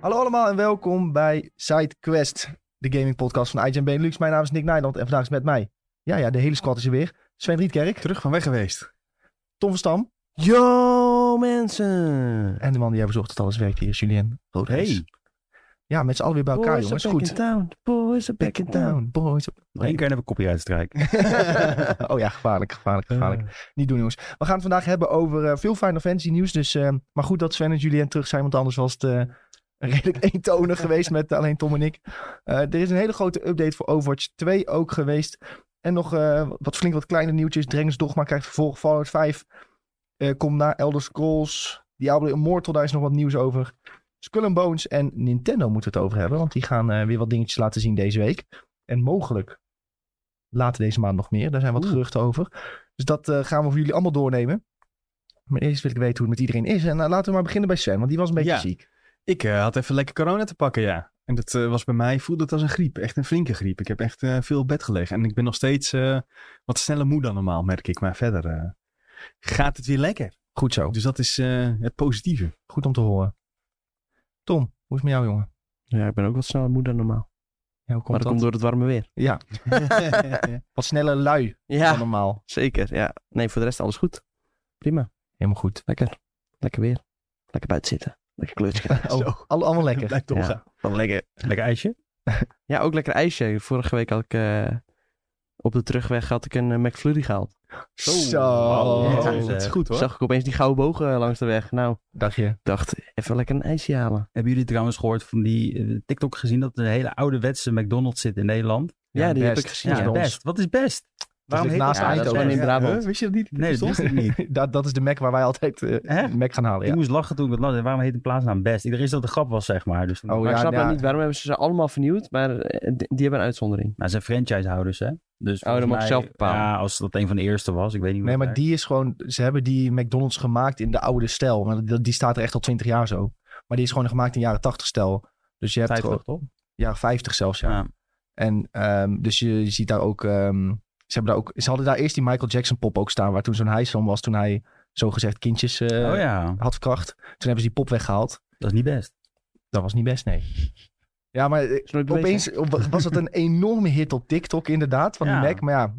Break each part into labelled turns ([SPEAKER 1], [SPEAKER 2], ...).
[SPEAKER 1] Hallo allemaal en welkom bij SideQuest, de gaming podcast van IGN Benelux. Mijn naam is Nick Nijland en vandaag is met mij, ja ja, de hele squad is er weer. Sven Rietkerk,
[SPEAKER 2] Terug van weg geweest.
[SPEAKER 1] Tom van Stam
[SPEAKER 2] Yo mensen!
[SPEAKER 1] en de man die jij bezocht dat alles werkt hier, Julien Roodhuis.
[SPEAKER 2] Hey.
[SPEAKER 1] Ja, met z'n allen weer bij elkaar jongens, goed.
[SPEAKER 2] town, boys are
[SPEAKER 1] Back in town, boys.
[SPEAKER 2] Nog één keer en heb ik copyright strijk.
[SPEAKER 1] oh ja, gevaarlijk, gevaarlijk,
[SPEAKER 2] Eh.
[SPEAKER 1] gevaarlijk. Niet doen jongens. We gaan het vandaag hebben over eh, veel Final Fantasy nieuws. Dus, eh, maar goed dat Sven en Julien terug zijn, want anders was het eh, redelijk eentonig geweest met alleen Tom en ik. Eh, er is een hele grote update voor Overwatch 2 ook geweest. En nog eh, wat flink wat kleine nieuwtjes. Dragon's Dogma krijgt vervolg. Fallout 5 eh, komt naar Elder Scrolls. Diablo Immortal, daar is nog wat nieuws over. Skull and Bones en Nintendo moeten we het over hebben. Want die gaan eh, weer wat dingetjes laten zien deze week. En mogelijk later deze maand nog meer. Daar zijn wat
[SPEAKER 2] Oeh.
[SPEAKER 1] geruchten over. Dus dat eh, gaan we voor jullie allemaal doornemen. Maar eerst wil ik weten hoe het met iedereen is. En nou, laten we maar beginnen bij Sven, want die was een beetje
[SPEAKER 2] Ja.
[SPEAKER 1] ziek.
[SPEAKER 2] Ik eh, had even lekker corona te pakken, ja. En dat eh, was bij mij, voelde het als een griep. Echt een flinke griep. Ik heb echt eh, veel op bed gelegen. En ik ben nog steeds eh, wat sneller moe dan normaal, merk ik. Maar verder eh, gaat het weer lekker.
[SPEAKER 1] Goed zo.
[SPEAKER 2] Dus dat is eh, het positieve.
[SPEAKER 1] Goed om te horen. Tom, hoe is het met jou, jongen?
[SPEAKER 3] Ja, ik ben ook wat sneller moe dan normaal.
[SPEAKER 1] Ja, hoe komt
[SPEAKER 3] maar dat
[SPEAKER 1] dat?
[SPEAKER 3] komt door het warme weer.
[SPEAKER 1] Ja, wat sneller lui dan
[SPEAKER 3] Ja,
[SPEAKER 1] normaal.
[SPEAKER 3] zeker. Ja. Nee, voor de rest alles goed. Prima.
[SPEAKER 1] Helemaal goed.
[SPEAKER 3] Lekker. Lekker weer. Lekker buiten zitten. Lekker kleurtje.
[SPEAKER 1] Oh, alle- allemaal lekker.
[SPEAKER 2] Blijft doorgaan.
[SPEAKER 3] Ja, wel lekker.
[SPEAKER 2] Lekker ijsje.
[SPEAKER 3] Ja, ook lekker ijsje. Vorige week had ik eh, op de terugweg had ik een eh, McFlurry gehaald.
[SPEAKER 1] Zo.
[SPEAKER 2] Wauw.
[SPEAKER 3] Ja.
[SPEAKER 2] dat is goed hoor.
[SPEAKER 3] Zag ik opeens die gouden bogen langs de weg. Nou,
[SPEAKER 1] Dacht je?
[SPEAKER 3] ik dacht even lekker een ijsje halen.
[SPEAKER 4] Hebben jullie trouwens gehoord van die eh, TikTok gezien dat er een hele ouderwetse McDonald's zit in Nederland?
[SPEAKER 3] Ja, die heb
[SPEAKER 1] best.
[SPEAKER 3] ik gezien.
[SPEAKER 1] Ja,
[SPEAKER 4] Ja,
[SPEAKER 1] bij ons.
[SPEAKER 4] best. Wat is best?
[SPEAKER 1] ligt
[SPEAKER 4] heet
[SPEAKER 1] naast
[SPEAKER 4] dat-
[SPEAKER 3] Ja, dat is
[SPEAKER 4] Eindhoven.
[SPEAKER 3] gewoon in Brabant.
[SPEAKER 2] Huh, wist je dat niet?
[SPEAKER 4] Nee, dat
[SPEAKER 2] Bestond?
[SPEAKER 4] wist ik niet.
[SPEAKER 1] Dat, dat is de Mac waar wij altijd eh
[SPEAKER 4] Hè?
[SPEAKER 1] Mac gaan halen.
[SPEAKER 4] Ik
[SPEAKER 1] Ja.
[SPEAKER 4] moest lachen toen ik het las. En Waarom heet een plaatsnaam best? Ik dacht dat de grap was, zeg maar. Dus,
[SPEAKER 1] Oh
[SPEAKER 3] Maar ik
[SPEAKER 1] ja,
[SPEAKER 3] snap
[SPEAKER 1] ja.
[SPEAKER 3] nou niet waarom hebben ze ze allemaal vernieuwd, maar eh, die die hebben een uitzondering.
[SPEAKER 4] Maar Nou, ze zijn franchisehouders, hè? Dus
[SPEAKER 3] Oh, dat mag
[SPEAKER 4] volgens
[SPEAKER 3] je
[SPEAKER 4] mij-
[SPEAKER 3] zelf bepalen.
[SPEAKER 4] Ja, als dat een van de eerste was. Ik weet niet hoe
[SPEAKER 1] Nee,
[SPEAKER 4] dat
[SPEAKER 1] maar
[SPEAKER 4] werkt.
[SPEAKER 1] die is gewoon... Ze hebben die McDonald's gemaakt in de oude stijl. Maar die, die staat er echt al 20 jaar zo. Maar die is gewoon gemaakt in jaren 80 stijl. Dus je hebt
[SPEAKER 4] 50,
[SPEAKER 1] gewoon...
[SPEAKER 4] toch?
[SPEAKER 1] Jaren 50 zelfs, ja.
[SPEAKER 4] Ja.
[SPEAKER 1] En ehm, dus je, je ziet daar ook, ehm, ze hebben daar ook... Ze hadden daar eerst die Michael Jackson pop ook staan... waar toen zo'n hijs van was toen hij zogezegd kindjes eh,
[SPEAKER 4] oh ja,
[SPEAKER 1] had verkracht. Toen hebben ze die pop weggehaald.
[SPEAKER 4] dat is niet best.
[SPEAKER 1] Dat was niet best, nee. Ja, maar eh,
[SPEAKER 3] Is nooit bewezen.
[SPEAKER 1] opeens op- was dat een enorme hit op TikTok inderdaad, van
[SPEAKER 4] Ja.
[SPEAKER 1] die Mac. Maar ja,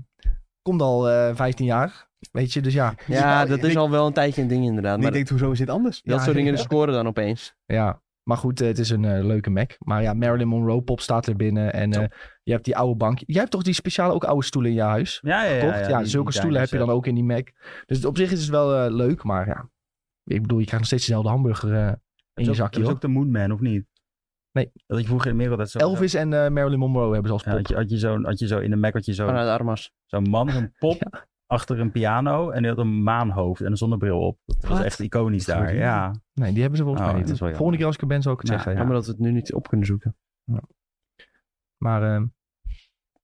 [SPEAKER 1] komt al eh 15 jaar, weet je. Dus ja,
[SPEAKER 3] Ja, dat is
[SPEAKER 2] ik-
[SPEAKER 3] al wel een tijdje een ding inderdaad.
[SPEAKER 2] En
[SPEAKER 3] Maar
[SPEAKER 2] ik denk, hoezo is dit anders?
[SPEAKER 3] dat
[SPEAKER 1] Ja, Oh.
[SPEAKER 3] soort dingen
[SPEAKER 1] ja.
[SPEAKER 3] scoren dan opeens.
[SPEAKER 1] ja. Maar goed, eh, het is een eh, leuke Mac. Maar ja, Marilyn Monroe pop staat er binnen. En eh, je hebt die oude bank. Jij hebt toch die speciale ook oude stoelen in je huis?
[SPEAKER 4] Ja, ja, ja.
[SPEAKER 1] gekocht. Ja,
[SPEAKER 4] die- die
[SPEAKER 1] zulke
[SPEAKER 4] zijn
[SPEAKER 1] stoelen heb je
[SPEAKER 4] dus,
[SPEAKER 1] dan ook in die Mac. Dus op zich is het wel eh, leuk, maar ja. Ik bedoel, je krijgt nog steeds dezelfde hamburger eh, in
[SPEAKER 4] eh,
[SPEAKER 1] je
[SPEAKER 4] Dat is ook-
[SPEAKER 1] zakje.
[SPEAKER 4] dat is
[SPEAKER 1] Hoor.
[SPEAKER 4] ook de Moonman, of niet?
[SPEAKER 1] Nee.
[SPEAKER 4] Dat had je vroeger in Merel dat zo...
[SPEAKER 1] Elvis en eh, Marilyn Monroe hebben ze als
[SPEAKER 4] Ja,
[SPEAKER 1] pop.
[SPEAKER 4] had je, had je zo'n- had je zo in de Mac had je zo'n
[SPEAKER 3] Vanuit Armas.
[SPEAKER 4] Zo'n man, zo'n pop achter een piano en die had een maanhoofd en een zonnebril op. Dat was
[SPEAKER 3] Wat?
[SPEAKER 4] echt iconisch
[SPEAKER 1] Dat
[SPEAKER 4] daar.
[SPEAKER 1] gebeurt niet.
[SPEAKER 4] Ja.
[SPEAKER 1] Nee, die hebben ze volgens
[SPEAKER 4] Oh,
[SPEAKER 1] mij
[SPEAKER 4] dat
[SPEAKER 1] niet.
[SPEAKER 4] is wel jammer.
[SPEAKER 1] Volgende keer als ik er ben, zal ik het
[SPEAKER 4] Nou,
[SPEAKER 1] zeggen. ja.
[SPEAKER 3] Jammer dat we het nu niet op kunnen zoeken.
[SPEAKER 1] Maar ehm,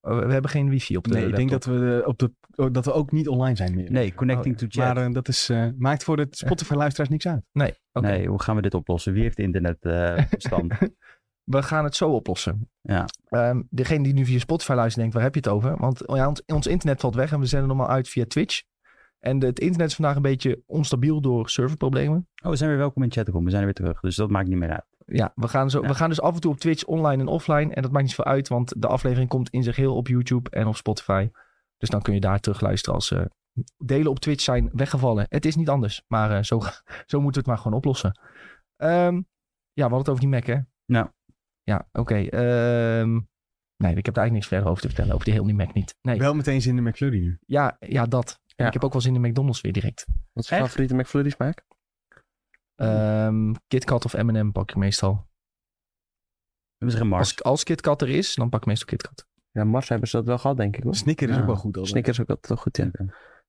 [SPEAKER 1] oh, we we hebben geen wifi op de
[SPEAKER 2] Nee, ik denk
[SPEAKER 1] laptop.
[SPEAKER 2] dat we, eh, op de, oh, dat we ook niet online zijn meer.
[SPEAKER 4] Nee,
[SPEAKER 3] Oh,
[SPEAKER 4] connecting to chat.
[SPEAKER 2] Maar eh, dat is, eh, maakt voor de Spotify-luisteraars niks uit.
[SPEAKER 1] Oké.
[SPEAKER 4] Nee, hoe gaan we dit oplossen? Wie heeft eh, internetbestand?
[SPEAKER 1] We gaan het zo oplossen.
[SPEAKER 4] Ja.
[SPEAKER 1] Ehm, degene die nu via Spotify luistert, denkt, waar heb je het over? Want oh ja, ons, ons internet valt weg en we zenden normaal uit via Twitch. En de- het internet is vandaag een beetje onstabiel door serverproblemen.
[SPEAKER 4] oh, we zijn weer welkom in chatcom. We zijn weer terug, dus dat maakt niet meer uit.
[SPEAKER 1] Ja, we gaan, zo,
[SPEAKER 4] Ja.
[SPEAKER 1] we gaan dus af en toe op Twitch online en offline. En dat maakt niet zoveel uit, want de aflevering komt in zijn geheel op YouTube en op Spotify. Dus dan kun je daar terug luisteren als eh, delen op Twitch zijn weggevallen. Het is niet anders, maar eh, zo, zo moeten we het maar gewoon oplossen. Ehm, ja, we hadden het over die Mac, hè?
[SPEAKER 4] Nou.
[SPEAKER 1] Ja, oké. ehm, nee, ik heb daar eigenlijk niks verder over te vertellen, over die heel die Mac niet. Nee,
[SPEAKER 2] Wel meteen zin in de McFlurry nu.
[SPEAKER 1] ja, ja dat. En
[SPEAKER 3] Ja.
[SPEAKER 1] ik heb ook wel zin in de McDonald's weer direct.
[SPEAKER 3] Wat is je
[SPEAKER 4] Echt?
[SPEAKER 3] favoriete McFlurry smaak?
[SPEAKER 1] Ehm KitKat of M&M pak ik meestal.
[SPEAKER 4] We hebben geen Mars.
[SPEAKER 1] Als, als KitKat er is, dan pak ik meestal KitKat.
[SPEAKER 3] Ja, Mars hebben ze dat wel gehad, denk ik. Hoor.
[SPEAKER 2] Snicker is
[SPEAKER 4] Ja.
[SPEAKER 2] ook wel goed. Altijd.
[SPEAKER 3] Snickers ook altijd wel goed, ja.
[SPEAKER 4] Oké.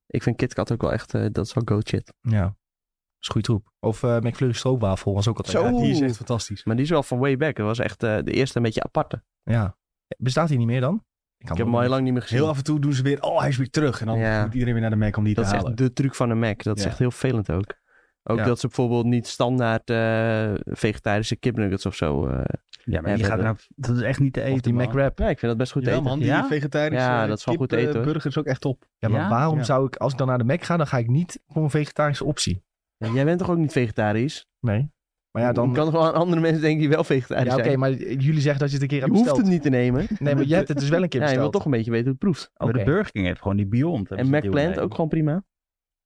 [SPEAKER 3] Ik vind KitKat ook wel echt, eh, dat is wel go shit.
[SPEAKER 1] Ja, dat is goede troep. Of eh McFlurry stroopwafel was ook altijd.
[SPEAKER 2] Zo.
[SPEAKER 1] Ja.
[SPEAKER 2] die is echt fantastisch.
[SPEAKER 3] Maar die is wel van way back. Dat was echt eh, de eerste een beetje aparte.
[SPEAKER 1] Ja. Bestaat die niet meer dan? kan
[SPEAKER 3] Ik heb
[SPEAKER 1] ook
[SPEAKER 3] hem al heel
[SPEAKER 1] niet.
[SPEAKER 3] lang niet meer gezien.
[SPEAKER 2] Heel af en toe doen ze weer, oh hij is weer terug. En dan
[SPEAKER 3] Ja.
[SPEAKER 2] moet iedereen weer naar de Mac om die
[SPEAKER 3] dat
[SPEAKER 2] te
[SPEAKER 3] is
[SPEAKER 2] halen.
[SPEAKER 3] echt de truc van een Mac. Dat is
[SPEAKER 2] Ja.
[SPEAKER 3] echt heel vervelend ook. Ook
[SPEAKER 1] Ja.
[SPEAKER 3] dat ze bijvoorbeeld niet standaard eh, vegetarische kipnuggets of zo. eh.
[SPEAKER 4] Ja, maar
[SPEAKER 3] Ja,
[SPEAKER 4] die gaat
[SPEAKER 3] dat-
[SPEAKER 4] nou... Dat is echt niet te eten,
[SPEAKER 1] Of die
[SPEAKER 4] man.
[SPEAKER 1] McWrap.
[SPEAKER 3] Ja, ik vind dat best goed
[SPEAKER 2] Jawel,
[SPEAKER 3] eten.
[SPEAKER 2] man, die
[SPEAKER 4] Ja?
[SPEAKER 2] vegetarische
[SPEAKER 3] Ja, dat is wel
[SPEAKER 2] kip,
[SPEAKER 3] goed eten,
[SPEAKER 2] eh,
[SPEAKER 3] hoor.
[SPEAKER 2] burger is ook echt top.
[SPEAKER 1] Ja, maar
[SPEAKER 4] Ja?
[SPEAKER 1] waarom
[SPEAKER 2] Ja.
[SPEAKER 1] zou ik, als ik dan naar de Mac ga, dan ga ik niet voor een vegetarische optie.
[SPEAKER 3] Ja, Jij bent toch ook niet vegetarisch?
[SPEAKER 1] Nee. Maar ja, dan...
[SPEAKER 3] Ik kan gewoon aan andere mensen denken die wel vegetarisch
[SPEAKER 1] Ja, oké,
[SPEAKER 3] zijn.
[SPEAKER 1] maar jullie zeggen dat je het een keer
[SPEAKER 3] Je
[SPEAKER 1] hebt
[SPEAKER 3] hoeft
[SPEAKER 1] besteld.
[SPEAKER 3] het niet te nemen.
[SPEAKER 1] Nee, maar je hebt het dus wel een keer
[SPEAKER 3] Ja, je
[SPEAKER 1] besteld.
[SPEAKER 3] wil toch een beetje weten hoe het proeft.
[SPEAKER 4] Maar
[SPEAKER 1] Oké.
[SPEAKER 4] Oh, de Burger King heeft gewoon die Beyond.
[SPEAKER 3] En McPlant ook gewoon prima.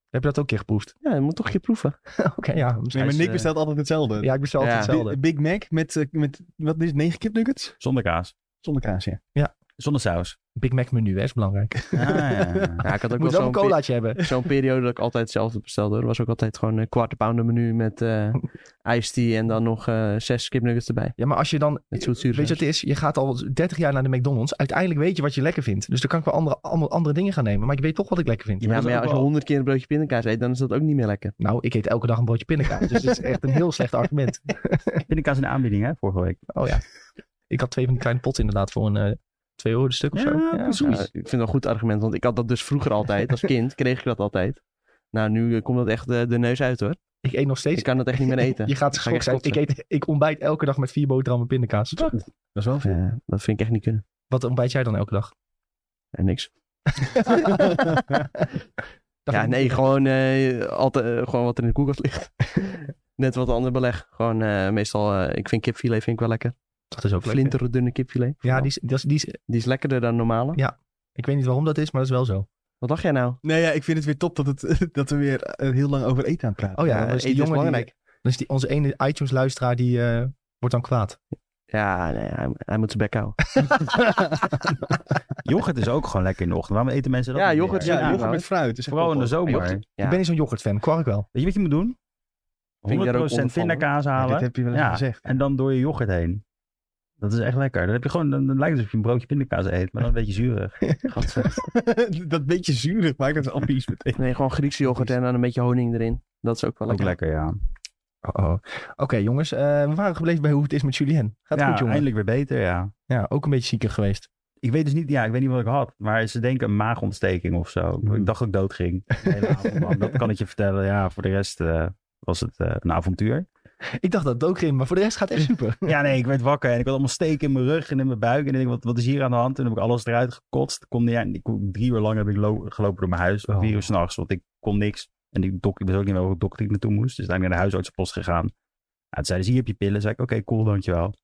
[SPEAKER 1] Heb je dat ook een keer geproefd?
[SPEAKER 3] Ja, je moet toch een keer proeven.
[SPEAKER 1] oké, ja. misschien-
[SPEAKER 2] Nee, maar
[SPEAKER 3] is,
[SPEAKER 2] Nick
[SPEAKER 3] eh,
[SPEAKER 2] bestelt altijd hetzelfde.
[SPEAKER 1] Ja, ik bestel altijd
[SPEAKER 3] Ja.
[SPEAKER 1] hetzelfde.
[SPEAKER 2] Bi- Big Mac met, eh, met wat is het, negen kipnuggets?
[SPEAKER 4] Zonder kaas.
[SPEAKER 2] Zonder kaas, ja.
[SPEAKER 4] Zonder saus.
[SPEAKER 1] Big Mac menu, hè, is belangrijk.
[SPEAKER 4] Ah, ja.
[SPEAKER 3] Ja, ik had
[SPEAKER 1] Moet
[SPEAKER 3] ook
[SPEAKER 1] wel
[SPEAKER 3] wel
[SPEAKER 1] een
[SPEAKER 3] zo'n
[SPEAKER 1] colaatje hebben.
[SPEAKER 3] pe- zo'n periode dat ik altijd hetzelfde bestelde. hoor. Er was ook altijd gewoon een quarter pounder menu met eh iced tea en dan nog eh, zes kipnuggets erbij.
[SPEAKER 1] Ja, maar als je dan...
[SPEAKER 3] Met zoetzuur.
[SPEAKER 1] Weet je wat het is? Je gaat al 30 jaar naar de McDonald's. Uiteindelijk weet je wat je lekker vindt. Dus dan kan ik wel andere, allemaal andere dingen gaan nemen. Maar ik weet toch wat ik lekker vind.
[SPEAKER 3] Ja, maar ja, als je honderd keer een broodje pindakaas eet, dan is dat ook niet meer lekker.
[SPEAKER 1] Nou, ik eet elke dag een broodje pindakaas. dus het is echt een heel slecht argument.
[SPEAKER 4] Pindakaas in de aanbieding, hè, vorige week.
[SPEAKER 1] Oh ja. Ik had twee van die kleine potten inderdaad voor een eh 2 euro de stuk of zo.
[SPEAKER 3] Ja, ik vind dat een goed argument, want ik had dat dus vroeger altijd. Als kind kreeg ik dat altijd. Nou, nu eh, komt dat echt eh, de neus uit hoor.
[SPEAKER 1] Ik eet nog steeds.
[SPEAKER 3] Ik kan dat echt niet meer eten.
[SPEAKER 1] Je gaat
[SPEAKER 3] Ga ik
[SPEAKER 1] schok
[SPEAKER 3] echt
[SPEAKER 1] zijn. Ik, eet, ik ontbijt elke dag met vier boterhammen pindakaas.
[SPEAKER 2] Dat is wel veel.
[SPEAKER 3] Ja, dat vind ik echt niet kunnen.
[SPEAKER 1] Wat ontbijt jij dan elke dag?
[SPEAKER 3] En niks.
[SPEAKER 1] Dag
[SPEAKER 3] Ja,
[SPEAKER 1] in-
[SPEAKER 3] nee, gewoon, eh, altijd, eh, gewoon wat er in de koelkast ligt. Net wat ander beleg. Gewoon eh, meestal, eh, ik vind kipfilet vind ik wel lekker.
[SPEAKER 1] Dat is ook lekker.
[SPEAKER 3] Flinterdunne kipfilet.
[SPEAKER 1] Ja, die is, die, is, die is-
[SPEAKER 3] Die is lekkerder dan normale.
[SPEAKER 1] Ja. Oh Ik weet niet waarom dat is, maar dat is wel zo.
[SPEAKER 3] Wat dacht jij nou?
[SPEAKER 2] Nee, ja, ik vind het weer top dat, het, dat we weer eh, heel lang over eten aan het praten.
[SPEAKER 1] Oh ja,
[SPEAKER 3] Eh,
[SPEAKER 1] dan is die
[SPEAKER 3] eten
[SPEAKER 1] jongen die-
[SPEAKER 3] belangrijk.
[SPEAKER 1] Dus die, onze ene iTunes-luisteraar die eh, wordt dan kwaad.
[SPEAKER 3] Ja, nee, hij, hij moet zijn bek houden.
[SPEAKER 4] Yoghurt is ook gewoon lekker in de ochtend. Waarom eten mensen dat
[SPEAKER 3] Ja,
[SPEAKER 4] niet meer?
[SPEAKER 3] yoghurt is
[SPEAKER 2] Ja,
[SPEAKER 3] Ja,
[SPEAKER 2] yoghurt
[SPEAKER 3] nou,
[SPEAKER 2] met fruit. is echt
[SPEAKER 4] Vooral in de
[SPEAKER 2] top.
[SPEAKER 4] zomer.
[SPEAKER 3] Yoghurt.
[SPEAKER 4] Weet
[SPEAKER 3] Ja.
[SPEAKER 1] Ik ben niet zo'n yoghurtfan, kwark wel.
[SPEAKER 4] je wat je moet doen?
[SPEAKER 3] Vind ik daar ook onder
[SPEAKER 4] 100%
[SPEAKER 3] van, hoor.
[SPEAKER 4] pindakaas
[SPEAKER 2] Ja,
[SPEAKER 4] halen.
[SPEAKER 2] dit heb je wel eens
[SPEAKER 4] Ja,
[SPEAKER 2] gezegd.
[SPEAKER 4] En dan door je yoghurt heen. Dat is echt lekker. Dan, heb je gewoon, dan, dan lijkt het alsof je een broodje pindakaas eet, maar dan een beetje zuurig.
[SPEAKER 3] Gadver.
[SPEAKER 2] dat beetje zuurig maakt het ambies meteen.
[SPEAKER 3] Nee, gewoon Griekse yoghurt en dan een beetje honing erin. Dat is ook wel
[SPEAKER 4] Ook
[SPEAKER 3] lekker.
[SPEAKER 4] lekker, ja.
[SPEAKER 1] Oh, oh. Oké, jongens. eh, we waren gebleven bij hoe het is met Julien. Gaat
[SPEAKER 4] ja,
[SPEAKER 1] goed, jongen.
[SPEAKER 4] eindelijk weer beter, ja.
[SPEAKER 1] Ja, ook een beetje zieker geweest.
[SPEAKER 4] Ik weet dus niet, ja, ik weet niet wat ik had. Maar ze denken een maagontsteking of zo. Ik dacht dat ik dood ging. De hele avond lang. Dat kan ik je vertellen. Ja, voor de rest eh, was het eh, een avontuur.
[SPEAKER 1] Ik dacht dat het ook ging, maar voor de rest gaat het echt super.
[SPEAKER 4] Ja, nee, ik werd wakker en ik had allemaal steken in mijn rug en in mijn buik. En ik denk, wat, wat is hier aan de hand? En heb ik alles eruit gekotst. Kon, niet aan- ik, kon- drie uur lang heb ik lo- gelopen door mijn huis, tot
[SPEAKER 1] Oh.
[SPEAKER 4] vier uur s'nachts, want ik kon niks. En ik, dok, ik wist ook niet meer welke dokter ik naartoe moest. Dus daar ben ik naar de huisartsenpost gegaan. Ja, toen zeiden ze, hier heb je pillen. zei ik, oké, cool, dankjewel.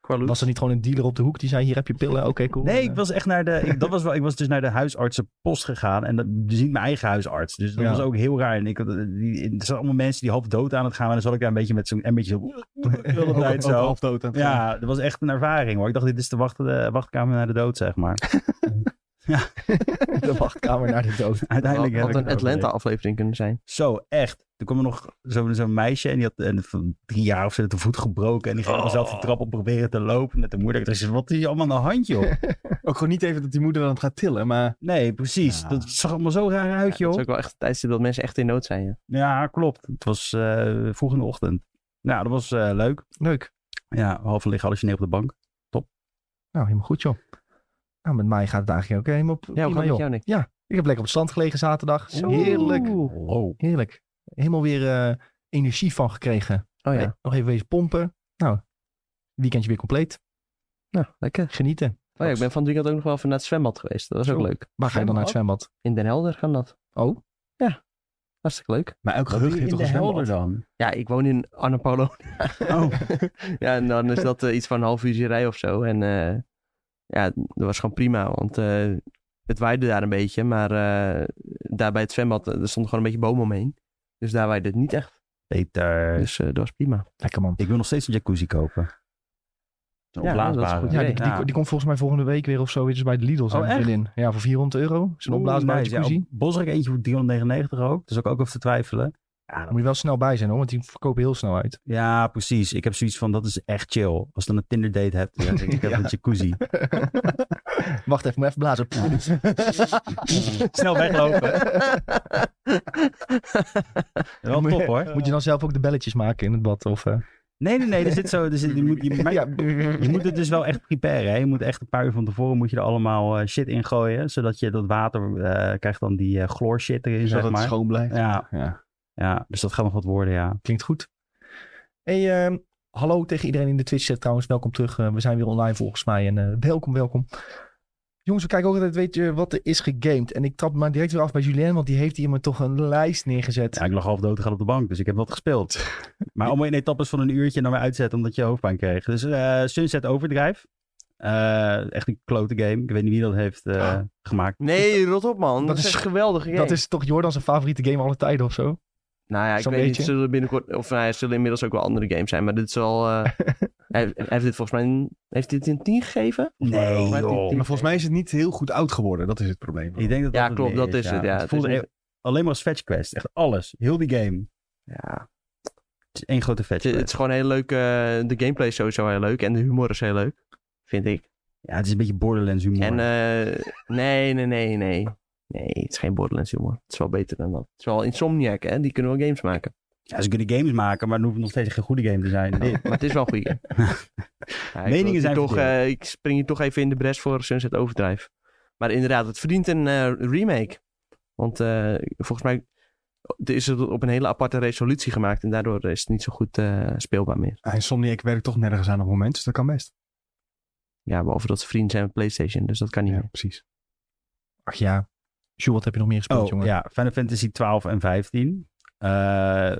[SPEAKER 3] Qualoot.
[SPEAKER 1] Was er niet gewoon een dealer op de hoek die zei, hier heb je pillen, oké cool. Eh,
[SPEAKER 4] Nee,
[SPEAKER 1] En,
[SPEAKER 4] ik was echt naar de, ik, dat was wel, ik was dus naar de huisartsenpost gegaan. En dat, dus niet mijn eigen huisarts. Dus dat
[SPEAKER 1] Ja.
[SPEAKER 4] was ook heel raar. En ik, had- eh, die, er zaten allemaal mensen die half dood aan het gaan. En dan zat ik daar een beetje met zo'n, en een beetje zo, heel de
[SPEAKER 2] Ook-
[SPEAKER 4] tijd
[SPEAKER 2] ook
[SPEAKER 4] zo.
[SPEAKER 2] half dood aan het gaan.
[SPEAKER 4] Ja, dat was echt een ervaring hoor. Ik dacht, dit is de wacht, de wachtkamer naar de dood, zeg maar.
[SPEAKER 1] eh, De wachtkamer naar de dood.
[SPEAKER 4] Uiteindelijk heb
[SPEAKER 3] had
[SPEAKER 4] ik
[SPEAKER 3] een
[SPEAKER 4] het ook
[SPEAKER 3] Atlanta
[SPEAKER 4] weer.
[SPEAKER 3] aflevering kunnen zijn.
[SPEAKER 4] Zo, echt. Toen kwam er nog zo'n zo'n meisje en die had en van drie jaar of zo had de voet gebroken. En die ging
[SPEAKER 2] Oh.
[SPEAKER 4] oh. zelf de trap op proberen te lopen met de moeder. Ik dacht, wat is hier allemaal aan de hand, joh?
[SPEAKER 2] Ook gewoon niet even dat die moeder dan het gaat tillen, maar...
[SPEAKER 4] Nee, precies.
[SPEAKER 2] Ja.
[SPEAKER 4] Dat zag allemaal zo raar
[SPEAKER 3] Ja,
[SPEAKER 4] uit,
[SPEAKER 3] dat is
[SPEAKER 4] joh.
[SPEAKER 3] ook wel echt een tijdstip dat mensen echt in nood zijn. ja.
[SPEAKER 4] Ja, klopt. Het was eh, vroeg in de ochtend. Nou, dat was eh, leuk.
[SPEAKER 1] Leuk.
[SPEAKER 4] Ja, half liggen alles je neer op de bank.
[SPEAKER 1] Nou, helemaal goed joh. Nou, met mij gaat het eigenlijk ook helemaal op
[SPEAKER 3] Ja, hoe
[SPEAKER 1] prima,
[SPEAKER 3] gaat het met
[SPEAKER 1] joh.
[SPEAKER 3] jou, Nick?
[SPEAKER 1] Ik heb lekker op het strand gelegen zaterdag.
[SPEAKER 3] Zo.
[SPEAKER 1] Heerlijk.
[SPEAKER 4] Hallo.
[SPEAKER 1] Heerlijk. Helemaal weer eh, energie van gekregen.
[SPEAKER 3] Oh ja,
[SPEAKER 1] Nee, Nog even wezen pompen. Nou, weekendje weer compleet.
[SPEAKER 3] nou, lekker.
[SPEAKER 1] Genieten.
[SPEAKER 3] Oh ja, ik ben van het weekend ook nog wel even naar het zwembad geweest. Dat was ook
[SPEAKER 1] Zo.
[SPEAKER 3] leuk.
[SPEAKER 1] Waar ga je dan naar het zwembad?
[SPEAKER 3] In Den Helder gaan dat.
[SPEAKER 1] Oh,
[SPEAKER 3] Hartstikke leuk.
[SPEAKER 2] Maar elk
[SPEAKER 4] Wat
[SPEAKER 2] gehucht
[SPEAKER 4] doe je
[SPEAKER 2] heeft
[SPEAKER 4] in
[SPEAKER 2] toch
[SPEAKER 4] de
[SPEAKER 2] een
[SPEAKER 4] helder
[SPEAKER 2] zwembad?
[SPEAKER 4] dan?
[SPEAKER 3] Ja, ik woon in Annapolo.
[SPEAKER 4] Oh,
[SPEAKER 3] ja, en dan is dat eh, iets van een half uurtje rij of zo. En eh, ja, dat was gewoon prima. Want eh, het waaide daar een beetje. Maar eh, daar bij het zwembad, eh, er stond gewoon een beetje boom omheen. Dus daar waaide het niet echt.
[SPEAKER 4] Peter.
[SPEAKER 3] Dus eh, dat was prima.
[SPEAKER 1] lekker man.
[SPEAKER 4] Ik wil nog steeds een jacuzzi kopen. Zo'n
[SPEAKER 3] Ja,
[SPEAKER 4] opblaasbare.
[SPEAKER 3] dat is goed.
[SPEAKER 1] Ja, die,
[SPEAKER 3] idee.
[SPEAKER 1] die, die komt volgens mij volgende week weer of zo. weer dus bij de Lidl. zijn
[SPEAKER 4] Oh,
[SPEAKER 1] we
[SPEAKER 4] echt?
[SPEAKER 1] erin. Ja, voor 400 euro. Zo'n
[SPEAKER 4] Oeh,
[SPEAKER 1] opblaasbare
[SPEAKER 4] nice. Ja,
[SPEAKER 1] jacuzzi.
[SPEAKER 4] op Bosrijk eentje voor 399 ook. Dus ook, ook over te twijfelen. Ja,
[SPEAKER 1] Daar
[SPEAKER 4] dat-
[SPEAKER 1] moet je wel snel bij zijn hoor, want die verkopen heel snel uit.
[SPEAKER 4] ja, precies. Ik heb zoiets van, dat is echt chill. Als je dan een Tinder date hebt, dan zeg ik, ik heb
[SPEAKER 1] Ja.
[SPEAKER 4] een jacuzzi.
[SPEAKER 1] Wacht even, moet even blazen.
[SPEAKER 4] Snel weglopen. Wel
[SPEAKER 1] Moet je-
[SPEAKER 4] top hoor.
[SPEAKER 1] Moet je dan zelf ook de belletjes maken in het bad? Of, eh?
[SPEAKER 4] Nee, nee, nee. Er zit zo, er zit, je, moet, je, maar-
[SPEAKER 1] Ja.
[SPEAKER 4] je moet het dus wel echt preparen. Hè? Je moet echt een paar uur van tevoren moet je er allemaal eh, shit in gooien. Zodat je dat water eh, krijgt dan die eh chloor shit erin,
[SPEAKER 2] Zodat
[SPEAKER 4] zeg
[SPEAKER 2] het
[SPEAKER 4] maar.
[SPEAKER 2] schoon blijft.
[SPEAKER 4] Ja,
[SPEAKER 2] Ja.
[SPEAKER 4] ja, dus dat gaat nog wat worden, ja.
[SPEAKER 1] Klinkt goed. Hey, ehm, hallo tegen iedereen in de Twitch chat trouwens. Welkom terug. Eh, we zijn weer online volgens mij. En eh, welkom, welkom. Jongens, we kijken ook altijd, weet je, wat er is gegamed. En ik trap maar direct weer af bij Julien, want die heeft hier me toch een lijst neergezet.
[SPEAKER 4] Ja, ik lag half dood te gaan op de bank, dus ik heb wat gespeeld. maar allemaal in etappes van een uurtje en dan weer uitzetten omdat je hoofdpijn kreeg. Dus eh, Sunset Overdrive. Eh, echt een klote game. Ik weet niet wie dat heeft eh,
[SPEAKER 1] Ah.
[SPEAKER 4] gemaakt.
[SPEAKER 3] Nee, rot op man. Dat,
[SPEAKER 1] Dat
[SPEAKER 3] is
[SPEAKER 1] is-
[SPEAKER 3] echt geweldig.
[SPEAKER 1] Dat is toch Jordan zijn favoriete game alle tijden of zo?
[SPEAKER 3] Nou ja, ik
[SPEAKER 1] Zo'n
[SPEAKER 3] weet niet,
[SPEAKER 1] beetje.
[SPEAKER 3] zullen binnenkort, of nou ja, zullen inmiddels ook wel andere games zijn, maar dit is wel, eh, hij, hij heeft dit volgens mij, een- heeft dit een 10 gegeven?
[SPEAKER 4] Nee,
[SPEAKER 3] Maar-
[SPEAKER 4] joh.
[SPEAKER 2] Maar volgens mij is het niet heel goed oud geworden. Dat is het probleem.
[SPEAKER 4] Ik denk dat
[SPEAKER 3] Ja,
[SPEAKER 4] het
[SPEAKER 3] klopt,
[SPEAKER 4] meer
[SPEAKER 3] dat is het, ja. Het
[SPEAKER 4] Het voelde
[SPEAKER 3] is niet-
[SPEAKER 4] e- alleen maar als fetch quest. Echt alles. Heel die game.
[SPEAKER 3] Ja,
[SPEAKER 4] Het is één grote fetch
[SPEAKER 3] het, is-
[SPEAKER 4] quest.
[SPEAKER 3] het is gewoon heel leuk, eh, de gameplay is sowieso heel leuk en de humor is heel leuk, vind ik.
[SPEAKER 4] Ja, het is een beetje Borderlands humor.
[SPEAKER 3] En eh, nee, nee, nee, nee. Nee, het is geen Borderlands humor. Het is wel beter dan dat. Het is wel Insomniac, hè? Die kunnen wel games maken.
[SPEAKER 4] ja, ze kunnen games maken, maar dan hoeft het nog steeds geen goede game te zijn. Dit.
[SPEAKER 3] Maar het is wel een goede game. Ja, ik
[SPEAKER 4] Meningen
[SPEAKER 3] wil
[SPEAKER 4] zijn
[SPEAKER 3] toch,
[SPEAKER 4] verdeeld.
[SPEAKER 3] eh, Ik spring je toch even in de bres voor Sunset Overdrive. Maar inderdaad, het verdient een eh, remake. Want eh, volgens mij is het op een hele aparte resolutie gemaakt. En daardoor is het niet zo goed eh, speelbaar meer.
[SPEAKER 2] En Insomniac werkt toch nergens aan op het moment, dus dat kan best.
[SPEAKER 3] Ja, behalve dat ze vrienden zijn met PlayStation. Dus dat kan niet
[SPEAKER 2] Ja,
[SPEAKER 3] meer.
[SPEAKER 2] precies.
[SPEAKER 1] Ach ja. Jules, wat heb je nog meer gespeeld,
[SPEAKER 4] Oh,
[SPEAKER 1] jongen?
[SPEAKER 4] ja. Final Fantasy 12 en 15. Eh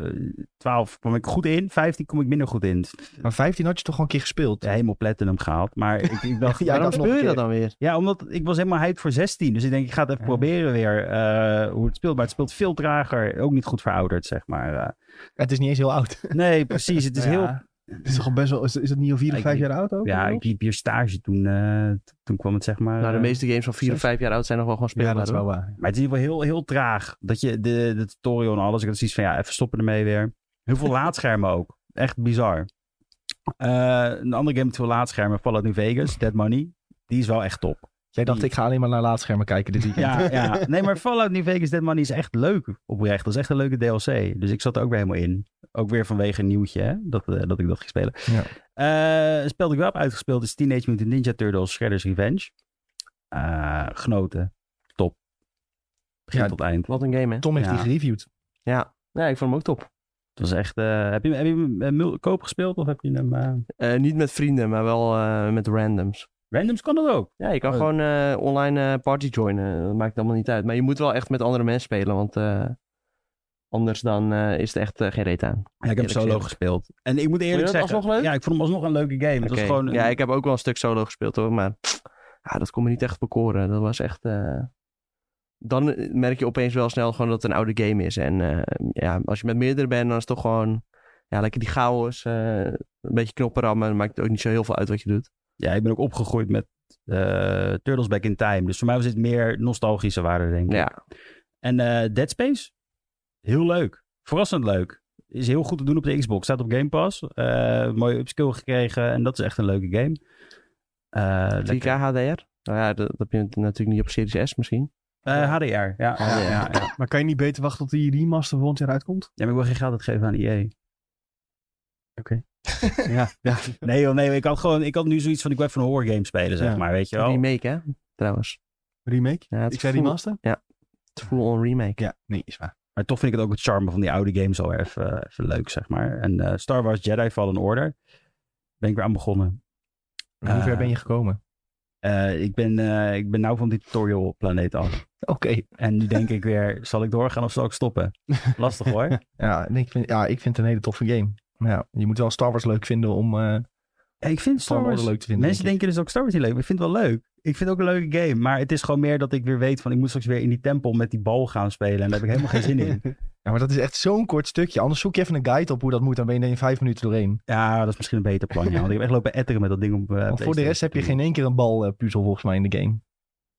[SPEAKER 4] 12 kwam ik goed in, 15 kom ik minder goed in.
[SPEAKER 1] Maar 15 had je toch al een keer gespeeld?
[SPEAKER 4] Helemaal platinum gehaald. Maar ik, ik dacht,
[SPEAKER 1] Ja,
[SPEAKER 3] Waarom
[SPEAKER 1] dat nog
[SPEAKER 3] speel je
[SPEAKER 1] een
[SPEAKER 3] dat dan weer?
[SPEAKER 4] Ja, omdat ik was helemaal hyped voor 16. Dus ik denk, ik ga het even
[SPEAKER 2] Ja.
[SPEAKER 4] proberen weer eh, hoe het speelt. Maar het speelt veel trager. Ook niet goed verouderd, zeg maar. Eh,
[SPEAKER 1] Het is niet eens heel oud.
[SPEAKER 4] nee, precies. Het is
[SPEAKER 2] Nou
[SPEAKER 4] heel...
[SPEAKER 2] ja, het is toch al best wel. Is, is het niet al vier of
[SPEAKER 4] Ik
[SPEAKER 2] vijf
[SPEAKER 4] weet-
[SPEAKER 2] jaar oud ook?
[SPEAKER 4] Ja,
[SPEAKER 2] inmiddels?
[SPEAKER 4] ik liep hier stage toen, eh, t- toen kwam het, zeg maar...
[SPEAKER 3] Nou, de
[SPEAKER 4] eh,
[SPEAKER 3] meeste games van 4 of 5 jaar oud zijn nog wel gewoon
[SPEAKER 2] ja,
[SPEAKER 3] speelbaar.
[SPEAKER 2] dat is
[SPEAKER 3] hoor.
[SPEAKER 2] wel waar.
[SPEAKER 4] Maar het is in ieder geval heel, heel traag. Dat je de, de tutorial en alles. Ik had zoiets van, ja, even stoppen ermee weer. Heel veel laadschermen ook. Echt bizar. Eh, een andere game met veel laadschermen, Fallout New Vegas, Dead Money. Die is wel echt top.
[SPEAKER 1] Jij dacht, ik ga alleen maar naar laadschermen kijken dit weekend.
[SPEAKER 4] Ja, ja. Nee, maar Fallout New Vegas, Dead Money is echt leuk oprecht. Dat is echt een leuke DLC. Dus ik zat er ook weer helemaal in. Ook weer vanwege een nieuwtje, hè, dat, eh, dat ik dat ging spelen.
[SPEAKER 1] Ja.
[SPEAKER 4] Eh, een spel dat ik wel heb uitgespeeld is Teenage Mutant Ninja Turtles Shredder's Revenge. Eh, genoten. Top. Begin
[SPEAKER 1] Ja,
[SPEAKER 4] tot eind.
[SPEAKER 3] Wat een game, hè?
[SPEAKER 1] Tom heeft
[SPEAKER 4] Ja.
[SPEAKER 1] die gereviewd.
[SPEAKER 3] Ja. ja, ik vond hem ook top.
[SPEAKER 4] Het was echt. eh, heb je, heb je hem eh, mul- koop gespeeld of heb je hem. eh,
[SPEAKER 3] Eh, niet met vrienden, maar wel eh, met randoms.
[SPEAKER 4] Randoms kan dat ook.
[SPEAKER 3] Ja, je kan
[SPEAKER 4] Oh.
[SPEAKER 3] gewoon eh, online eh, party joinen. Dat maakt allemaal niet uit. Maar je moet wel echt met andere mensen spelen, want eh, anders dan eh, is het echt eh, geen reet aan.
[SPEAKER 4] Ja, ik heb
[SPEAKER 3] Eerlijk
[SPEAKER 4] solo
[SPEAKER 3] gezegd.
[SPEAKER 4] gespeeld. En ik moet
[SPEAKER 3] je
[SPEAKER 4] eerlijk
[SPEAKER 3] dat
[SPEAKER 4] zeggen.
[SPEAKER 3] alsnog leuk?
[SPEAKER 4] Ja, ik vond hem alsnog een leuke game. Het was
[SPEAKER 3] Oké.
[SPEAKER 4] gewoon.
[SPEAKER 3] Ja, ik heb ook wel een stuk solo gespeeld hoor, maar ja, dat kon me niet echt bekoren. Dat was echt... eh, Dan eh, merk je opeens wel snel gewoon dat het een oude game is. En eh, ja, als je met meerdere bent, dan is het toch gewoon... Ja, lekker die chaos, eh, een beetje knoppen rammen. Maakt ook niet zo heel veel uit wat je doet.
[SPEAKER 4] ja, ik ben ook opgegroeid met eh, Turtles Back in Time. Dus voor mij was het meer nostalgische waarde, denk ik.
[SPEAKER 3] Ja,
[SPEAKER 4] En eh, Dead Space? Heel leuk. Verrassend leuk. Is heel goed te doen op de Xbox. Staat op Game Pass. Eh, mooie upskill gekregen. En dat is echt een leuke game. Eh,
[SPEAKER 3] 4K
[SPEAKER 4] lekker.
[SPEAKER 3] HDR. Nou ja, dat, dat heb je natuurlijk niet op Series S misschien.
[SPEAKER 4] Eh, HDR. Ja, ja,
[SPEAKER 3] HDR.
[SPEAKER 4] ja, ja.
[SPEAKER 2] Maar kan je niet beter wachten tot die remaster volgend jaar uitkomt?
[SPEAKER 4] Ja, maar ik wil geen geld uitgeven aan E EA.
[SPEAKER 2] Oké.
[SPEAKER 4] ja, ja. Nee joh, nee. Ik had, gewoon, ik had nu zoiets van, ik wil even een horror game spelen, zeg
[SPEAKER 2] Ja.
[SPEAKER 4] maar. Weet je wel?
[SPEAKER 3] Remake hè, trouwens.
[SPEAKER 2] Remake?
[SPEAKER 3] Ja, het
[SPEAKER 2] ik zei
[SPEAKER 3] voelt-
[SPEAKER 2] remaster?
[SPEAKER 3] Het is full-on remake.
[SPEAKER 2] Ja, nee, is waar.
[SPEAKER 4] Maar toch vind ik het ook het charme van die oude games al even, even leuk, zeg maar. En eh, Star Wars Jedi Fallen Order ben ik weer aan begonnen.
[SPEAKER 1] Hoe ver
[SPEAKER 4] Eh.
[SPEAKER 1] ben je gekomen?
[SPEAKER 4] Eh, ik, ben, eh, ik ben nou van die tutorial planeet af.
[SPEAKER 1] Oké.
[SPEAKER 4] En nu denk ik weer, zal ik doorgaan of zal ik stoppen? Lastig hoor.
[SPEAKER 1] Ja, en ik vind, ja, ik vind het een hele toffe game. Maar ja, je moet wel Star Wars leuk vinden om eh
[SPEAKER 4] Ja, ik vind
[SPEAKER 1] Star
[SPEAKER 4] Star Wars...
[SPEAKER 1] leuk te vinden.
[SPEAKER 4] Mensen
[SPEAKER 1] denk
[SPEAKER 4] denken dus ook Star Wars niet leuk, maar ik vind het wel leuk. Ik vind het ook een leuke game, maar het is gewoon meer dat ik weer weet van... ik moet straks weer in die tempel met die bal gaan spelen en daar heb ik helemaal geen zin in.
[SPEAKER 1] ik. Ja, maar dat is echt zo'n kort stukje. Anders zoek je even een guide op hoe dat moet. Dan ben je er in vijf minuten doorheen.
[SPEAKER 4] Ja, dat is misschien een beter plan, ja. Want ik heb echt lopen etteren met dat ding op eh,
[SPEAKER 1] Want voor de
[SPEAKER 4] PlayStation.
[SPEAKER 1] rest heb je geen één keer een balpuzzel volgens mij in de game.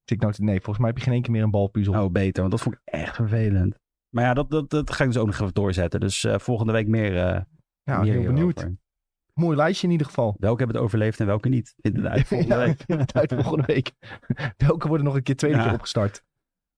[SPEAKER 1] Zit ik nou te- nee, volgens mij heb je geen één keer meer een balpuzzel.
[SPEAKER 4] Oh, beter, want dat vond ik echt vervelend. Maar ja, dat, dat, dat ga ik dus ook nog even doorzetten. Dus eh, volgende week meer, eh
[SPEAKER 1] ja,
[SPEAKER 4] meer
[SPEAKER 1] heel benieuwd.
[SPEAKER 4] hierover.
[SPEAKER 1] Mooi lijstje in ieder geval.
[SPEAKER 4] Welke hebben het overleefd en welke niet? Eh, Vinden we uit volgende
[SPEAKER 1] Ja,
[SPEAKER 4] week.
[SPEAKER 1] vind het uit volgende week. Welke worden nog een keer tweede
[SPEAKER 4] Ja.
[SPEAKER 1] keer opgestart?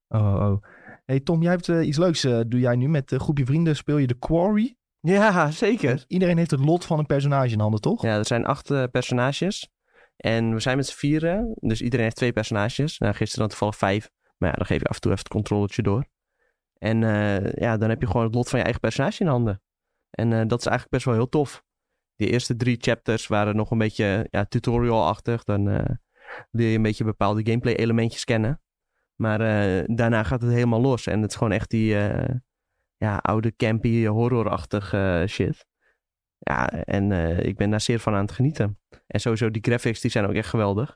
[SPEAKER 1] Oh, oh, oh. Hey Tom, jij hebt eh, iets leuks. eh, doe jij nu met een groepje vrienden? Speel je de Quarry?
[SPEAKER 3] Ja, zeker.
[SPEAKER 1] Iedereen heeft het lot van een personage in handen, toch?
[SPEAKER 3] Ja, er zijn acht eh, personages. En we zijn met z'n vieren. Dus iedereen heeft twee personages. Nou, gisteren dan toevallig vijf. Maar ja, dan geef je af en toe even het controletje door. En eh, ja, dan heb je gewoon het lot van je eigen personage in handen. En eh, dat is eigenlijk best wel heel tof. De eerste drie chapters waren nog een beetje ja, tutorial-achtig. Dan eh, leer je een beetje bepaalde gameplay elementjes kennen. Maar eh, daarna gaat het helemaal los. En het is gewoon echt die eh, ja, oude campy horrorachtige eh, shit. Ja, en eh, ik ben daar zeer van aan het genieten. En sowieso die graphics die zijn ook echt geweldig.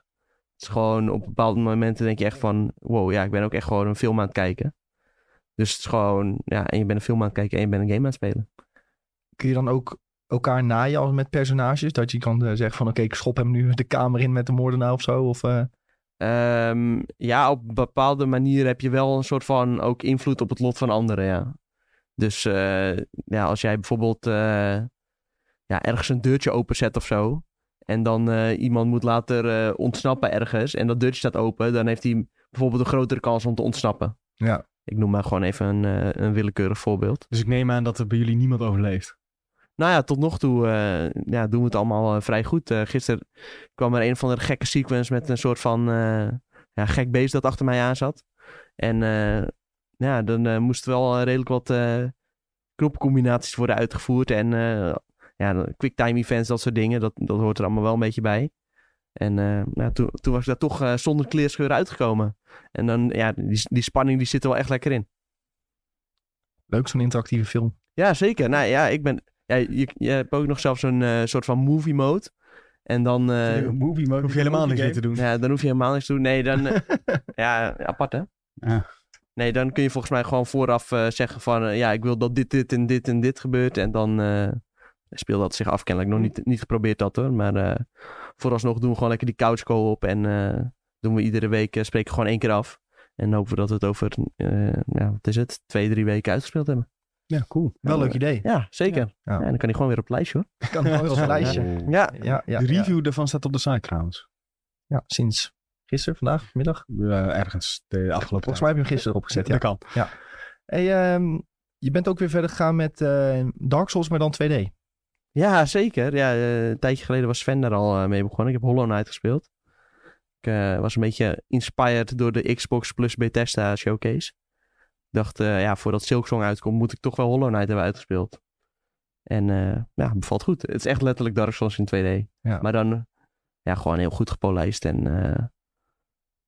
[SPEAKER 3] Het is gewoon op bepaalde momenten denk je echt van... Wow, ja, ik ben ook echt gewoon een film aan het kijken. Dus het is gewoon... Ja, en je bent een film aan het kijken en je bent een game aan het spelen.
[SPEAKER 1] Kun je dan ook elkaar naaien als met personages? Dat je kan eh, zeggen van oké, ik schop hem nu de kamer in met de moordenaar of zo. Of, eh,
[SPEAKER 3] Ehm, ja, op een bepaalde manier heb je wel een soort van ook invloed op het lot van anderen, ja. Dus eh, ja, als jij bijvoorbeeld eh, ja, ergens een deurtje openzet of zo... en dan eh, iemand moet later eh, ontsnappen ergens... en dat deurtje staat open, dan heeft hij bijvoorbeeld een grotere kans om te ontsnappen.
[SPEAKER 1] Ja.
[SPEAKER 3] Ik noem maar gewoon even een, eh, een willekeurig voorbeeld.
[SPEAKER 2] Dus ik neem aan dat er bij jullie niemand overleeft.
[SPEAKER 3] Nou ja, tot nog toe eh, ja, doen we het allemaal eh, vrij goed. Eh, gisteren kwam er een van de gekke sequence met een soort van eh, ja, gek beest dat achter mij aan zat. En eh, ja, dan eh, moesten wel eh, redelijk wat eh knopcombinaties worden uitgevoerd. En eh ja, quicktime events, dat soort dingen. Dat, dat hoort er allemaal wel een beetje bij. En eh, nou, toen, toen was ik daar toch eh, zonder kleerscheur uitgekomen. En dan, ja, die, die spanning die zit er wel echt lekker in.
[SPEAKER 1] leuk, zo'n interactieve film.
[SPEAKER 3] Ja, zeker. Nou ja, ik ben. Ja, je, je hebt ook nog zelfs een eh, soort van movie mode. En dan, eh,
[SPEAKER 4] movie mode.
[SPEAKER 2] Hoef je helemaal niks meer te doen.
[SPEAKER 3] ja, dan hoef je helemaal niks te doen. Nee, dan. eh, ja, apart hè?
[SPEAKER 4] Ja.
[SPEAKER 3] Nee, dan kun je volgens mij gewoon vooraf eh, zeggen van. eh, ja, ik wil dat dit, dit en dit en dit gebeurt. En dan eh speelt dat zich af. Kennelijk nog niet, niet geprobeerd dat hoor. Maar eh, vooralsnog doen we gewoon lekker die couch co-op. En eh, doen we iedere week. eh, spreken we gewoon één keer af. En hopen we dat we het over. eh, ja, wat is het? Twee, drie weken uitgespeeld hebben.
[SPEAKER 2] Ja, cool.
[SPEAKER 1] Wel leuk idee.
[SPEAKER 3] Ja, zeker.
[SPEAKER 1] Ja. Ja.
[SPEAKER 3] Ja, dan kan hij gewoon weer op het lijstje hoor.
[SPEAKER 1] Ik kan het mooi als een lijstje.
[SPEAKER 3] Ja,
[SPEAKER 1] Ja, ja,
[SPEAKER 2] de
[SPEAKER 1] ja.
[SPEAKER 2] review daarvan staat op de site trouwens.
[SPEAKER 1] Ja, sinds gisteren, vandaag, middag.
[SPEAKER 2] Eh, ergens de afgelopen
[SPEAKER 1] Volgens mij heb je hem gisteren opgezet.
[SPEAKER 2] tijd.
[SPEAKER 1] Ja.
[SPEAKER 2] Dat kan.
[SPEAKER 1] Hey, ehm, je bent ook weer verder gegaan met eh, Dark Souls, maar dan 2D.
[SPEAKER 3] Ja, zeker. Ja, eh, een tijdje geleden was Sven daar al eh, mee begonnen. Ik heb Hollow Knight gespeeld. Ik eh, was een beetje inspired door de Xbox plus Bethesda showcase. Ik dacht, eh, ja, voordat Silksong uitkomt, moet ik toch wel Hollow Knight hebben uitgespeeld. En eh, ja, bevalt goed. Het is echt letterlijk Dark Souls in 2D.
[SPEAKER 1] Ja.
[SPEAKER 3] Maar dan eh, ja, gewoon heel goed gepolijst en eh,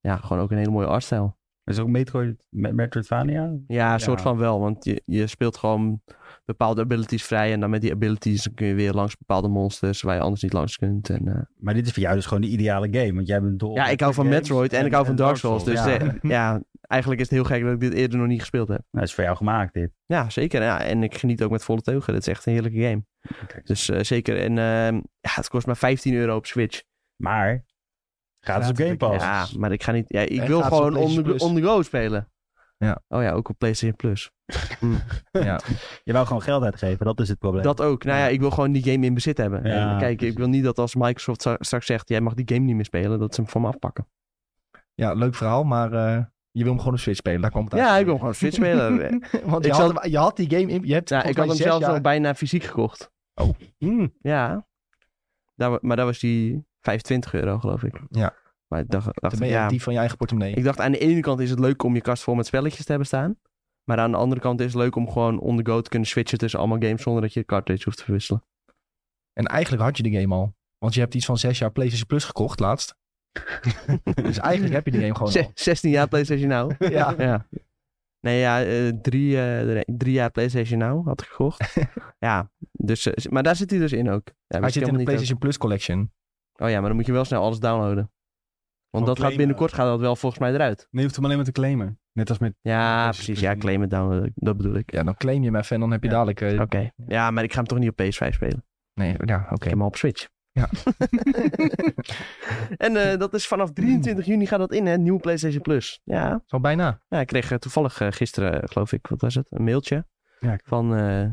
[SPEAKER 3] ja, gewoon ook een hele mooie artstijl.
[SPEAKER 4] Is ook Metroid, Me- Metroidvania?
[SPEAKER 3] Ja, een
[SPEAKER 4] Ja.
[SPEAKER 3] soort van wel. Want je, je speelt gewoon bepaalde abilities vrij. En dan met die abilities dan kun je weer langs bepaalde monsters waar je anders niet langs kunt. En, eh,
[SPEAKER 4] Maar dit is voor jou dus gewoon de ideale game, want jij bent dol.
[SPEAKER 3] ja,
[SPEAKER 4] op
[SPEAKER 3] ik hou van
[SPEAKER 4] games
[SPEAKER 3] Metroid en, ik hou van Dark Souls. Dus
[SPEAKER 4] ja.
[SPEAKER 3] eh, ja. eigenlijk is het heel gek dat ik dit eerder nog niet gespeeld heb.
[SPEAKER 4] Nou, is voor jou gemaakt dit.
[SPEAKER 3] Ja, zeker. Ja, en ik geniet ook met volle teugen. Dat is echt een heerlijke game.
[SPEAKER 4] Oké.
[SPEAKER 3] Dus eh, zeker. En ehm, ja, het kost maar 15 euro op Switch.
[SPEAKER 4] Maar, gratis op
[SPEAKER 1] Gratis
[SPEAKER 4] Game Pass.
[SPEAKER 3] Ja, maar ik ga niet. Ja, ik
[SPEAKER 1] En
[SPEAKER 3] wil
[SPEAKER 1] gaat ze op
[SPEAKER 3] gewoon on
[SPEAKER 1] PlayStation
[SPEAKER 3] the,
[SPEAKER 1] Plus?
[SPEAKER 3] on the go spelen.
[SPEAKER 1] Ja.
[SPEAKER 3] Oh ja, ook op PlayStation Plus.
[SPEAKER 1] Ja.
[SPEAKER 4] Je wou gewoon geld uitgeven, dat is het probleem.
[SPEAKER 3] Dat ook. Nou ja, ik wil gewoon die game in bezit hebben.
[SPEAKER 4] Ja,
[SPEAKER 3] en kijk, ik
[SPEAKER 4] precies.
[SPEAKER 3] wil niet dat als Microsoft za- straks zegt... jij mag die game niet meer spelen, dat ze hem van me afpakken.
[SPEAKER 1] ja, leuk verhaal, maar eh, je wil hem gewoon op Switch spelen. Daar kwam het
[SPEAKER 3] Ja, ik wil
[SPEAKER 1] eigenlijk
[SPEAKER 3] hem gewoon Switch spelen. ja,
[SPEAKER 1] op neer. Want je,
[SPEAKER 3] Ik
[SPEAKER 1] had,
[SPEAKER 3] zal-
[SPEAKER 1] hem- je had die game in. Je hebt volgens
[SPEAKER 3] ik had
[SPEAKER 1] mij
[SPEAKER 3] hem Oh.
[SPEAKER 1] zes
[SPEAKER 3] zelfs
[SPEAKER 1] jaar-
[SPEAKER 3] al bijna fysiek gekocht.
[SPEAKER 4] Hmm.
[SPEAKER 2] Mm.
[SPEAKER 3] Ja. Daar, wa- maar dat was die 25 euro, geloof ik.
[SPEAKER 1] Ja.
[SPEAKER 3] Maar ik dacht, dacht
[SPEAKER 1] Dan ben
[SPEAKER 3] ik,
[SPEAKER 1] je
[SPEAKER 3] ja,
[SPEAKER 1] die van je eigen portemonnee.
[SPEAKER 3] ik dacht, aan de ene kant is het leuk om je kast vol met spelletjes te hebben staan. Maar aan de andere kant is het leuk om gewoon on the go te kunnen switchen tussen allemaal games... zonder dat je de cartridge hoeft te verwisselen.
[SPEAKER 1] En eigenlijk had je de game al. Want je hebt iets van zes jaar PlayStation Plus gekocht laatst. dus eigenlijk heb je de game gewoon
[SPEAKER 3] Zes-
[SPEAKER 1] al.
[SPEAKER 3] 16 jaar PlayStation nou. Now.
[SPEAKER 1] Ja.
[SPEAKER 3] Ja. Nee, ja, eh, drie, eh, drie jaar PlayStation Now had ik gekocht. ja, dus, eh, maar daar zit hij dus in ook. Ja,
[SPEAKER 1] Hij
[SPEAKER 3] wist
[SPEAKER 1] zit in
[SPEAKER 3] ik helemaal
[SPEAKER 1] de
[SPEAKER 3] niet
[SPEAKER 1] PlayStation Plus Collection.
[SPEAKER 3] ook. Oh ja, maar dan moet je wel snel alles downloaden. Want dat gaat
[SPEAKER 2] claimen.
[SPEAKER 3] binnenkort gaat dat wel volgens mij eruit.
[SPEAKER 2] Nee, je hoeft hem alleen maar te claimen. Net als met...
[SPEAKER 3] Ja,
[SPEAKER 2] PlayStation
[SPEAKER 3] precies.
[SPEAKER 2] Plus
[SPEAKER 3] Ja,
[SPEAKER 2] niet.
[SPEAKER 3] claim het downloaden. Dat bedoel ik.
[SPEAKER 1] Ja, dan claim je hem even en dan heb je
[SPEAKER 2] Ja.
[SPEAKER 1] dadelijk... eh,
[SPEAKER 3] Oké. Ja, maar ik ga hem toch niet op PS5 spelen.
[SPEAKER 1] Nee, ja, oké.
[SPEAKER 3] Ik heb hem al op Switch.
[SPEAKER 1] Ja.
[SPEAKER 3] en eh, dat is vanaf 23 juni gaat dat in, hè? Nieuw PlayStation Plus. Ja,
[SPEAKER 1] Zo bijna.
[SPEAKER 3] Ja, ik kreeg eh, toevallig eh, gisteren, eh, geloof ik, wat was het? Een mailtje.
[SPEAKER 2] Ja, ik-
[SPEAKER 3] Van, eh,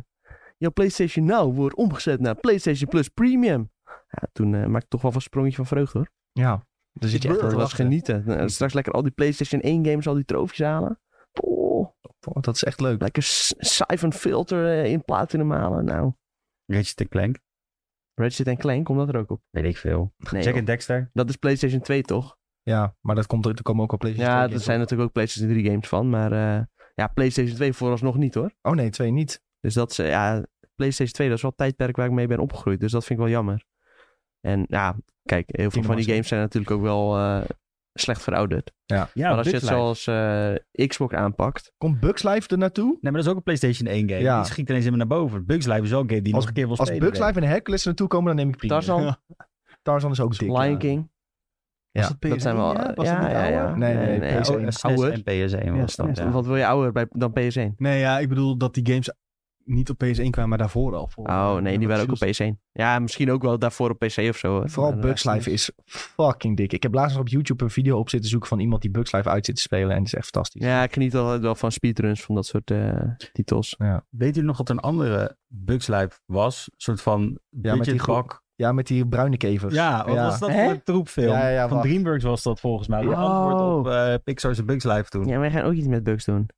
[SPEAKER 3] jouw PlayStation Now wordt omgezet naar PlayStation Plus Premium. Ja, toen eh maakte ik toch wel een sprongetje van vreugde hoor.
[SPEAKER 1] Ja. Dus zit je echt
[SPEAKER 3] Dat
[SPEAKER 1] wel te
[SPEAKER 3] was
[SPEAKER 1] wachten.
[SPEAKER 3] genieten. Nou, straks lekker al die PlayStation 1 games, al die trofies halen. Oh,
[SPEAKER 1] Oh, dat is echt leuk.
[SPEAKER 3] lekker s- Siphon Filter eh, in platinum halen. Nou,
[SPEAKER 4] Ratchet Clank,
[SPEAKER 3] Ratchet Clank, komt dat er ook op?
[SPEAKER 4] weet ik veel.
[SPEAKER 3] Nee,
[SPEAKER 4] Jack
[SPEAKER 3] joh.
[SPEAKER 4] and Dexter.
[SPEAKER 3] dat is PlayStation 2 toch?
[SPEAKER 1] Ja, maar dat komt, er komen ook al PlayStation
[SPEAKER 3] Ja,
[SPEAKER 1] 2
[SPEAKER 3] er
[SPEAKER 1] games
[SPEAKER 3] zijn
[SPEAKER 1] op.
[SPEAKER 3] natuurlijk ook PlayStation 3 games van, maar eh, ja, PlayStation 2 vooralsnog niet hoor.
[SPEAKER 1] Oh nee, twee niet.
[SPEAKER 3] Dus dat is, eh, ja, PlayStation 2, dat is wel het tijdperk waar ik mee ben opgegroeid. Dus dat vind ik wel jammer. En ja, kijk, heel
[SPEAKER 1] Team
[SPEAKER 3] veel van die
[SPEAKER 1] Master.
[SPEAKER 3] games zijn natuurlijk ook wel eh, slecht verouderd.
[SPEAKER 4] Ja,
[SPEAKER 3] maar als je het
[SPEAKER 4] Bugs Life.
[SPEAKER 3] zoals eh, Xbox aanpakt,
[SPEAKER 1] Komt Bugs Life er naartoe?
[SPEAKER 4] Nee, maar dat is ook een PlayStation 1 game.
[SPEAKER 1] Ja.
[SPEAKER 4] Die schiet ineens helemaal naar boven. Bugs Life is wel een game die je nog een keer wil
[SPEAKER 1] Als
[SPEAKER 4] spelen.
[SPEAKER 1] Bugs Life en Hercules er naartoe komen, dan neem ik prima.
[SPEAKER 3] Tarzan,
[SPEAKER 2] Ja.
[SPEAKER 1] Tarzan is ook dik.
[SPEAKER 3] Lion King,
[SPEAKER 1] Ja,
[SPEAKER 2] dat,
[SPEAKER 3] dat zijn wel... Ja,
[SPEAKER 2] Was dat
[SPEAKER 3] ja,
[SPEAKER 2] niet
[SPEAKER 3] ja,
[SPEAKER 2] ouder?
[SPEAKER 1] Nee, nee,
[SPEAKER 4] Ja,
[SPEAKER 1] PS1.
[SPEAKER 4] oh, en SNES
[SPEAKER 3] Ouder.
[SPEAKER 4] en PS1
[SPEAKER 2] Ja,
[SPEAKER 4] was dat.
[SPEAKER 2] SNES.
[SPEAKER 4] Ja.
[SPEAKER 3] Wat wil je ouder bij, dan PS1?
[SPEAKER 2] Nee, ja, ik bedoel dat die games niet op PS1 kwamen, maar daarvoor al.
[SPEAKER 1] Ah.
[SPEAKER 2] Voor,
[SPEAKER 3] Oh nee, die waren ook op
[SPEAKER 2] PS1.
[SPEAKER 3] PS1. Ja, misschien ook wel daarvoor op PC of zo. hè.
[SPEAKER 1] Vooral
[SPEAKER 3] Maar,
[SPEAKER 1] Bugs
[SPEAKER 3] eh,
[SPEAKER 1] Life is fucking dik. Ik heb laatst nog op YouTube een video op zitten zoeken van iemand die Bugs Life uit zit te spelen. En het is echt fantastisch.
[SPEAKER 3] Ja, ik geniet wel, wel van speedruns van dat soort eh, titels.
[SPEAKER 4] Weet u nog dat er een andere Bugs Life was? Een soort van
[SPEAKER 1] die
[SPEAKER 4] budgetbak.
[SPEAKER 1] Ja, met die bruine kevers.
[SPEAKER 4] Ja, wat was dat
[SPEAKER 3] Hè?
[SPEAKER 4] voor een troepfilm?
[SPEAKER 1] Ja, ja, ja,
[SPEAKER 4] van
[SPEAKER 1] wacht.
[SPEAKER 4] DreamWorks was dat volgens mij. De
[SPEAKER 3] Oh.
[SPEAKER 4] antwoord op eh, Pixar's Bugs Life toen.
[SPEAKER 3] Ja, wij gaan ook iets met bugs doen.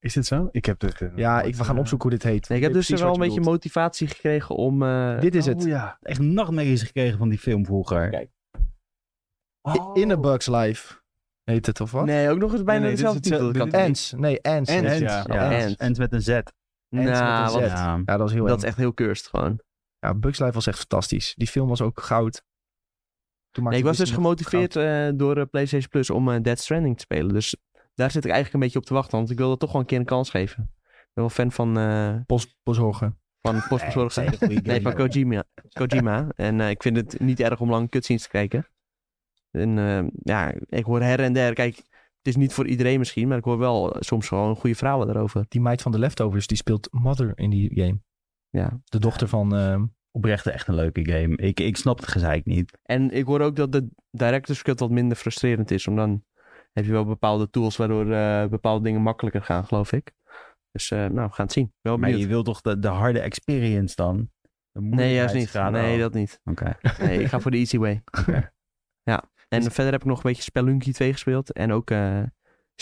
[SPEAKER 2] Is dit zo? Ik heb dit. eh,
[SPEAKER 1] Ja,
[SPEAKER 2] nooit,
[SPEAKER 1] ik, we gaan
[SPEAKER 2] eh,
[SPEAKER 1] opzoeken hoe dit heet.
[SPEAKER 3] Nee, ik heb
[SPEAKER 1] weet
[SPEAKER 3] dus
[SPEAKER 1] precies
[SPEAKER 3] wel een
[SPEAKER 1] wat je
[SPEAKER 3] beetje
[SPEAKER 1] bedoelt.
[SPEAKER 3] motivatie gekregen om... eh,
[SPEAKER 1] Dit is het.
[SPEAKER 2] Oh, ja.
[SPEAKER 4] Echt nachtmerries gekregen van die film vroeger. Oh.
[SPEAKER 1] Kijk.
[SPEAKER 3] oh,
[SPEAKER 1] In a Bugs Life heet het, of wat?
[SPEAKER 3] Nee, ook nog eens bijna
[SPEAKER 2] Nee, nee, dit is
[SPEAKER 3] dezelfde titel.
[SPEAKER 2] hetzelfde-
[SPEAKER 3] Dat kan
[SPEAKER 2] dit is-
[SPEAKER 1] Ants. Nee, Ants.
[SPEAKER 2] Ants,
[SPEAKER 1] heet het.
[SPEAKER 2] ja.
[SPEAKER 1] Ja,
[SPEAKER 4] Ja,
[SPEAKER 1] Ants.
[SPEAKER 3] Ants.
[SPEAKER 4] en met een Z.
[SPEAKER 3] niet.
[SPEAKER 1] Ants met een
[SPEAKER 3] Nou,
[SPEAKER 1] Z.
[SPEAKER 3] wat-
[SPEAKER 4] Ja.
[SPEAKER 1] Ja, dat was heel
[SPEAKER 3] dat
[SPEAKER 1] eng.
[SPEAKER 3] is echt heel cursed gewoon.
[SPEAKER 1] Ja, Bugs Life was echt fantastisch. Die film was ook goud. Toen maakte
[SPEAKER 3] Nee, ik was dus
[SPEAKER 1] Disney nog
[SPEAKER 3] gemotiveerd eh, door eh, PlayStation Plus om eh, Dead Stranding te spelen. Dus daar zit ik eigenlijk een beetje op te wachten, want ik wil dat toch wel een keer een kans geven. Ik ben wel fan van, eh
[SPEAKER 1] goud. Post, postbezorgen.
[SPEAKER 3] van postbezorgd zijn. Nee, van Kojima. Kojima. En eh, ik vind het niet erg om lang cutscenes te kijken. En eh, ja, ik hoor her en der. Kijk, het is niet voor iedereen misschien, maar ik hoor wel eh, soms gewoon goede verhalen daarover.
[SPEAKER 1] Die meid van de Leftovers, die speelt Mother in die game.
[SPEAKER 3] Ja.
[SPEAKER 1] De dochter van... ehm,
[SPEAKER 4] Oprecht echt een leuke game. Ik, ik snap het gezeik niet.
[SPEAKER 3] En ik hoor ook dat de director's cut wat minder frustrerend is, omdat dan heb je wel bepaalde tools waardoor eh, bepaalde dingen makkelijker gaan, geloof ik. Dus eh, nou, we gaan het zien. Wel
[SPEAKER 4] Maar
[SPEAKER 3] benieuwd.
[SPEAKER 4] je wil toch de, de harde experience dan? De
[SPEAKER 3] Nee, juist niet.
[SPEAKER 4] moeilijkheidsgraad
[SPEAKER 3] Nee,
[SPEAKER 4] al.
[SPEAKER 3] dat niet.
[SPEAKER 4] Oké.
[SPEAKER 3] Nee, ik ga voor de easy way. Ja. En
[SPEAKER 4] Dus-
[SPEAKER 3] verder heb ik nog een beetje Spelunky 2 gespeeld. En ook eh,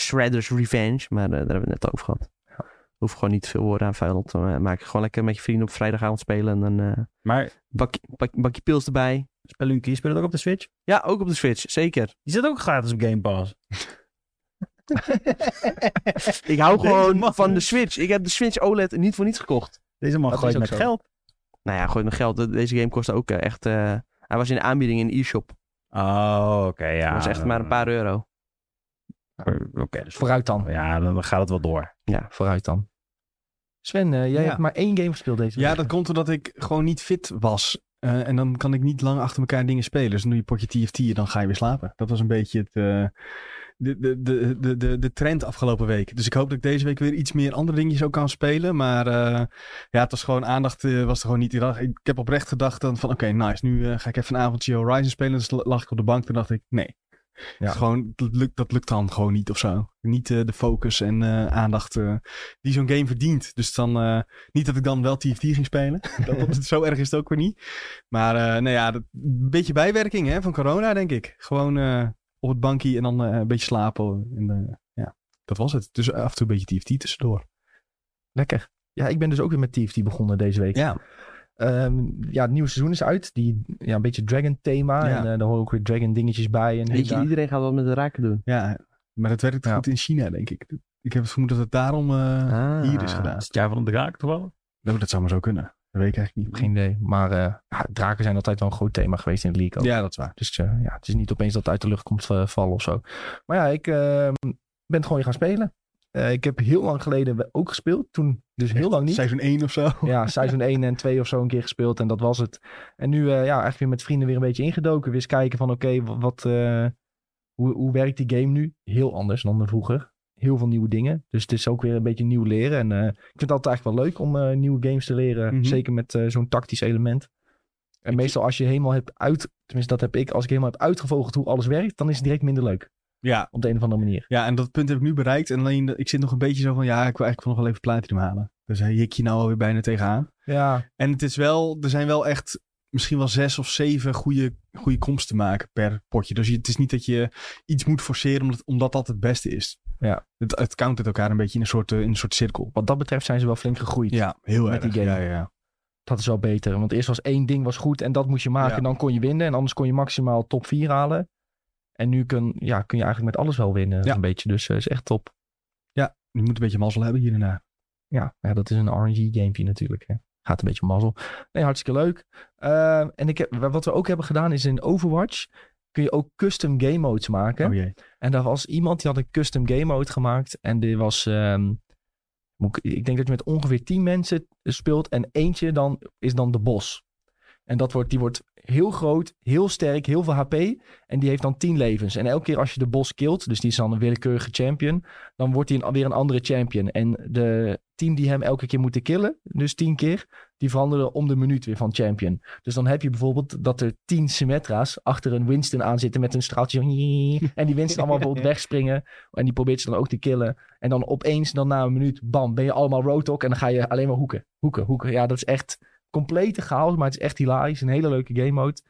[SPEAKER 3] Shredder's Revenge. Maar eh, daar hebben we het net over gehad. Hoef gewoon niet veel woorden aan vuil te eh, maken. Gewoon lekker met je vrienden op vrijdagavond spelen. En dan eh
[SPEAKER 4] Maar
[SPEAKER 3] bakje, bak- bakje pils erbij.
[SPEAKER 4] Spelunky, speel het ook op de Switch?
[SPEAKER 3] Ja, ook op de Switch. Zeker.
[SPEAKER 4] Die zit ook gratis op Game Pass.
[SPEAKER 3] Ik hou
[SPEAKER 4] Deze man.
[SPEAKER 3] gewoon van de Switch. Ik heb de Switch OLED niet voor niets gekocht.
[SPEAKER 4] Deze man
[SPEAKER 1] Dat
[SPEAKER 4] gooit
[SPEAKER 1] is
[SPEAKER 4] met
[SPEAKER 1] ook zo.
[SPEAKER 4] geld.
[SPEAKER 3] Nou ja, gooi mijn geld. De- Deze game kostte ook eh, echt... eh, hij was in de aanbieding in de e-shop.
[SPEAKER 4] Oh, oké, ja.
[SPEAKER 3] Dat was echt maar een paar euro.
[SPEAKER 4] Oké, dus
[SPEAKER 1] vooruit dan.
[SPEAKER 4] Ja, dan, dan gaat het wel door.
[SPEAKER 1] Vooruit dan. Sven, eh, jij
[SPEAKER 2] Ja.
[SPEAKER 1] hebt maar één game gespeeld deze
[SPEAKER 2] Ja,
[SPEAKER 1] week.
[SPEAKER 2] dat komt omdat ik gewoon niet fit was. Eh, en dan kan ik niet lang achter elkaar dingen spelen. Dus dan doe je een potje TFT en dan ga je weer slapen. Dat was een beetje het, eh, de, de, de, de, de, de trend afgelopen week. Dus ik hoop dat ik deze week weer iets meer andere dingetjes ook kan spelen. Maar eh, ja, het was gewoon aandacht, eh, was er gewoon niet. Ik ik heb oprecht gedacht dan van oké, nice. Nu eh, ga ik even een avondje Horizon spelen. Dus la- lag ik op de bank. Toen dacht ik nee.
[SPEAKER 1] Ja.
[SPEAKER 2] Ja. Gewoon, dat, lukt, dat lukt dan gewoon niet of zo. Niet eh, de focus en eh, aandacht eh, die zo'n game verdient. Dus dan, eh, niet dat ik dan wel TFT ging spelen. dat, dat, zo erg is het ook weer niet. Maar eh nou ja, dat, een beetje bijwerking hè, van corona, denk ik. Gewoon eh, op het bankje en dan eh, een beetje slapen. En, eh, ja, dat was het. Dus af en toe een beetje TFT tussendoor.
[SPEAKER 1] Lekker. Ja, ik ben dus ook weer met TFT begonnen deze week.
[SPEAKER 2] Ja,
[SPEAKER 1] Ehm, ja, het nieuwe seizoen is uit. Die, ja, een beetje dragon thema.
[SPEAKER 2] Ja.
[SPEAKER 1] En eh, daar horen ook weer dragon dingetjes bij. En
[SPEAKER 3] Weet je, iedereen gaat wat met de raken doen.
[SPEAKER 2] ja. maar dat werkt
[SPEAKER 1] Ja.
[SPEAKER 2] goed in China, denk ik. Ik heb het vermoeden dat het daarom eh, hier
[SPEAKER 3] Ah.
[SPEAKER 2] is gedaan.
[SPEAKER 4] Is het jaar van de draak toevallig?
[SPEAKER 2] Nou, dat zou maar zo kunnen. Dat weet ik eigenlijk niet.
[SPEAKER 1] Geen idee. Maar eh, ja, draken zijn altijd wel een groot thema geweest in de league ook.
[SPEAKER 2] Ja, dat is waar.
[SPEAKER 1] Dus eh, ja, het is niet opeens dat het uit de lucht komt eh, vallen of zo. Maar ja, ik eh, ben het gewoon weer gaan spelen. Eh, ik heb heel lang geleden ook gespeeld. Toen dus heel lang niet.
[SPEAKER 2] Seizoen 1 of zo.
[SPEAKER 1] Ja, seizoen 1 en 2 of zo een keer gespeeld en dat was het. En nu eh, ja, eigenlijk weer met vrienden weer een beetje ingedoken. Weer eens kijken van oké, wa- wat, eh, hoe, hoe werkt die game nu? Heel anders dan vroeger. Heel veel nieuwe dingen. Dus het is ook weer een beetje nieuw leren. En eh, ik vind het altijd eigenlijk wel leuk om eh, nieuwe games te leren.
[SPEAKER 2] Mhm.
[SPEAKER 1] Zeker met eh, zo'n tactisch element. En meestal als je helemaal hebt uit... Tenminste, dat heb ik. Als ik helemaal heb uitgevogeld hoe alles werkt, dan is het direct minder leuk.
[SPEAKER 2] Ja,
[SPEAKER 1] Op de een of andere manier.
[SPEAKER 2] Ja, en dat punt heb ik nu bereikt. En alleen, ik zit nog een beetje zo van, ja, ik wil eigenlijk nog wel even platinum halen. Dus hij hik je nou alweer bijna tegenaan.
[SPEAKER 1] Ja,
[SPEAKER 2] En het is wel, er zijn wel echt misschien wel zes of zeven goede, goede komsten te maken per potje. Dus je, het is niet dat je iets moet forceren omdat, omdat dat het beste is.
[SPEAKER 1] Ja.
[SPEAKER 2] Het, het countert elkaar een beetje in een soort, eh, in een soort cirkel.
[SPEAKER 1] wat dat betreft zijn ze wel flink gegroeid.
[SPEAKER 2] Ja, heel
[SPEAKER 1] Met
[SPEAKER 2] erg.
[SPEAKER 1] die game.
[SPEAKER 2] Ja, ja, ja.
[SPEAKER 1] Dat is wel beter. Want eerst was één ding was goed en dat moest je maken.
[SPEAKER 2] Ja.
[SPEAKER 1] En dan kon je winnen. En anders kon je maximaal top 4 halen. En nu kun, ja, kun je eigenlijk met alles wel winnen.
[SPEAKER 2] Ja.
[SPEAKER 1] Een beetje. Dus eh, is echt top.
[SPEAKER 2] Je moet een beetje mazzel hebben hierna.
[SPEAKER 1] Ja, ja dat is een RNG gamepje natuurlijk. Hè. Gaat een beetje om mazzel. Nee, hartstikke leuk. Eh, en ik heb, wat we ook hebben gedaan is in Overwatch kun je ook custom game modes maken.
[SPEAKER 2] Oh jee.
[SPEAKER 1] En daar was iemand die had een custom game mode gemaakt. En die was. ehm, moet ik, ik denk dat je met ongeveer 10 mensen speelt. En eentje dan is dan de bos. En dat wordt, die wordt heel groot, heel sterk, heel veel HP. En die heeft dan 10 levens. En elke keer als je de bos kilt, dus die is dan een willekeurige champion. Dan wordt hij een, weer een andere champion. En de team die hem elke keer moeten killen, dus 10 keer. Die veranderen om de minuut weer van champion. Dus dan heb je bijvoorbeeld dat er 10 Symmetra's achter een Winston aan zitten met een straaltje. van En die Winston allemaal bijvoorbeeld wegspringen. En die probeert ze dan ook te killen. En dan opeens, dan na een minuut, bam, ben je allemaal Rotok. En dan ga je alleen maar hoeken. Hoeken, hoeken. Ja, dat is echt complete chaos. Maar het is echt hilarisch. Een hele leuke game mode.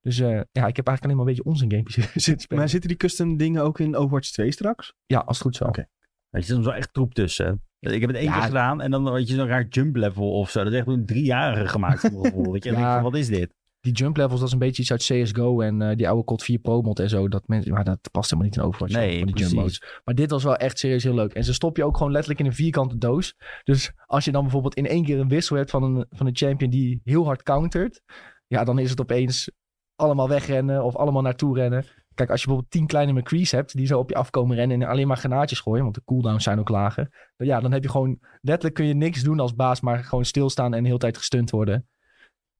[SPEAKER 1] Dus eh, ja, ik heb eigenlijk alleen maar een beetje onzin gamepjes zitten spelen.
[SPEAKER 2] Maar zitten die custom dingen ook in Overwatch 2 straks?
[SPEAKER 1] Ja, als het goed zo.
[SPEAKER 2] Oké.
[SPEAKER 4] Weet je, er zit wel echt troep tussen. Ik heb het één
[SPEAKER 1] Ja.
[SPEAKER 4] keer gedaan en dan weet je zo'n raar jump level of zo. Dat is echt een driejarige gemaakt voor mijn gevoel. Weet je, En ik
[SPEAKER 1] Ja.
[SPEAKER 4] denk van, wat is dit?
[SPEAKER 1] Die jump levels, dat is een beetje iets uit CSGO en eh, die oude COD 4 Pro mod en zo. Dat mensen, maar dat past helemaal niet in Overwatch.
[SPEAKER 4] Nee,
[SPEAKER 1] hoor, van die
[SPEAKER 4] precies.
[SPEAKER 1] jump modes. Maar dit was wel echt serieus heel leuk. En ze stop je ook gewoon letterlijk in een vierkante doos. Dus als je dan bijvoorbeeld in één keer een wissel hebt van een, van een champion die heel hard countert. Ja, dan is het opeens allemaal wegrennen of allemaal naartoe rennen. Kijk, als je bijvoorbeeld tien kleine McCrees hebt die zo op je afkomen rennen en alleen maar granaatjes gooien, want de cooldowns zijn ook lager. Dan, ja, dan heb je gewoon letterlijk kun je niks doen als baas, maar gewoon stilstaan en de hele tijd gestunt worden.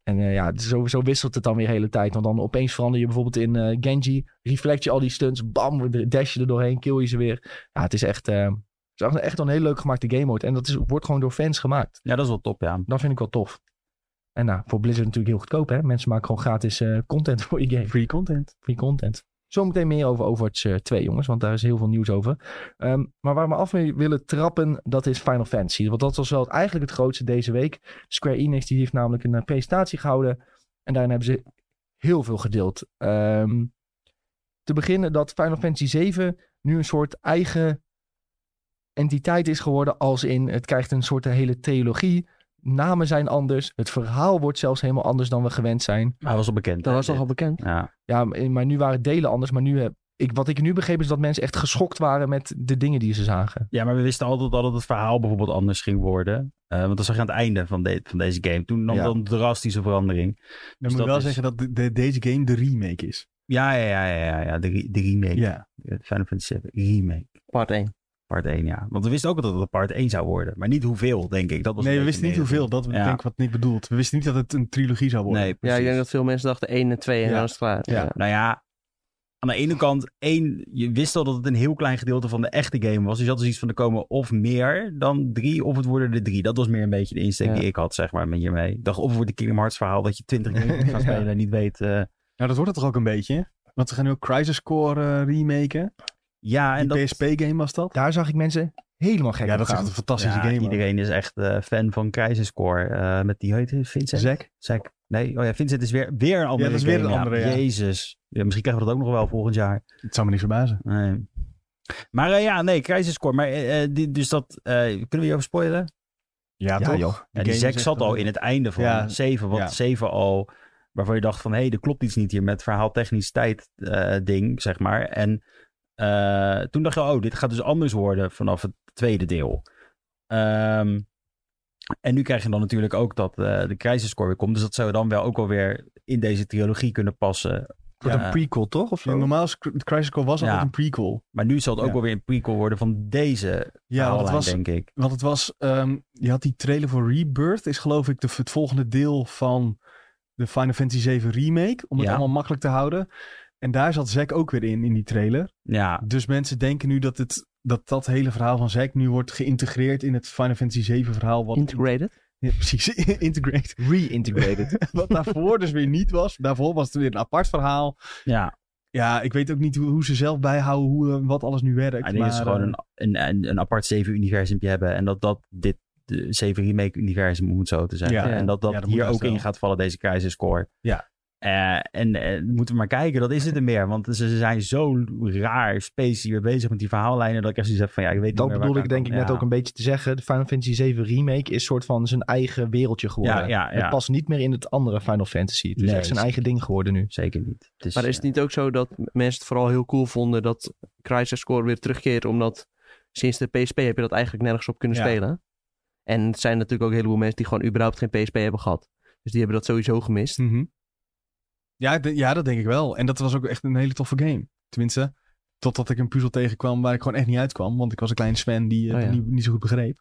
[SPEAKER 1] En eh, ja, zo, zo wisselt het dan weer de hele tijd. Want dan opeens verander je bijvoorbeeld in eh, Genji, reflect je al die stunts, bam, dash je er doorheen, kill je ze weer. Ja, het is echt, eh, het is echt- echt wel een hele leuk gemaakte game mode. En dat is, wordt gewoon door fans gemaakt.
[SPEAKER 4] Ja, dat is wel top, ja.
[SPEAKER 1] Dat vind ik wel tof. En nou, voor Blizzard natuurlijk heel goedkoop, hè? Mensen maken gewoon gratis eh, content voor je game
[SPEAKER 2] Free content.
[SPEAKER 1] free content. Zometeen meer over Overwatch eh, 2, jongens, want daar is heel veel nieuws over. Ehm, maar waar we af mee willen trappen, dat is Final Fantasy. Want dat was wel het- eigenlijk het grootste deze week. Square Enix die heeft namelijk een eh, presentatie gehouden. En daarin hebben ze heel veel gedeeld. Ehm, te beginnen dat Final Fantasy 7 nu een soort eigen entiteit is geworden. Als in, het krijgt een soort hele theologie. Namen zijn anders. Het verhaal wordt zelfs helemaal anders dan we gewend zijn.
[SPEAKER 4] Maar hij was al bekend.
[SPEAKER 3] Dat
[SPEAKER 4] hè,
[SPEAKER 3] was toch
[SPEAKER 4] dit.
[SPEAKER 3] al bekend?
[SPEAKER 4] Ja,
[SPEAKER 1] Ja, maar maar nu waren delen anders. Maar nu heb ik, wat ik nu begreep is dat mensen echt geschokt waren met de dingen die ze zagen.
[SPEAKER 4] ja, maar we wisten altijd al dat het verhaal bijvoorbeeld anders ging worden. Eh, want dat zag je aan het einde van, de- van deze game. Toen nam
[SPEAKER 1] Ja.
[SPEAKER 4] dan een drastische verandering.
[SPEAKER 2] Dan moet
[SPEAKER 4] dat
[SPEAKER 2] ik wel
[SPEAKER 4] is-
[SPEAKER 2] zeggen dat de, de- deze game de remake is.
[SPEAKER 4] Ja, ja, ja, ja, ja, ja de, re- de remake.
[SPEAKER 2] Ja.
[SPEAKER 4] Eh, Final Fantasy VII remake.
[SPEAKER 3] Part 1.
[SPEAKER 4] Part 1, ja. Want we wisten ook altijd dat het part 1 zou worden. Maar niet hoeveel, denk ik. Dat was
[SPEAKER 2] Nee, we
[SPEAKER 4] een
[SPEAKER 2] wisten niet
[SPEAKER 4] beetje
[SPEAKER 2] hoeveel. Dat
[SPEAKER 4] Ja.
[SPEAKER 2] denk ik wat Nick bedoelt. We wisten niet dat het een trilogie zou worden.
[SPEAKER 4] Nee,
[SPEAKER 3] Ja,
[SPEAKER 4] precies.
[SPEAKER 3] ik denk dat veel mensen dachten 1 en 2 en
[SPEAKER 2] Ja.
[SPEAKER 3] dan is het klaar.
[SPEAKER 2] Ja.
[SPEAKER 4] Nou ja, aan de ene kant, één, je wist al dat het een heel klein gedeelte van de echte game was. Dus je had dus iets van er komen of meer dan drie, of het worden de drie. Dat was meer een beetje de insteek
[SPEAKER 3] Ja.
[SPEAKER 4] die ik had, zeg maar, met hiermee. Ik dacht, of het wordt de Kingdom Hearts verhaal dat je twintig games moet gaan
[SPEAKER 2] Ja.
[SPEAKER 4] spelen en niet weet. eh,
[SPEAKER 2] Nou, dat wordt het toch ook een beetje. Want ze gaan nu ook Crisis Core eh, remaken.
[SPEAKER 4] ja, en
[SPEAKER 2] En
[SPEAKER 4] dat...
[SPEAKER 2] die PSP-game was dat.
[SPEAKER 1] Daar zag ik mensen helemaal gek
[SPEAKER 2] Ja,
[SPEAKER 1] op
[SPEAKER 2] dat is
[SPEAKER 1] gaan.
[SPEAKER 2] echt een fantastische
[SPEAKER 4] ja,
[SPEAKER 2] game. man.
[SPEAKER 4] iedereen is echt eh, fan van Crisis Core. eh, met die, hoe heet hij? Vincent?
[SPEAKER 2] Zack.
[SPEAKER 4] Zack. Nee, oh ja, Vincent is weer, weer een andere
[SPEAKER 2] dat is weer
[SPEAKER 4] game,
[SPEAKER 2] een andere, ja.
[SPEAKER 4] Jezus. Ja, misschien krijgen we dat ook nog wel volgend jaar.
[SPEAKER 2] Het zou me niet verbazen.
[SPEAKER 4] Nee. Maar eh, ja, nee, Crisis Core. Maar, eh, eh, die, dus dat, eh, kunnen we hierover spoilen?
[SPEAKER 2] Ja,
[SPEAKER 1] Ja,
[SPEAKER 2] toch?
[SPEAKER 1] joh.
[SPEAKER 4] Ja, die
[SPEAKER 2] game
[SPEAKER 4] Zack
[SPEAKER 2] is echt
[SPEAKER 4] zat al
[SPEAKER 2] een-
[SPEAKER 4] in het einde van
[SPEAKER 2] Ja,
[SPEAKER 4] 7. Wat
[SPEAKER 2] ja.
[SPEAKER 4] 7 al, waarvan je dacht van... hé, hey, er klopt iets niet hier met verhaaltechnisch tijd eh, ding, zeg maar. En eh, toen dacht je, oh, dit gaat dus anders worden vanaf het tweede deel. Ehm, en nu krijg je dan natuurlijk ook dat eh, de Crisis Core weer komt. Dus dat zou dan wel ook alweer in deze trilogie kunnen passen.
[SPEAKER 1] Het wordt
[SPEAKER 4] Ja. Oh.
[SPEAKER 1] een prequel, toch? Of
[SPEAKER 2] Ja,
[SPEAKER 1] zo?
[SPEAKER 2] normaal is Cry- Crisis Core was altijd
[SPEAKER 4] Ja.
[SPEAKER 2] een prequel.
[SPEAKER 4] Maar nu zal het ook
[SPEAKER 2] Ja.
[SPEAKER 4] alweer een prequel worden van deze
[SPEAKER 2] Ja, want het
[SPEAKER 4] verhaallijn,
[SPEAKER 2] was...
[SPEAKER 4] denk ik.
[SPEAKER 2] Want het was ehm, je had die trailer voor Rebirth. Is geloof ik de, het volgende deel van de Final Fantasy 7 remake. Om het
[SPEAKER 4] Ja.
[SPEAKER 2] allemaal makkelijk te houden. En daar zat Zack ook weer in, in die trailer.
[SPEAKER 4] Ja,
[SPEAKER 2] Dus mensen denken nu dat het, dat, dat hele verhaal van Zack nu wordt geïntegreerd in het Final Fantasy 7 verhaal. Wat,
[SPEAKER 3] Integrated?
[SPEAKER 2] Ja, precies, integrate.
[SPEAKER 1] Reintegrated.
[SPEAKER 2] Wat daarvoor dus weer niet was. Daarvoor was het weer een apart verhaal.
[SPEAKER 4] ja.
[SPEAKER 2] Ja, ik weet ook niet hoe, hoe ze zelf bijhouden hoe, eh, wat alles nu werkt.
[SPEAKER 4] Ik denk dat ze
[SPEAKER 2] maar,
[SPEAKER 4] gewoon
[SPEAKER 2] eh,
[SPEAKER 4] een, een, een, een apart 7-universum hebben. En dat dat dit de 7-remake-universum moet zo te zijn.
[SPEAKER 2] Ja.
[SPEAKER 4] En dat dat
[SPEAKER 2] Ja, dat moet
[SPEAKER 4] hier
[SPEAKER 2] best
[SPEAKER 4] ook
[SPEAKER 2] wel.
[SPEAKER 4] in gaat vallen, deze Crisis Core.
[SPEAKER 2] Ja.
[SPEAKER 4] Eh, en eh, moeten we maar kijken, dat is het er meer. Want ze, ze zijn zo raar, specie weer bezig met die verhaallijnen. Dat ik echt zoiets heb van, ja, ik weet
[SPEAKER 1] dat
[SPEAKER 4] niet meer waar
[SPEAKER 1] bedoelde ik
[SPEAKER 4] aan
[SPEAKER 1] denk ik
[SPEAKER 4] kom.
[SPEAKER 1] net
[SPEAKER 4] Ja.
[SPEAKER 1] ook een beetje te zeggen. De Final Fantasy 7 remake is soort van zijn eigen wereldje geworden.
[SPEAKER 4] Ja, ja, ja.
[SPEAKER 1] Het past niet meer in het andere Final Fantasy. Het is
[SPEAKER 4] Nee,
[SPEAKER 1] echt zijn
[SPEAKER 4] het-
[SPEAKER 1] eigen ding geworden nu.
[SPEAKER 4] Zeker niet. Het
[SPEAKER 2] Dus,
[SPEAKER 3] Maar is het niet ook zo dat mensen het vooral heel cool vonden dat Crisis Core weer terugkeert? Omdat sinds de PSP heb je dat eigenlijk nergens op kunnen
[SPEAKER 2] Ja.
[SPEAKER 3] spelen. En het zijn natuurlijk ook een heleboel mensen die gewoon überhaupt geen PSP hebben gehad. Dus die hebben dat sowieso gemist.
[SPEAKER 2] Mhm. Ja, ik denk- ja, dat denk ik wel. En dat was ook echt een hele toffe game. Tenminste, totdat ik een puzzel tegenkwam waar ik gewoon echt niet uitkwam. Want ik was een kleine Sven die eh,
[SPEAKER 3] Oh ja.
[SPEAKER 2] niet, niet zo goed begreep.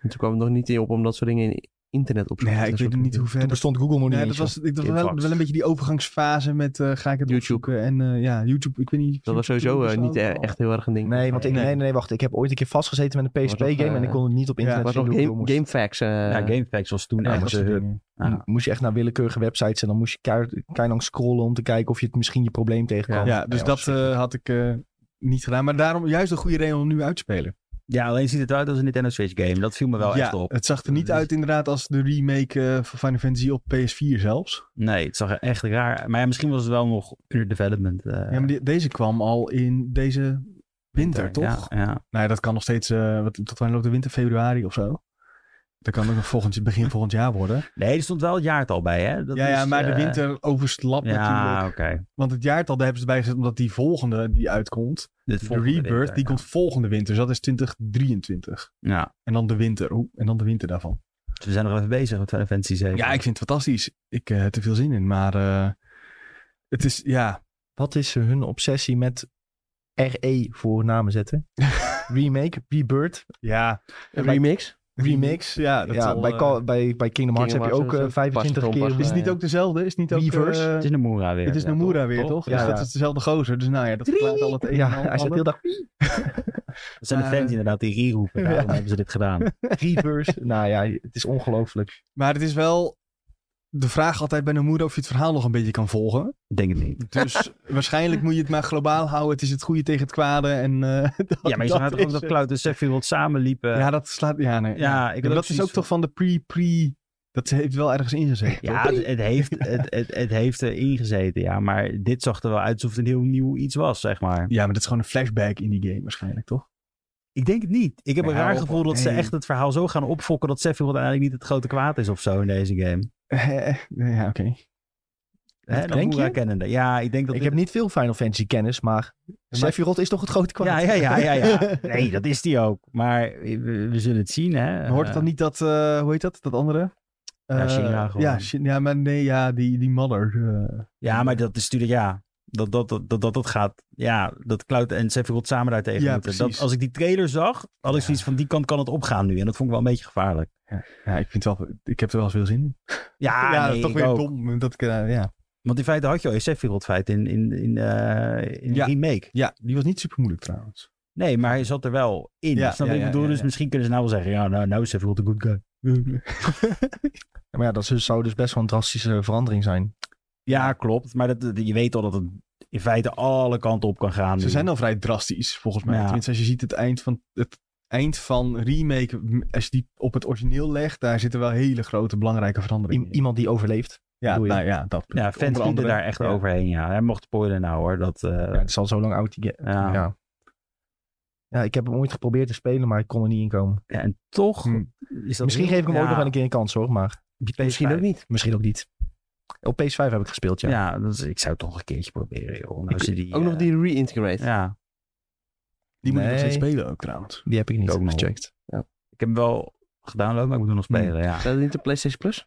[SPEAKER 3] En toen kwam het nog niet in op om dat soort dingen in internet op te
[SPEAKER 2] Nee,
[SPEAKER 3] zoeken.
[SPEAKER 2] ik
[SPEAKER 3] Dat
[SPEAKER 2] weet
[SPEAKER 3] soort
[SPEAKER 2] niet
[SPEAKER 3] dingen.
[SPEAKER 2] hoe ver...
[SPEAKER 1] Toen
[SPEAKER 2] dat-
[SPEAKER 1] bestond Google nog niet
[SPEAKER 2] Nee, dat
[SPEAKER 1] eens,
[SPEAKER 2] was,
[SPEAKER 1] joh.
[SPEAKER 2] ik- dat was wel,
[SPEAKER 4] Infox.
[SPEAKER 2] wel een beetje die overgangsfase met eh, ga ik het
[SPEAKER 3] YouTube.
[SPEAKER 2] opzoeken en eh, ja, YouTube, ik weet niet.
[SPEAKER 3] Dat was sowieso eh,
[SPEAKER 2] YouTube
[SPEAKER 3] niet eh,
[SPEAKER 2] bestond al.
[SPEAKER 3] echt heel erg een ding.
[SPEAKER 1] Nee, want ik,
[SPEAKER 2] Nee.
[SPEAKER 1] nee. nee, nee, wacht. Ik heb ooit een keer vastgezeten met een
[SPEAKER 3] Was nog,
[SPEAKER 1] PSP-game en
[SPEAKER 3] eh,
[SPEAKER 1] ik kon het niet op
[SPEAKER 2] ja,
[SPEAKER 1] internet
[SPEAKER 3] was
[SPEAKER 1] zien
[SPEAKER 3] nog
[SPEAKER 1] hoe ik
[SPEAKER 3] game,
[SPEAKER 1] door moest.
[SPEAKER 3] Gamefacts. eh,
[SPEAKER 4] ja, GameFAQs was toen
[SPEAKER 1] Ja, Hmm.
[SPEAKER 4] echt
[SPEAKER 1] dat
[SPEAKER 4] zo
[SPEAKER 1] soort
[SPEAKER 4] hub.
[SPEAKER 1] dingen.
[SPEAKER 4] Ja.
[SPEAKER 1] Nou, Moest je echt naar willekeurige websites en dan moest je keihard keihard lang scrollen om te kijken of je het misschien je probleem tegenkwam.
[SPEAKER 2] Ja, dus
[SPEAKER 1] Nee,
[SPEAKER 2] dat
[SPEAKER 1] was-
[SPEAKER 2] eh, had ik eh, niet gedaan. Maar daarom juist een goede reden om nu uit te spelen.
[SPEAKER 4] Ja, alleen ziet het uit als een Nintendo Switch game. Dat viel me wel
[SPEAKER 2] ja,
[SPEAKER 4] echt op.
[SPEAKER 2] het zag er niet
[SPEAKER 4] Dus-
[SPEAKER 2] uit inderdaad als de remake eh, van Final Fantasy op PS4 zelfs.
[SPEAKER 4] Nee, het zag er echt raar. Maar ja, misschien was het wel nog puur development. eh,
[SPEAKER 2] ja, maar die- deze kwam al in deze winter, toch?
[SPEAKER 4] Ja, ja.
[SPEAKER 2] Nou ja, dat kan nog steeds, eh, wat, tot wanneer loopt de winter? Februari of zo? Dat kan ook nog volgend, begin volgend jaar worden.
[SPEAKER 4] Nee, er stond wel het jaartal bij, hè? Dat
[SPEAKER 2] ja, ja,
[SPEAKER 4] is,
[SPEAKER 2] maar de
[SPEAKER 4] eh,
[SPEAKER 2] winter overslapt natuurlijk.
[SPEAKER 4] Ja, oké.
[SPEAKER 2] Want het jaartal daar hebben ze erbij gezet omdat die volgende die uitkomt,
[SPEAKER 4] De
[SPEAKER 2] de Rebirth, die komt volgende winter. Dus dat is 2023.
[SPEAKER 4] Ja,
[SPEAKER 2] En dan de winter. Oeh, en dan de winter daarvan.
[SPEAKER 4] dus we zijn nog even bezig met Final Fantasy 7.
[SPEAKER 2] Ja, ik vind het fantastisch. Ik eh, heb er veel zin in. Maar eh, het is, ja,
[SPEAKER 1] Wat is hun obsessie met RE voor namen zetten? Remake, Rebirth,
[SPEAKER 2] ja.
[SPEAKER 3] Remix?
[SPEAKER 1] Remix.
[SPEAKER 2] Ja, dat
[SPEAKER 1] ja,
[SPEAKER 2] zal,
[SPEAKER 1] bij,
[SPEAKER 2] eh,
[SPEAKER 1] Call- bij, bij Kingdom Hearts
[SPEAKER 3] Kingdom
[SPEAKER 1] heb je ook
[SPEAKER 3] Hearts
[SPEAKER 1] eh,
[SPEAKER 3] is ook
[SPEAKER 1] 25
[SPEAKER 3] pas-
[SPEAKER 1] keer...
[SPEAKER 3] pas-
[SPEAKER 2] Is het
[SPEAKER 1] eh,
[SPEAKER 2] niet ook dezelfde? Is het niet ook...
[SPEAKER 1] Reverse?
[SPEAKER 2] eh,
[SPEAKER 4] Het is Nomura weer.
[SPEAKER 2] het is
[SPEAKER 4] Ja,
[SPEAKER 2] Nomura
[SPEAKER 4] toch?
[SPEAKER 2] weer, toch? Dus
[SPEAKER 1] Ja,
[SPEAKER 2] dat
[SPEAKER 1] ja.
[SPEAKER 2] is dezelfde gozer. Dus nou ja, dat verklaart al het een en
[SPEAKER 1] ja,
[SPEAKER 2] ander.
[SPEAKER 1] hij zit heel dag
[SPEAKER 4] Dat zijn de
[SPEAKER 2] Maar,
[SPEAKER 4] fans
[SPEAKER 2] eh,
[SPEAKER 4] inderdaad die hier roepen. Daarom hebben ze dit gedaan.
[SPEAKER 1] Rebirth. nou ja, het is ongelooflijk.
[SPEAKER 2] Maar het is wel de vraag altijd bij Nomura of je het verhaal nog een beetje kan volgen.
[SPEAKER 4] Ik Denk het niet.
[SPEAKER 2] Dus waarschijnlijk moet je het maar globaal houden. Het is het goede tegen het kwade. En, eh, dat-
[SPEAKER 4] Ja, maar je zag
[SPEAKER 2] dat
[SPEAKER 4] toch ook
[SPEAKER 2] is
[SPEAKER 4] dat
[SPEAKER 2] het.
[SPEAKER 4] Cloud en Sephiroth samen liepen.
[SPEAKER 2] Ja, dat slaat. Ja, nee.
[SPEAKER 4] Ja, ik had
[SPEAKER 2] maar
[SPEAKER 4] ook
[SPEAKER 2] dat is
[SPEAKER 4] zoiets
[SPEAKER 2] ook toch van de pre-pre. Dat heeft wel ergens ingezet.
[SPEAKER 4] Ja, het, het heeft, het, het, het heeft erin gezeten, ja. Maar dit zag er wel uit alsof het een heel nieuw iets was, zeg maar.
[SPEAKER 2] Ja, maar dat is gewoon een flashback in die game waarschijnlijk, toch?
[SPEAKER 4] Ik denk het niet. Ik heb
[SPEAKER 2] Nou,
[SPEAKER 4] een raar gevoel dat ze
[SPEAKER 2] nee.
[SPEAKER 4] echt het verhaal zo gaan opfokken... dat Sephiroth eigenlijk niet het grote kwaad is of zo in deze game.
[SPEAKER 2] ja, oké.
[SPEAKER 4] Hè,
[SPEAKER 2] Denk
[SPEAKER 4] Nomura
[SPEAKER 2] je?
[SPEAKER 4] kennende. Ja, ik denk dat...
[SPEAKER 1] Ik
[SPEAKER 4] dit-
[SPEAKER 1] heb niet veel Final Fantasy kennis, maar Sephiroth is toch het
[SPEAKER 2] Oh,
[SPEAKER 1] grote kwaad?
[SPEAKER 4] Ja, ja, ja, ja, ja. Nee, dat is die ook. Maar we, we zullen het zien, hè.
[SPEAKER 2] Hoort het dan
[SPEAKER 4] Eh,
[SPEAKER 2] niet dat, eh, hoe heet dat, dat andere?
[SPEAKER 4] Ja,
[SPEAKER 2] Eh,
[SPEAKER 4] Shinra gewoon.
[SPEAKER 2] Ja, Shin- ja, maar nee, ja, die, die mother. eh.
[SPEAKER 4] Ja, maar dat is natuurlijk, ja... Dat dat, dat, dat dat dat gaat, ja, dat Cloud en Sephiroth samen daar tegen
[SPEAKER 2] Ja,
[SPEAKER 4] moeten. Dat,
[SPEAKER 2] precies.
[SPEAKER 4] als ik die trailer zag, had ik
[SPEAKER 2] Ja.
[SPEAKER 4] zoiets van, die kant kan het opgaan nu. En dat vond ik wel een beetje gevaarlijk.
[SPEAKER 2] Ja, ik vind wel, ik heb er wel veel zin in.
[SPEAKER 1] Ah,
[SPEAKER 2] Ah,
[SPEAKER 4] Ja,
[SPEAKER 2] ja,
[SPEAKER 4] nee,
[SPEAKER 2] toch
[SPEAKER 4] ik
[SPEAKER 2] weer
[SPEAKER 4] ook.
[SPEAKER 2] dom. Dat ik, eh, ja.
[SPEAKER 4] Want in feite had je al een Sephiroth feit in, in, in, eh, in
[SPEAKER 2] Ja.
[SPEAKER 4] remake.
[SPEAKER 2] ja, die was niet super moeilijk trouwens.
[SPEAKER 4] Nee, maar hij zat er wel in.
[SPEAKER 2] Ja,
[SPEAKER 4] Snap je
[SPEAKER 2] ja,
[SPEAKER 4] wat ik
[SPEAKER 2] ja,
[SPEAKER 4] bedoel?
[SPEAKER 2] ja,
[SPEAKER 4] dus
[SPEAKER 2] ja.
[SPEAKER 4] misschien kunnen ze nou wel zeggen, ja, nou, nou is Sephiroth een good guy.
[SPEAKER 1] Ja, maar ja, dat is- zou dus best wel een drastische verandering zijn.
[SPEAKER 4] Ja, klopt. Maar dat, dat- je weet al dat het in feite alle kanten op kan gaan.
[SPEAKER 2] Ze
[SPEAKER 4] nu.
[SPEAKER 2] zijn al vrij drastisch, volgens mij.
[SPEAKER 4] Ja.
[SPEAKER 2] Tenminste, als je ziet het eind van het eind van remake, m, als je die op het origineel legt, daar zitten wel hele grote belangrijke veranderingen
[SPEAKER 1] I-
[SPEAKER 2] in.
[SPEAKER 1] iemand die overleeft.
[SPEAKER 2] Ja,
[SPEAKER 1] bedoel je?
[SPEAKER 2] nou ja, dat.
[SPEAKER 4] Ja, fans
[SPEAKER 2] onder
[SPEAKER 4] moeten
[SPEAKER 2] andere.
[SPEAKER 4] daar echt
[SPEAKER 2] Ja.
[SPEAKER 4] overheen, ja. Hij mocht spoilen nou, hoor. Dat, eh,
[SPEAKER 1] Ja, het is al zo lang oud. Die ge-
[SPEAKER 4] ja.
[SPEAKER 1] ja. Ja. ik heb hem ooit geprobeerd te spelen, maar ik kon er niet in komen.
[SPEAKER 4] Ja, en toch
[SPEAKER 2] Hm.
[SPEAKER 4] is dat...
[SPEAKER 1] Misschien
[SPEAKER 4] heel-
[SPEAKER 1] geef ik hem
[SPEAKER 4] ja,
[SPEAKER 1] ook nog wel een keer een kans hoor, maar
[SPEAKER 3] Misschien ook niet.
[SPEAKER 1] misschien ook niet. Op PS5 heb ik gespeeld, ja.
[SPEAKER 4] Ja, dat is- ik zou het toch een keertje proberen, joh. Nou, ze die,
[SPEAKER 3] Ook nog
[SPEAKER 4] eh,
[SPEAKER 3] die re-integrate.
[SPEAKER 4] Ja,
[SPEAKER 2] Die moet ik nog
[SPEAKER 1] Nee.
[SPEAKER 2] steeds spelen ook trouwens.
[SPEAKER 1] Die heb ik niet
[SPEAKER 4] Ik ook nog.
[SPEAKER 1] gecheckt.
[SPEAKER 4] ik heb hem wel gedownload, maar ik moet hem nog
[SPEAKER 2] Hm.
[SPEAKER 4] spelen, ja.
[SPEAKER 3] Staat het niet op PlayStation Plus?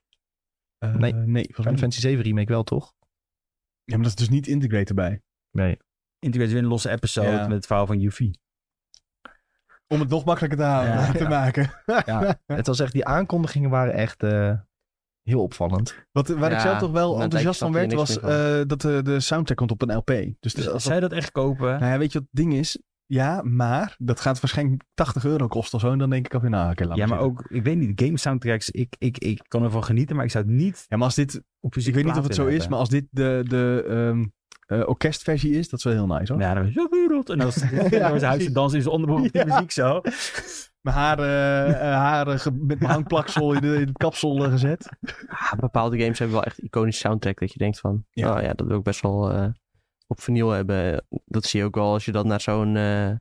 [SPEAKER 2] Eh,
[SPEAKER 1] Nee.
[SPEAKER 2] nee volgens mij
[SPEAKER 1] Final
[SPEAKER 2] niet.
[SPEAKER 1] Fantasy 7 remake wel, toch?
[SPEAKER 2] Ja, maar dat is dus niet integrated bij.
[SPEAKER 1] Nee.
[SPEAKER 4] Integrate weer een losse episode
[SPEAKER 2] Ja. Dus
[SPEAKER 4] met het verhaal van Yuffie.
[SPEAKER 2] Om het nog makkelijker te, halen,
[SPEAKER 4] Ja.
[SPEAKER 2] te maken.
[SPEAKER 1] Het was echt, die aankondigingen waren echt eh, heel opvallend.
[SPEAKER 2] Wat, waar ik
[SPEAKER 3] Ja,
[SPEAKER 2] zelf toch
[SPEAKER 3] maar
[SPEAKER 2] wel
[SPEAKER 3] daar
[SPEAKER 2] enthousiast van
[SPEAKER 3] snap je
[SPEAKER 2] werd,
[SPEAKER 3] niks
[SPEAKER 2] was
[SPEAKER 3] meer
[SPEAKER 2] eh, dat de, de soundtrack komt op een LP. Dus,
[SPEAKER 4] Dus
[SPEAKER 2] dus als
[SPEAKER 4] zou je dat echt kopen?
[SPEAKER 2] Nou ja, weet je wat het ding is? Ja, maar dat gaat waarschijnlijk 80 euro kosten of zo. En dan denk ik alweer, nou, oké, laat
[SPEAKER 4] ja, maar
[SPEAKER 2] zitten.
[SPEAKER 4] ook, ik weet niet, game soundtracks, ik, ik, ik kan ervan genieten, maar ik zou het niet
[SPEAKER 2] Ja, maar als dit...
[SPEAKER 4] op
[SPEAKER 2] ik weet niet of het zo is, maar als dit de, de ehm, eh, orkestversie is, dat is wel heel nice, hoor.
[SPEAKER 4] Ja, dan is het zo wereld. En als het door zijn huis te
[SPEAKER 2] precies.
[SPEAKER 4] dansen in zijn onderbroek op die muziek zo.
[SPEAKER 2] Mijn haar, eh, eh, haar eh, ge- met mijn hangplaksel in, de, in het kapsel eh, gezet.
[SPEAKER 3] Ah, bepaalde games hebben wel echt iconische soundtrack. Dat je denkt van,
[SPEAKER 2] Ja.
[SPEAKER 3] oh ja, dat wil ik best wel eh, op vinyl hebben. Dat zie je ook wel als je dat naar zo'n eh,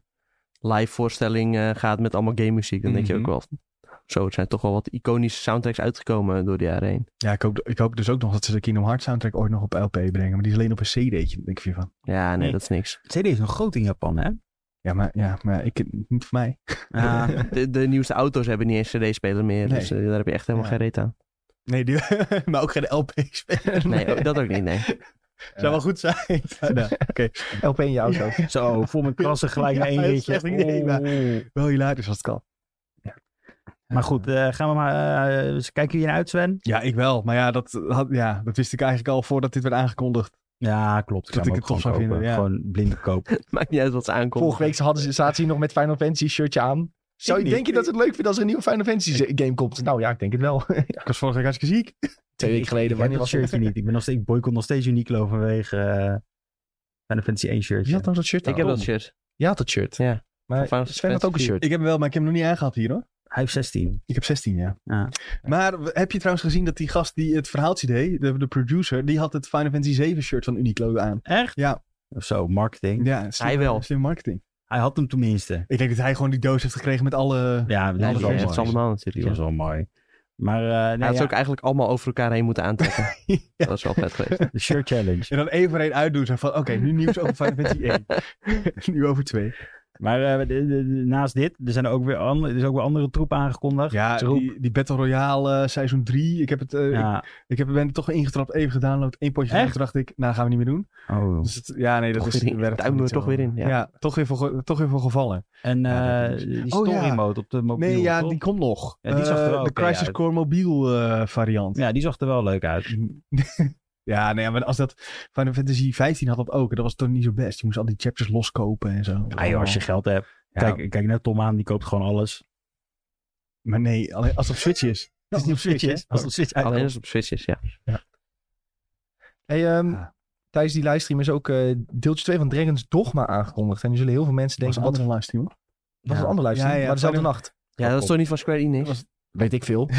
[SPEAKER 3] live voorstelling eh, gaat met allemaal game muziek. Dan denk je ook
[SPEAKER 2] Mhm.
[SPEAKER 3] wel, van, zo, er zijn toch wel wat iconische soundtracks uitgekomen door de jaren heen.
[SPEAKER 2] Ja, ik hoop, ik hoop dus ook nog dat ze de Kingdom Hearts soundtrack ooit nog op LP brengen. Maar die is alleen op een CD'tje, denk ik weer van.
[SPEAKER 3] Ja, nee,
[SPEAKER 4] Nee.
[SPEAKER 3] dat is niks.
[SPEAKER 4] CD is nog groot in Japan, hè?
[SPEAKER 2] Ja, maar, ja, maar ik, niet voor mij.
[SPEAKER 4] Ja.
[SPEAKER 3] De, de nieuwste auto's hebben niet eens CD-speler meer.
[SPEAKER 2] Nee.
[SPEAKER 3] Dus eh, daar heb je echt helemaal
[SPEAKER 2] Ja.
[SPEAKER 3] geen reet aan.
[SPEAKER 2] Nee, die, maar ook geen LP-speler.
[SPEAKER 3] Nee, ook- dat ook niet, nee.
[SPEAKER 2] Zou wel goed zijn. Maar nou,
[SPEAKER 1] LP in je auto.
[SPEAKER 4] Zo, vol met krassen gelijk
[SPEAKER 2] Ja,
[SPEAKER 4] in één
[SPEAKER 2] dat is
[SPEAKER 4] ritje.
[SPEAKER 2] echt een idee, maar-
[SPEAKER 4] Oeh.
[SPEAKER 2] wel hilarisch als het kan.
[SPEAKER 4] Maar goed, eh, gaan we maar... eh, eens kijken jullie naar uit, Sven?
[SPEAKER 2] Ja, ik wel. Maar ja dat, had, ja, dat wist ik eigenlijk al voordat dit werd aangekondigd.
[SPEAKER 4] Ja, klopt.
[SPEAKER 2] Dat
[SPEAKER 4] ga hem
[SPEAKER 2] ik
[SPEAKER 4] ook
[SPEAKER 2] het tof
[SPEAKER 4] gewoon
[SPEAKER 2] zou vinden,
[SPEAKER 4] kopen.
[SPEAKER 2] ja.
[SPEAKER 4] Gewoon blind kopen.
[SPEAKER 3] Maakt niet uit wat ze aankomt.
[SPEAKER 1] Vorige week hadden ze, zaten ze hier nog met Final Fantasy shirtje aan. Zou
[SPEAKER 2] Ik
[SPEAKER 1] je,
[SPEAKER 2] niet.
[SPEAKER 1] denk je dat ze het leuk vindt als er een nieuwe Final Fantasy ze- game komt? Nou ja, ik denk het wel.
[SPEAKER 2] Ik was vorige week hartstikke ziek.
[SPEAKER 1] Twee weken geleden,
[SPEAKER 4] Ik heb
[SPEAKER 1] wanneer
[SPEAKER 4] dat
[SPEAKER 1] was het?
[SPEAKER 4] shirtje niet. Ik, ben nog steeds, ik boycott nog steeds Uniqlo vanwege eh Final Fantasy 1
[SPEAKER 1] Wie
[SPEAKER 4] shirtje.
[SPEAKER 1] had nou dat shirt
[SPEAKER 3] Ik heb dat shirt.
[SPEAKER 1] Je had dat shirt.
[SPEAKER 3] Ja.
[SPEAKER 1] Maar
[SPEAKER 3] Van
[SPEAKER 1] Sven had ook een shirt.
[SPEAKER 2] Ik heb hem wel, maar ik heb hem nog niet aangehad hier hoor.
[SPEAKER 4] Hij heeft 16.
[SPEAKER 2] Ik heb 16, ja.
[SPEAKER 4] Ja.
[SPEAKER 2] Maar w- heb je trouwens gezien dat die gast die het verhaaltje deed, de, de producer, die had het Final Fantasy 7 shirt van Uniqlo aan.
[SPEAKER 4] Echt?
[SPEAKER 2] Ja.
[SPEAKER 4] Of zo, marketing.
[SPEAKER 2] Ja, slim,
[SPEAKER 3] Hij wel.
[SPEAKER 2] Slim marketing.
[SPEAKER 4] Hij had hem tenminste.
[SPEAKER 2] Ik denk dat hij gewoon die doos heeft gekregen met alle...
[SPEAKER 4] Ja, dat
[SPEAKER 3] Ja,
[SPEAKER 4] was
[SPEAKER 3] die
[SPEAKER 4] wel
[SPEAKER 3] heeft
[SPEAKER 4] mooi.
[SPEAKER 3] ze allemaal natuurlijk.
[SPEAKER 4] Die
[SPEAKER 3] ja.
[SPEAKER 4] was wel mooi. Maar eh
[SPEAKER 3] Hij
[SPEAKER 4] nee,
[SPEAKER 3] had
[SPEAKER 4] ja,
[SPEAKER 3] ze ook eigenlijk allemaal over elkaar heen moeten aantrekken. Dat was wel vet geweest.
[SPEAKER 4] de shirt challenge.
[SPEAKER 2] En dan één voor één uitdoen. Zo van, oké, nu nieuws over Final Fantasy 1. nu over 2.
[SPEAKER 4] Maar eh, de- de- de- naast dit, er zijn er ook weer andere, er is ook weer andere troep aangekondigd.
[SPEAKER 2] Ja,
[SPEAKER 4] Troep.
[SPEAKER 2] die, die Battle Royale eh, seizoen 3. Ik, heb het, eh, ik,
[SPEAKER 4] Ja.
[SPEAKER 2] ik heb, ben er toch ingetrapt, even gedownload. één potje
[SPEAKER 4] Echt?
[SPEAKER 2] gedaan. Toen dacht ik, nou, gaan we niet meer doen.
[SPEAKER 4] Oh.
[SPEAKER 2] Dus het- ja, nee, dat
[SPEAKER 3] Toch
[SPEAKER 2] is...
[SPEAKER 3] weer in.
[SPEAKER 2] werkt
[SPEAKER 3] Duimen
[SPEAKER 2] niet
[SPEAKER 3] we toch
[SPEAKER 2] zo.
[SPEAKER 3] weer in, ja.
[SPEAKER 2] toch, weer voor, ge- toch weer voor gevallen.
[SPEAKER 4] En eh,
[SPEAKER 2] Ja, dat is-
[SPEAKER 4] die
[SPEAKER 2] Oh,
[SPEAKER 4] story
[SPEAKER 2] ja.
[SPEAKER 4] mode op de mobiel.
[SPEAKER 2] nee, ja,
[SPEAKER 4] toch?
[SPEAKER 2] die komt nog.
[SPEAKER 4] Ja, die zag er
[SPEAKER 2] Eh,
[SPEAKER 4] wel
[SPEAKER 2] de
[SPEAKER 4] oké
[SPEAKER 2] Crisis
[SPEAKER 4] uit.
[SPEAKER 2] Core mobiel eh, variant.
[SPEAKER 4] ja, die zag er wel leuk uit.
[SPEAKER 2] Ja, nee, maar als dat... Final Fantasy 15 had dat ook. En dat was toch niet zo best. Je moest al die chapters loskopen en zo.
[SPEAKER 4] Ah, joh, als je geld hebt.
[SPEAKER 2] Ja,
[SPEAKER 4] Kijk, kijk naar Tom aan, die koopt gewoon alles.
[SPEAKER 2] Maar nee, alleen als het op Switch is. Het is niet op Switch, hè?
[SPEAKER 4] Als het op Switch
[SPEAKER 3] Alleen
[SPEAKER 4] uitkomt.
[SPEAKER 3] als het op Switch is, ja.
[SPEAKER 1] Hey, ehm,
[SPEAKER 2] Ah.
[SPEAKER 1] Tijdens die livestream is ook eh, deeltje 2 van Dragon's Dogma aangekondigd. En er zullen heel veel mensen
[SPEAKER 2] Dat was
[SPEAKER 1] denken,
[SPEAKER 2] een
[SPEAKER 1] wat
[SPEAKER 2] andere livestream, hoor.
[SPEAKER 1] was
[SPEAKER 3] Ja.
[SPEAKER 1] een andere livestream?
[SPEAKER 2] Ja, ja,
[SPEAKER 1] maar dezelfde
[SPEAKER 2] Final-
[SPEAKER 1] nacht.
[SPEAKER 3] Ja, dat is toch niet van Square Enix?
[SPEAKER 2] Dat
[SPEAKER 1] Weet ik veel.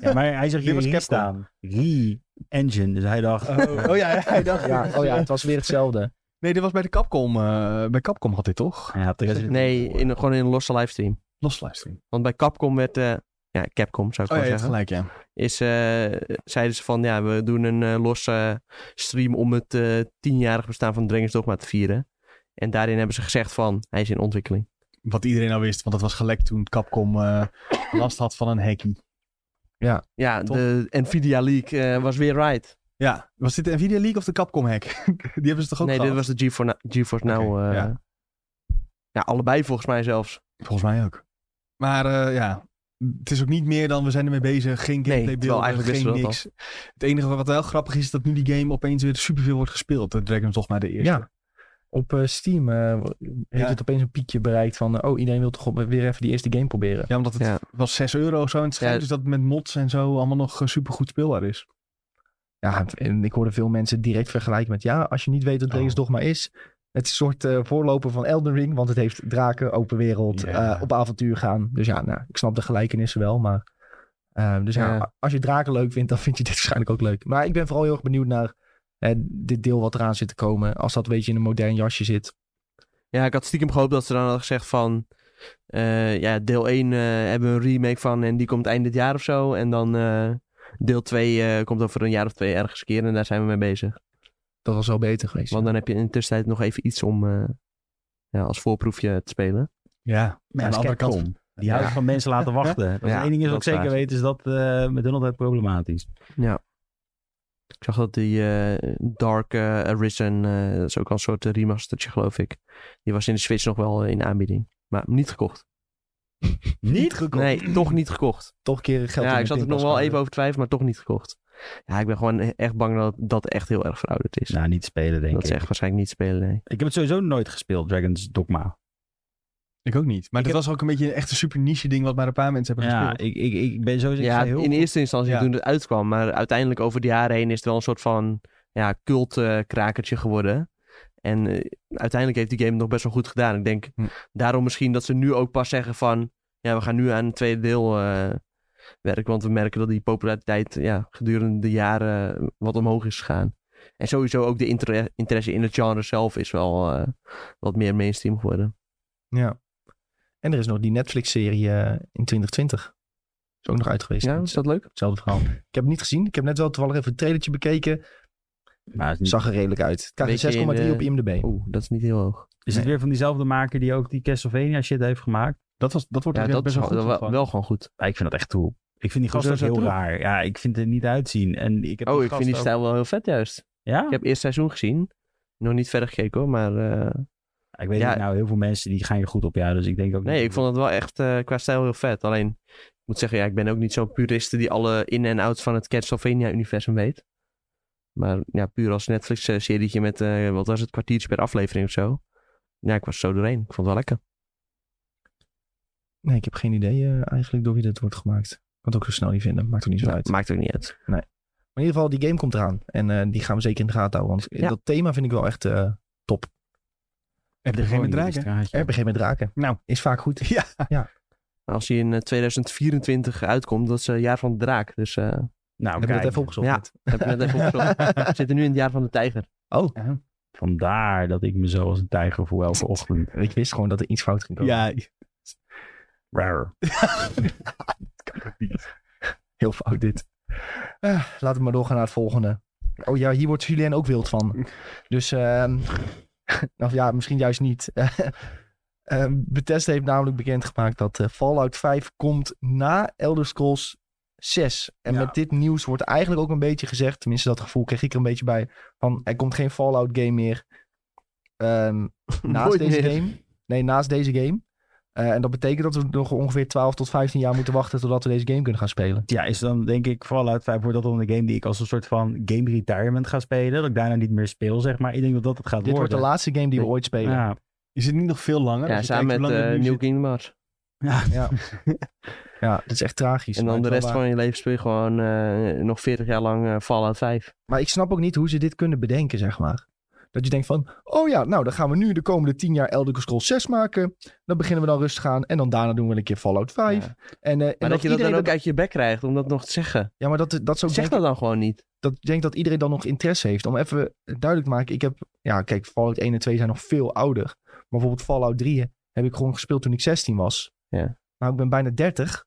[SPEAKER 4] Ja, maar hij
[SPEAKER 2] Dit
[SPEAKER 4] zag hier
[SPEAKER 2] was
[SPEAKER 4] Re
[SPEAKER 2] Capcom.
[SPEAKER 4] staan. Re engine. Dus hij dacht,
[SPEAKER 2] Oh, oh ja, hij dacht...
[SPEAKER 1] Ja, oh ja, het was weer hetzelfde.
[SPEAKER 2] Nee, dit was bij de Capcom. eh, bij Capcom had dit toch?
[SPEAKER 4] hij had de Resident
[SPEAKER 3] Nee, in, een- gewoon in een losse livestream.
[SPEAKER 2] Los livestream.
[SPEAKER 3] Want bij Capcom werd... eh, ja, Capcom zou ik
[SPEAKER 2] Oh ja,
[SPEAKER 3] wel
[SPEAKER 2] je hebt
[SPEAKER 3] zeggen.
[SPEAKER 2] gelijk, ja.
[SPEAKER 3] Is, eh, zeiden ze van, ja, we doen een eh, losse stream om het eh, tienjarig bestaan van Dragon's Dogma te vieren. En daarin hebben ze gezegd van, hij is in ontwikkeling.
[SPEAKER 2] Wat iedereen al wist, want dat was gelekt toen Capcom eh, last had van een hackie.
[SPEAKER 3] Ja,
[SPEAKER 2] Top.
[SPEAKER 3] de Nvidia leak eh, was weer right.
[SPEAKER 2] Ja, was dit de Nvidia League of de Capcom hack? Die hebben ze toch ook
[SPEAKER 3] nee, dit
[SPEAKER 2] gehad?
[SPEAKER 3] was de GeForce, Na- GeForce Now.
[SPEAKER 2] Oké,
[SPEAKER 3] eh,
[SPEAKER 2] ja.
[SPEAKER 3] ja. allebei volgens mij zelfs.
[SPEAKER 2] Volgens mij ook. Maar eh, ja, het is ook niet meer dan we zijn ermee bezig. Geen gameplay
[SPEAKER 3] terwijl
[SPEAKER 2] beelden,
[SPEAKER 3] eigenlijk
[SPEAKER 2] geen
[SPEAKER 3] wisten we dat
[SPEAKER 2] niks. Het enige wat wel grappig is, is dat nu die game opeens weer superveel wordt gespeeld. De Dragon's Dogma de eerste.
[SPEAKER 1] Ja. Op eh, Steam eh, heeft
[SPEAKER 2] Ja.
[SPEAKER 1] het opeens een piekje bereikt van... eh, oh, iedereen wil toch op- weer even die eerste game proberen.
[SPEAKER 2] Ja, omdat het
[SPEAKER 3] Ja.
[SPEAKER 2] was 6 euro of zo. En het schijnt
[SPEAKER 3] Ja.
[SPEAKER 2] dus dat het met mods en zo allemaal nog eh, supergoed speelbaar is.
[SPEAKER 1] Ja, het- en ik hoorde veel mensen direct vergelijken met... Ja, als je niet weet wat Dragon's
[SPEAKER 2] Oh.
[SPEAKER 1] Dogma is... Het is een soort eh, voorloper van Elden Ring, want het heeft draken, open wereld,
[SPEAKER 2] Ja.
[SPEAKER 1] eh, op avontuur gaan. Dus ja, nou, ik snap de gelijkenissen wel, maar... eh, dus ja.
[SPEAKER 3] Ja.
[SPEAKER 1] als je draken leuk vindt, dan vind je dit waarschijnlijk ook leuk. Maar ik ben vooral heel erg benieuwd naar eh, dit deel wat eraan zit te komen. Als dat een beetje in een modern jasje zit.
[SPEAKER 3] Ja, ik had stiekem gehoopt dat ze dan hadden gezegd van... eh, ja, deel 1 eh, hebben we een remake van en die komt eind dit jaar of zo. En dan eh, deel 2 eh, komt over een jaar of twee ergens een keer en daar zijn we mee bezig.
[SPEAKER 1] Dat was wel beter geweest.
[SPEAKER 3] Want dan heb je in de tussentijd nog even iets om eh, ja, als voorproefje te spelen.
[SPEAKER 2] Ja,
[SPEAKER 4] Maar
[SPEAKER 2] aan de
[SPEAKER 4] dat is
[SPEAKER 2] andere kant.
[SPEAKER 4] Capcom. Die houden van mensen laten wachten. Als
[SPEAKER 3] Ja,
[SPEAKER 4] één ding is wat
[SPEAKER 3] dat
[SPEAKER 4] ik
[SPEAKER 3] is
[SPEAKER 4] zeker
[SPEAKER 3] waar.
[SPEAKER 4] weet, is dat eh, met hun altijd problematisch.
[SPEAKER 3] Ik zag dat die eh, Dark eh, Arisen, eh, dat is ook al een soort eh, remastertje geloof ik. Die was in de Switch nog wel eh, in de aanbieding. Maar niet gekocht.
[SPEAKER 1] niet gekomen.
[SPEAKER 3] Nee, toch niet gekocht.
[SPEAKER 1] Toch een keer geld
[SPEAKER 3] ja,
[SPEAKER 1] in
[SPEAKER 3] ik
[SPEAKER 1] de
[SPEAKER 3] zat er nog
[SPEAKER 1] pinpas
[SPEAKER 3] wel
[SPEAKER 1] gooien.
[SPEAKER 3] even over twijfelen, maar toch niet gekocht. Ja, ik ben gewoon e- echt bang dat dat echt heel erg verouderd is.
[SPEAKER 4] Nou, niet spelen, denk
[SPEAKER 3] dat
[SPEAKER 4] ik.
[SPEAKER 3] ze echt waarschijnlijk niet spelen, nee.
[SPEAKER 4] Ik heb het sowieso nooit gespeeld, Dragon's Dogma.
[SPEAKER 2] Ik ook niet. Maar dat was ook een beetje een echte super niche ding wat maar een paar mensen hebben
[SPEAKER 4] Ja,
[SPEAKER 2] gespeeld.
[SPEAKER 4] ik, ik, ik ben sowieso ik
[SPEAKER 3] ja,
[SPEAKER 4] zei heel
[SPEAKER 3] in eerste instantie
[SPEAKER 2] Ja.
[SPEAKER 3] toen het uitkwam. Maar uiteindelijk over de jaren heen is het wel een soort van ja, cult eh, krakertje geworden. En eh, uiteindelijk heeft die game het nog best wel goed gedaan. Ik denk
[SPEAKER 2] Hm.
[SPEAKER 3] daarom misschien dat ze nu ook pas zeggen van... Ja, we gaan nu aan het tweede deel eh, werken. Want we merken dat die populariteit ja, gedurende de jaren eh, wat omhoog is gegaan. En sowieso ook de inter- interesse in het genre zelf is wel eh, wat meer mainstream geworden.
[SPEAKER 1] Ja. En er is nog die Netflix-serie eh, in 2020. Is ook nog uit geweest.
[SPEAKER 3] Ja, is dat leuk?
[SPEAKER 1] Hetzelfde verhaal. Ik heb het niet gezien. Ik heb net wel toevallig even het trailertje bekeken.
[SPEAKER 4] Maar het is, niet-
[SPEAKER 1] Zag er redelijk uit. Het krijgt
[SPEAKER 3] Hm. Beetje in
[SPEAKER 1] een 6,3
[SPEAKER 3] de- Oh.
[SPEAKER 1] op IMDb.
[SPEAKER 3] Oeh, dat is niet heel hoog.
[SPEAKER 4] is het weer van diezelfde maker die ook die Castlevania shit heeft gemaakt?
[SPEAKER 2] Dat, was, dat wordt
[SPEAKER 3] Ja,
[SPEAKER 2] ook echt
[SPEAKER 3] dat is
[SPEAKER 2] best wel goed.
[SPEAKER 3] wel, wel,
[SPEAKER 2] ontvangen.
[SPEAKER 3] gewoon goed.
[SPEAKER 4] Ja, ik vind dat echt troep. Ik vind die gast ook
[SPEAKER 3] Hoezo
[SPEAKER 4] heel
[SPEAKER 3] is dat
[SPEAKER 4] raar. Ja, ik vind het niet uitzien. En ik heb
[SPEAKER 3] Oh,
[SPEAKER 4] die
[SPEAKER 3] ik
[SPEAKER 4] gast
[SPEAKER 3] vind die
[SPEAKER 4] ook-
[SPEAKER 3] stijl wel heel vet juist.
[SPEAKER 4] Ja?
[SPEAKER 3] Ik heb eerst seizoen gezien. Nog niet verder gekeken hoor, maar... eh,
[SPEAKER 4] Ik weet
[SPEAKER 3] Ja.
[SPEAKER 4] niet, nou, heel veel mensen die gaan je goed op, ja. Dus ik denk ook
[SPEAKER 3] nee, ik vond het wel echt eh, qua stijl heel vet. Alleen, ik moet zeggen, ja, ik ben ook niet zo'n puriste die alle in- en outs van het Castlevania-universum weet. Maar ja, puur als Netflix-serietje met, eh, wat was het, kwartiertje per aflevering of zo. Ja, ik was zo doorheen. Ik vond het wel lekker.
[SPEAKER 1] Nee, ik heb geen idee eh, eigenlijk door wie dat wordt gemaakt. Ik kan het ook zo snel niet vinden. Maakt ook niet zo
[SPEAKER 3] Nou,
[SPEAKER 1] uit.
[SPEAKER 3] maakt ook niet uit.
[SPEAKER 1] Maar in ieder geval, die game komt eraan. En eh, die gaan we zeker in de gaten houden. Want
[SPEAKER 3] Ja.
[SPEAKER 1] dat thema vind ik wel echt eh, top.
[SPEAKER 2] Heb je geen met draken?
[SPEAKER 1] RPG met draken.
[SPEAKER 2] Nou.
[SPEAKER 1] Is vaak goed.
[SPEAKER 2] Ja.
[SPEAKER 3] Maar als hij in eh, 2024 uitkomt, dat is eh, jaar van de draak. Dus eh
[SPEAKER 4] Nou,
[SPEAKER 1] Hebben we
[SPEAKER 4] kijk,
[SPEAKER 1] het even opgezocht.
[SPEAKER 3] Ja. heb ik net even opgezocht. We zitten nu in het jaar van de tijger.
[SPEAKER 1] Oh,
[SPEAKER 4] vandaar dat ik me zo als een tijger voel elke ochtend.
[SPEAKER 1] ik wist gewoon dat er iets fout ging komen.
[SPEAKER 2] Ja,
[SPEAKER 4] Raar.
[SPEAKER 1] Heel fout dit. Eh, laten we maar doorgaan naar het volgende. Oh ja, hier wordt Julien ook wild van. Dus, ehm of ja, misschien juist niet. Ehm Bethesda heeft namelijk bekendgemaakt dat eh, Fallout 5 komt na Elder Scrolls 6. En
[SPEAKER 2] Ja.
[SPEAKER 1] met dit nieuws wordt eigenlijk ook een beetje gezegd, tenminste dat gevoel kreeg ik er een beetje bij, van er komt geen Fallout game meer ehm, naast
[SPEAKER 3] Nooit
[SPEAKER 1] deze
[SPEAKER 3] meer.
[SPEAKER 1] game. Nee, naast deze game. Eh, en dat betekent dat we nog ongeveer 12 tot 15 jaar moeten wachten totdat we deze game kunnen gaan spelen.
[SPEAKER 4] Ja, is dan denk ik vooral uit vijf wordt dat dan een game die ik als een soort van game retirement ga spelen. Dat ik daarna niet meer speel, zeg maar. Ik denk dat dat het gaat
[SPEAKER 1] Dit wordt
[SPEAKER 4] worden.
[SPEAKER 1] de laatste game die we
[SPEAKER 3] Nee.
[SPEAKER 1] ooit spelen.
[SPEAKER 4] Ja.
[SPEAKER 2] is het niet nog veel langer?
[SPEAKER 3] Ja,
[SPEAKER 2] Als je
[SPEAKER 3] samen
[SPEAKER 2] kijkt
[SPEAKER 3] met
[SPEAKER 2] hoe lang het
[SPEAKER 3] eh
[SPEAKER 2] nu
[SPEAKER 3] New
[SPEAKER 2] zit.
[SPEAKER 3] Kingdom Hearts.
[SPEAKER 4] Ja.
[SPEAKER 1] Ja. ja, dat is echt tragisch.
[SPEAKER 3] En
[SPEAKER 1] maar
[SPEAKER 3] dan de
[SPEAKER 1] het is wel
[SPEAKER 3] rest
[SPEAKER 1] waar.
[SPEAKER 3] van je leven speel je gewoon eh, nog 40 jaar lang eh, Fallout 5.
[SPEAKER 1] Maar ik snap ook niet hoe ze dit kunnen bedenken, zeg maar. Dat je denkt van, oh ja, nou dan gaan we nu de komende 10 jaar Elder Scrolls 6 maken. Dan beginnen we dan rustig aan. En dan daarna doen we een keer Fallout 5.
[SPEAKER 3] Ja.
[SPEAKER 1] En, eh, en
[SPEAKER 3] Maar dat, je dat
[SPEAKER 1] iedereen
[SPEAKER 3] dan ook uit je bek krijgt om dat nog te zeggen.
[SPEAKER 1] Ja, maar dat, dat is ook
[SPEAKER 3] Zeg
[SPEAKER 1] denk, ik-
[SPEAKER 3] dat dan gewoon niet.
[SPEAKER 1] dat, ik denk dat iedereen dan nog interesse heeft. Om even duidelijk te maken, ik heb... Ja, kijk, Fallout 1 en 2 zijn nog veel ouder. Maar bijvoorbeeld Fallout 3 heb ik gewoon gespeeld toen ik 16 was.
[SPEAKER 3] Ja.
[SPEAKER 1] Nou, ik ben bijna 30.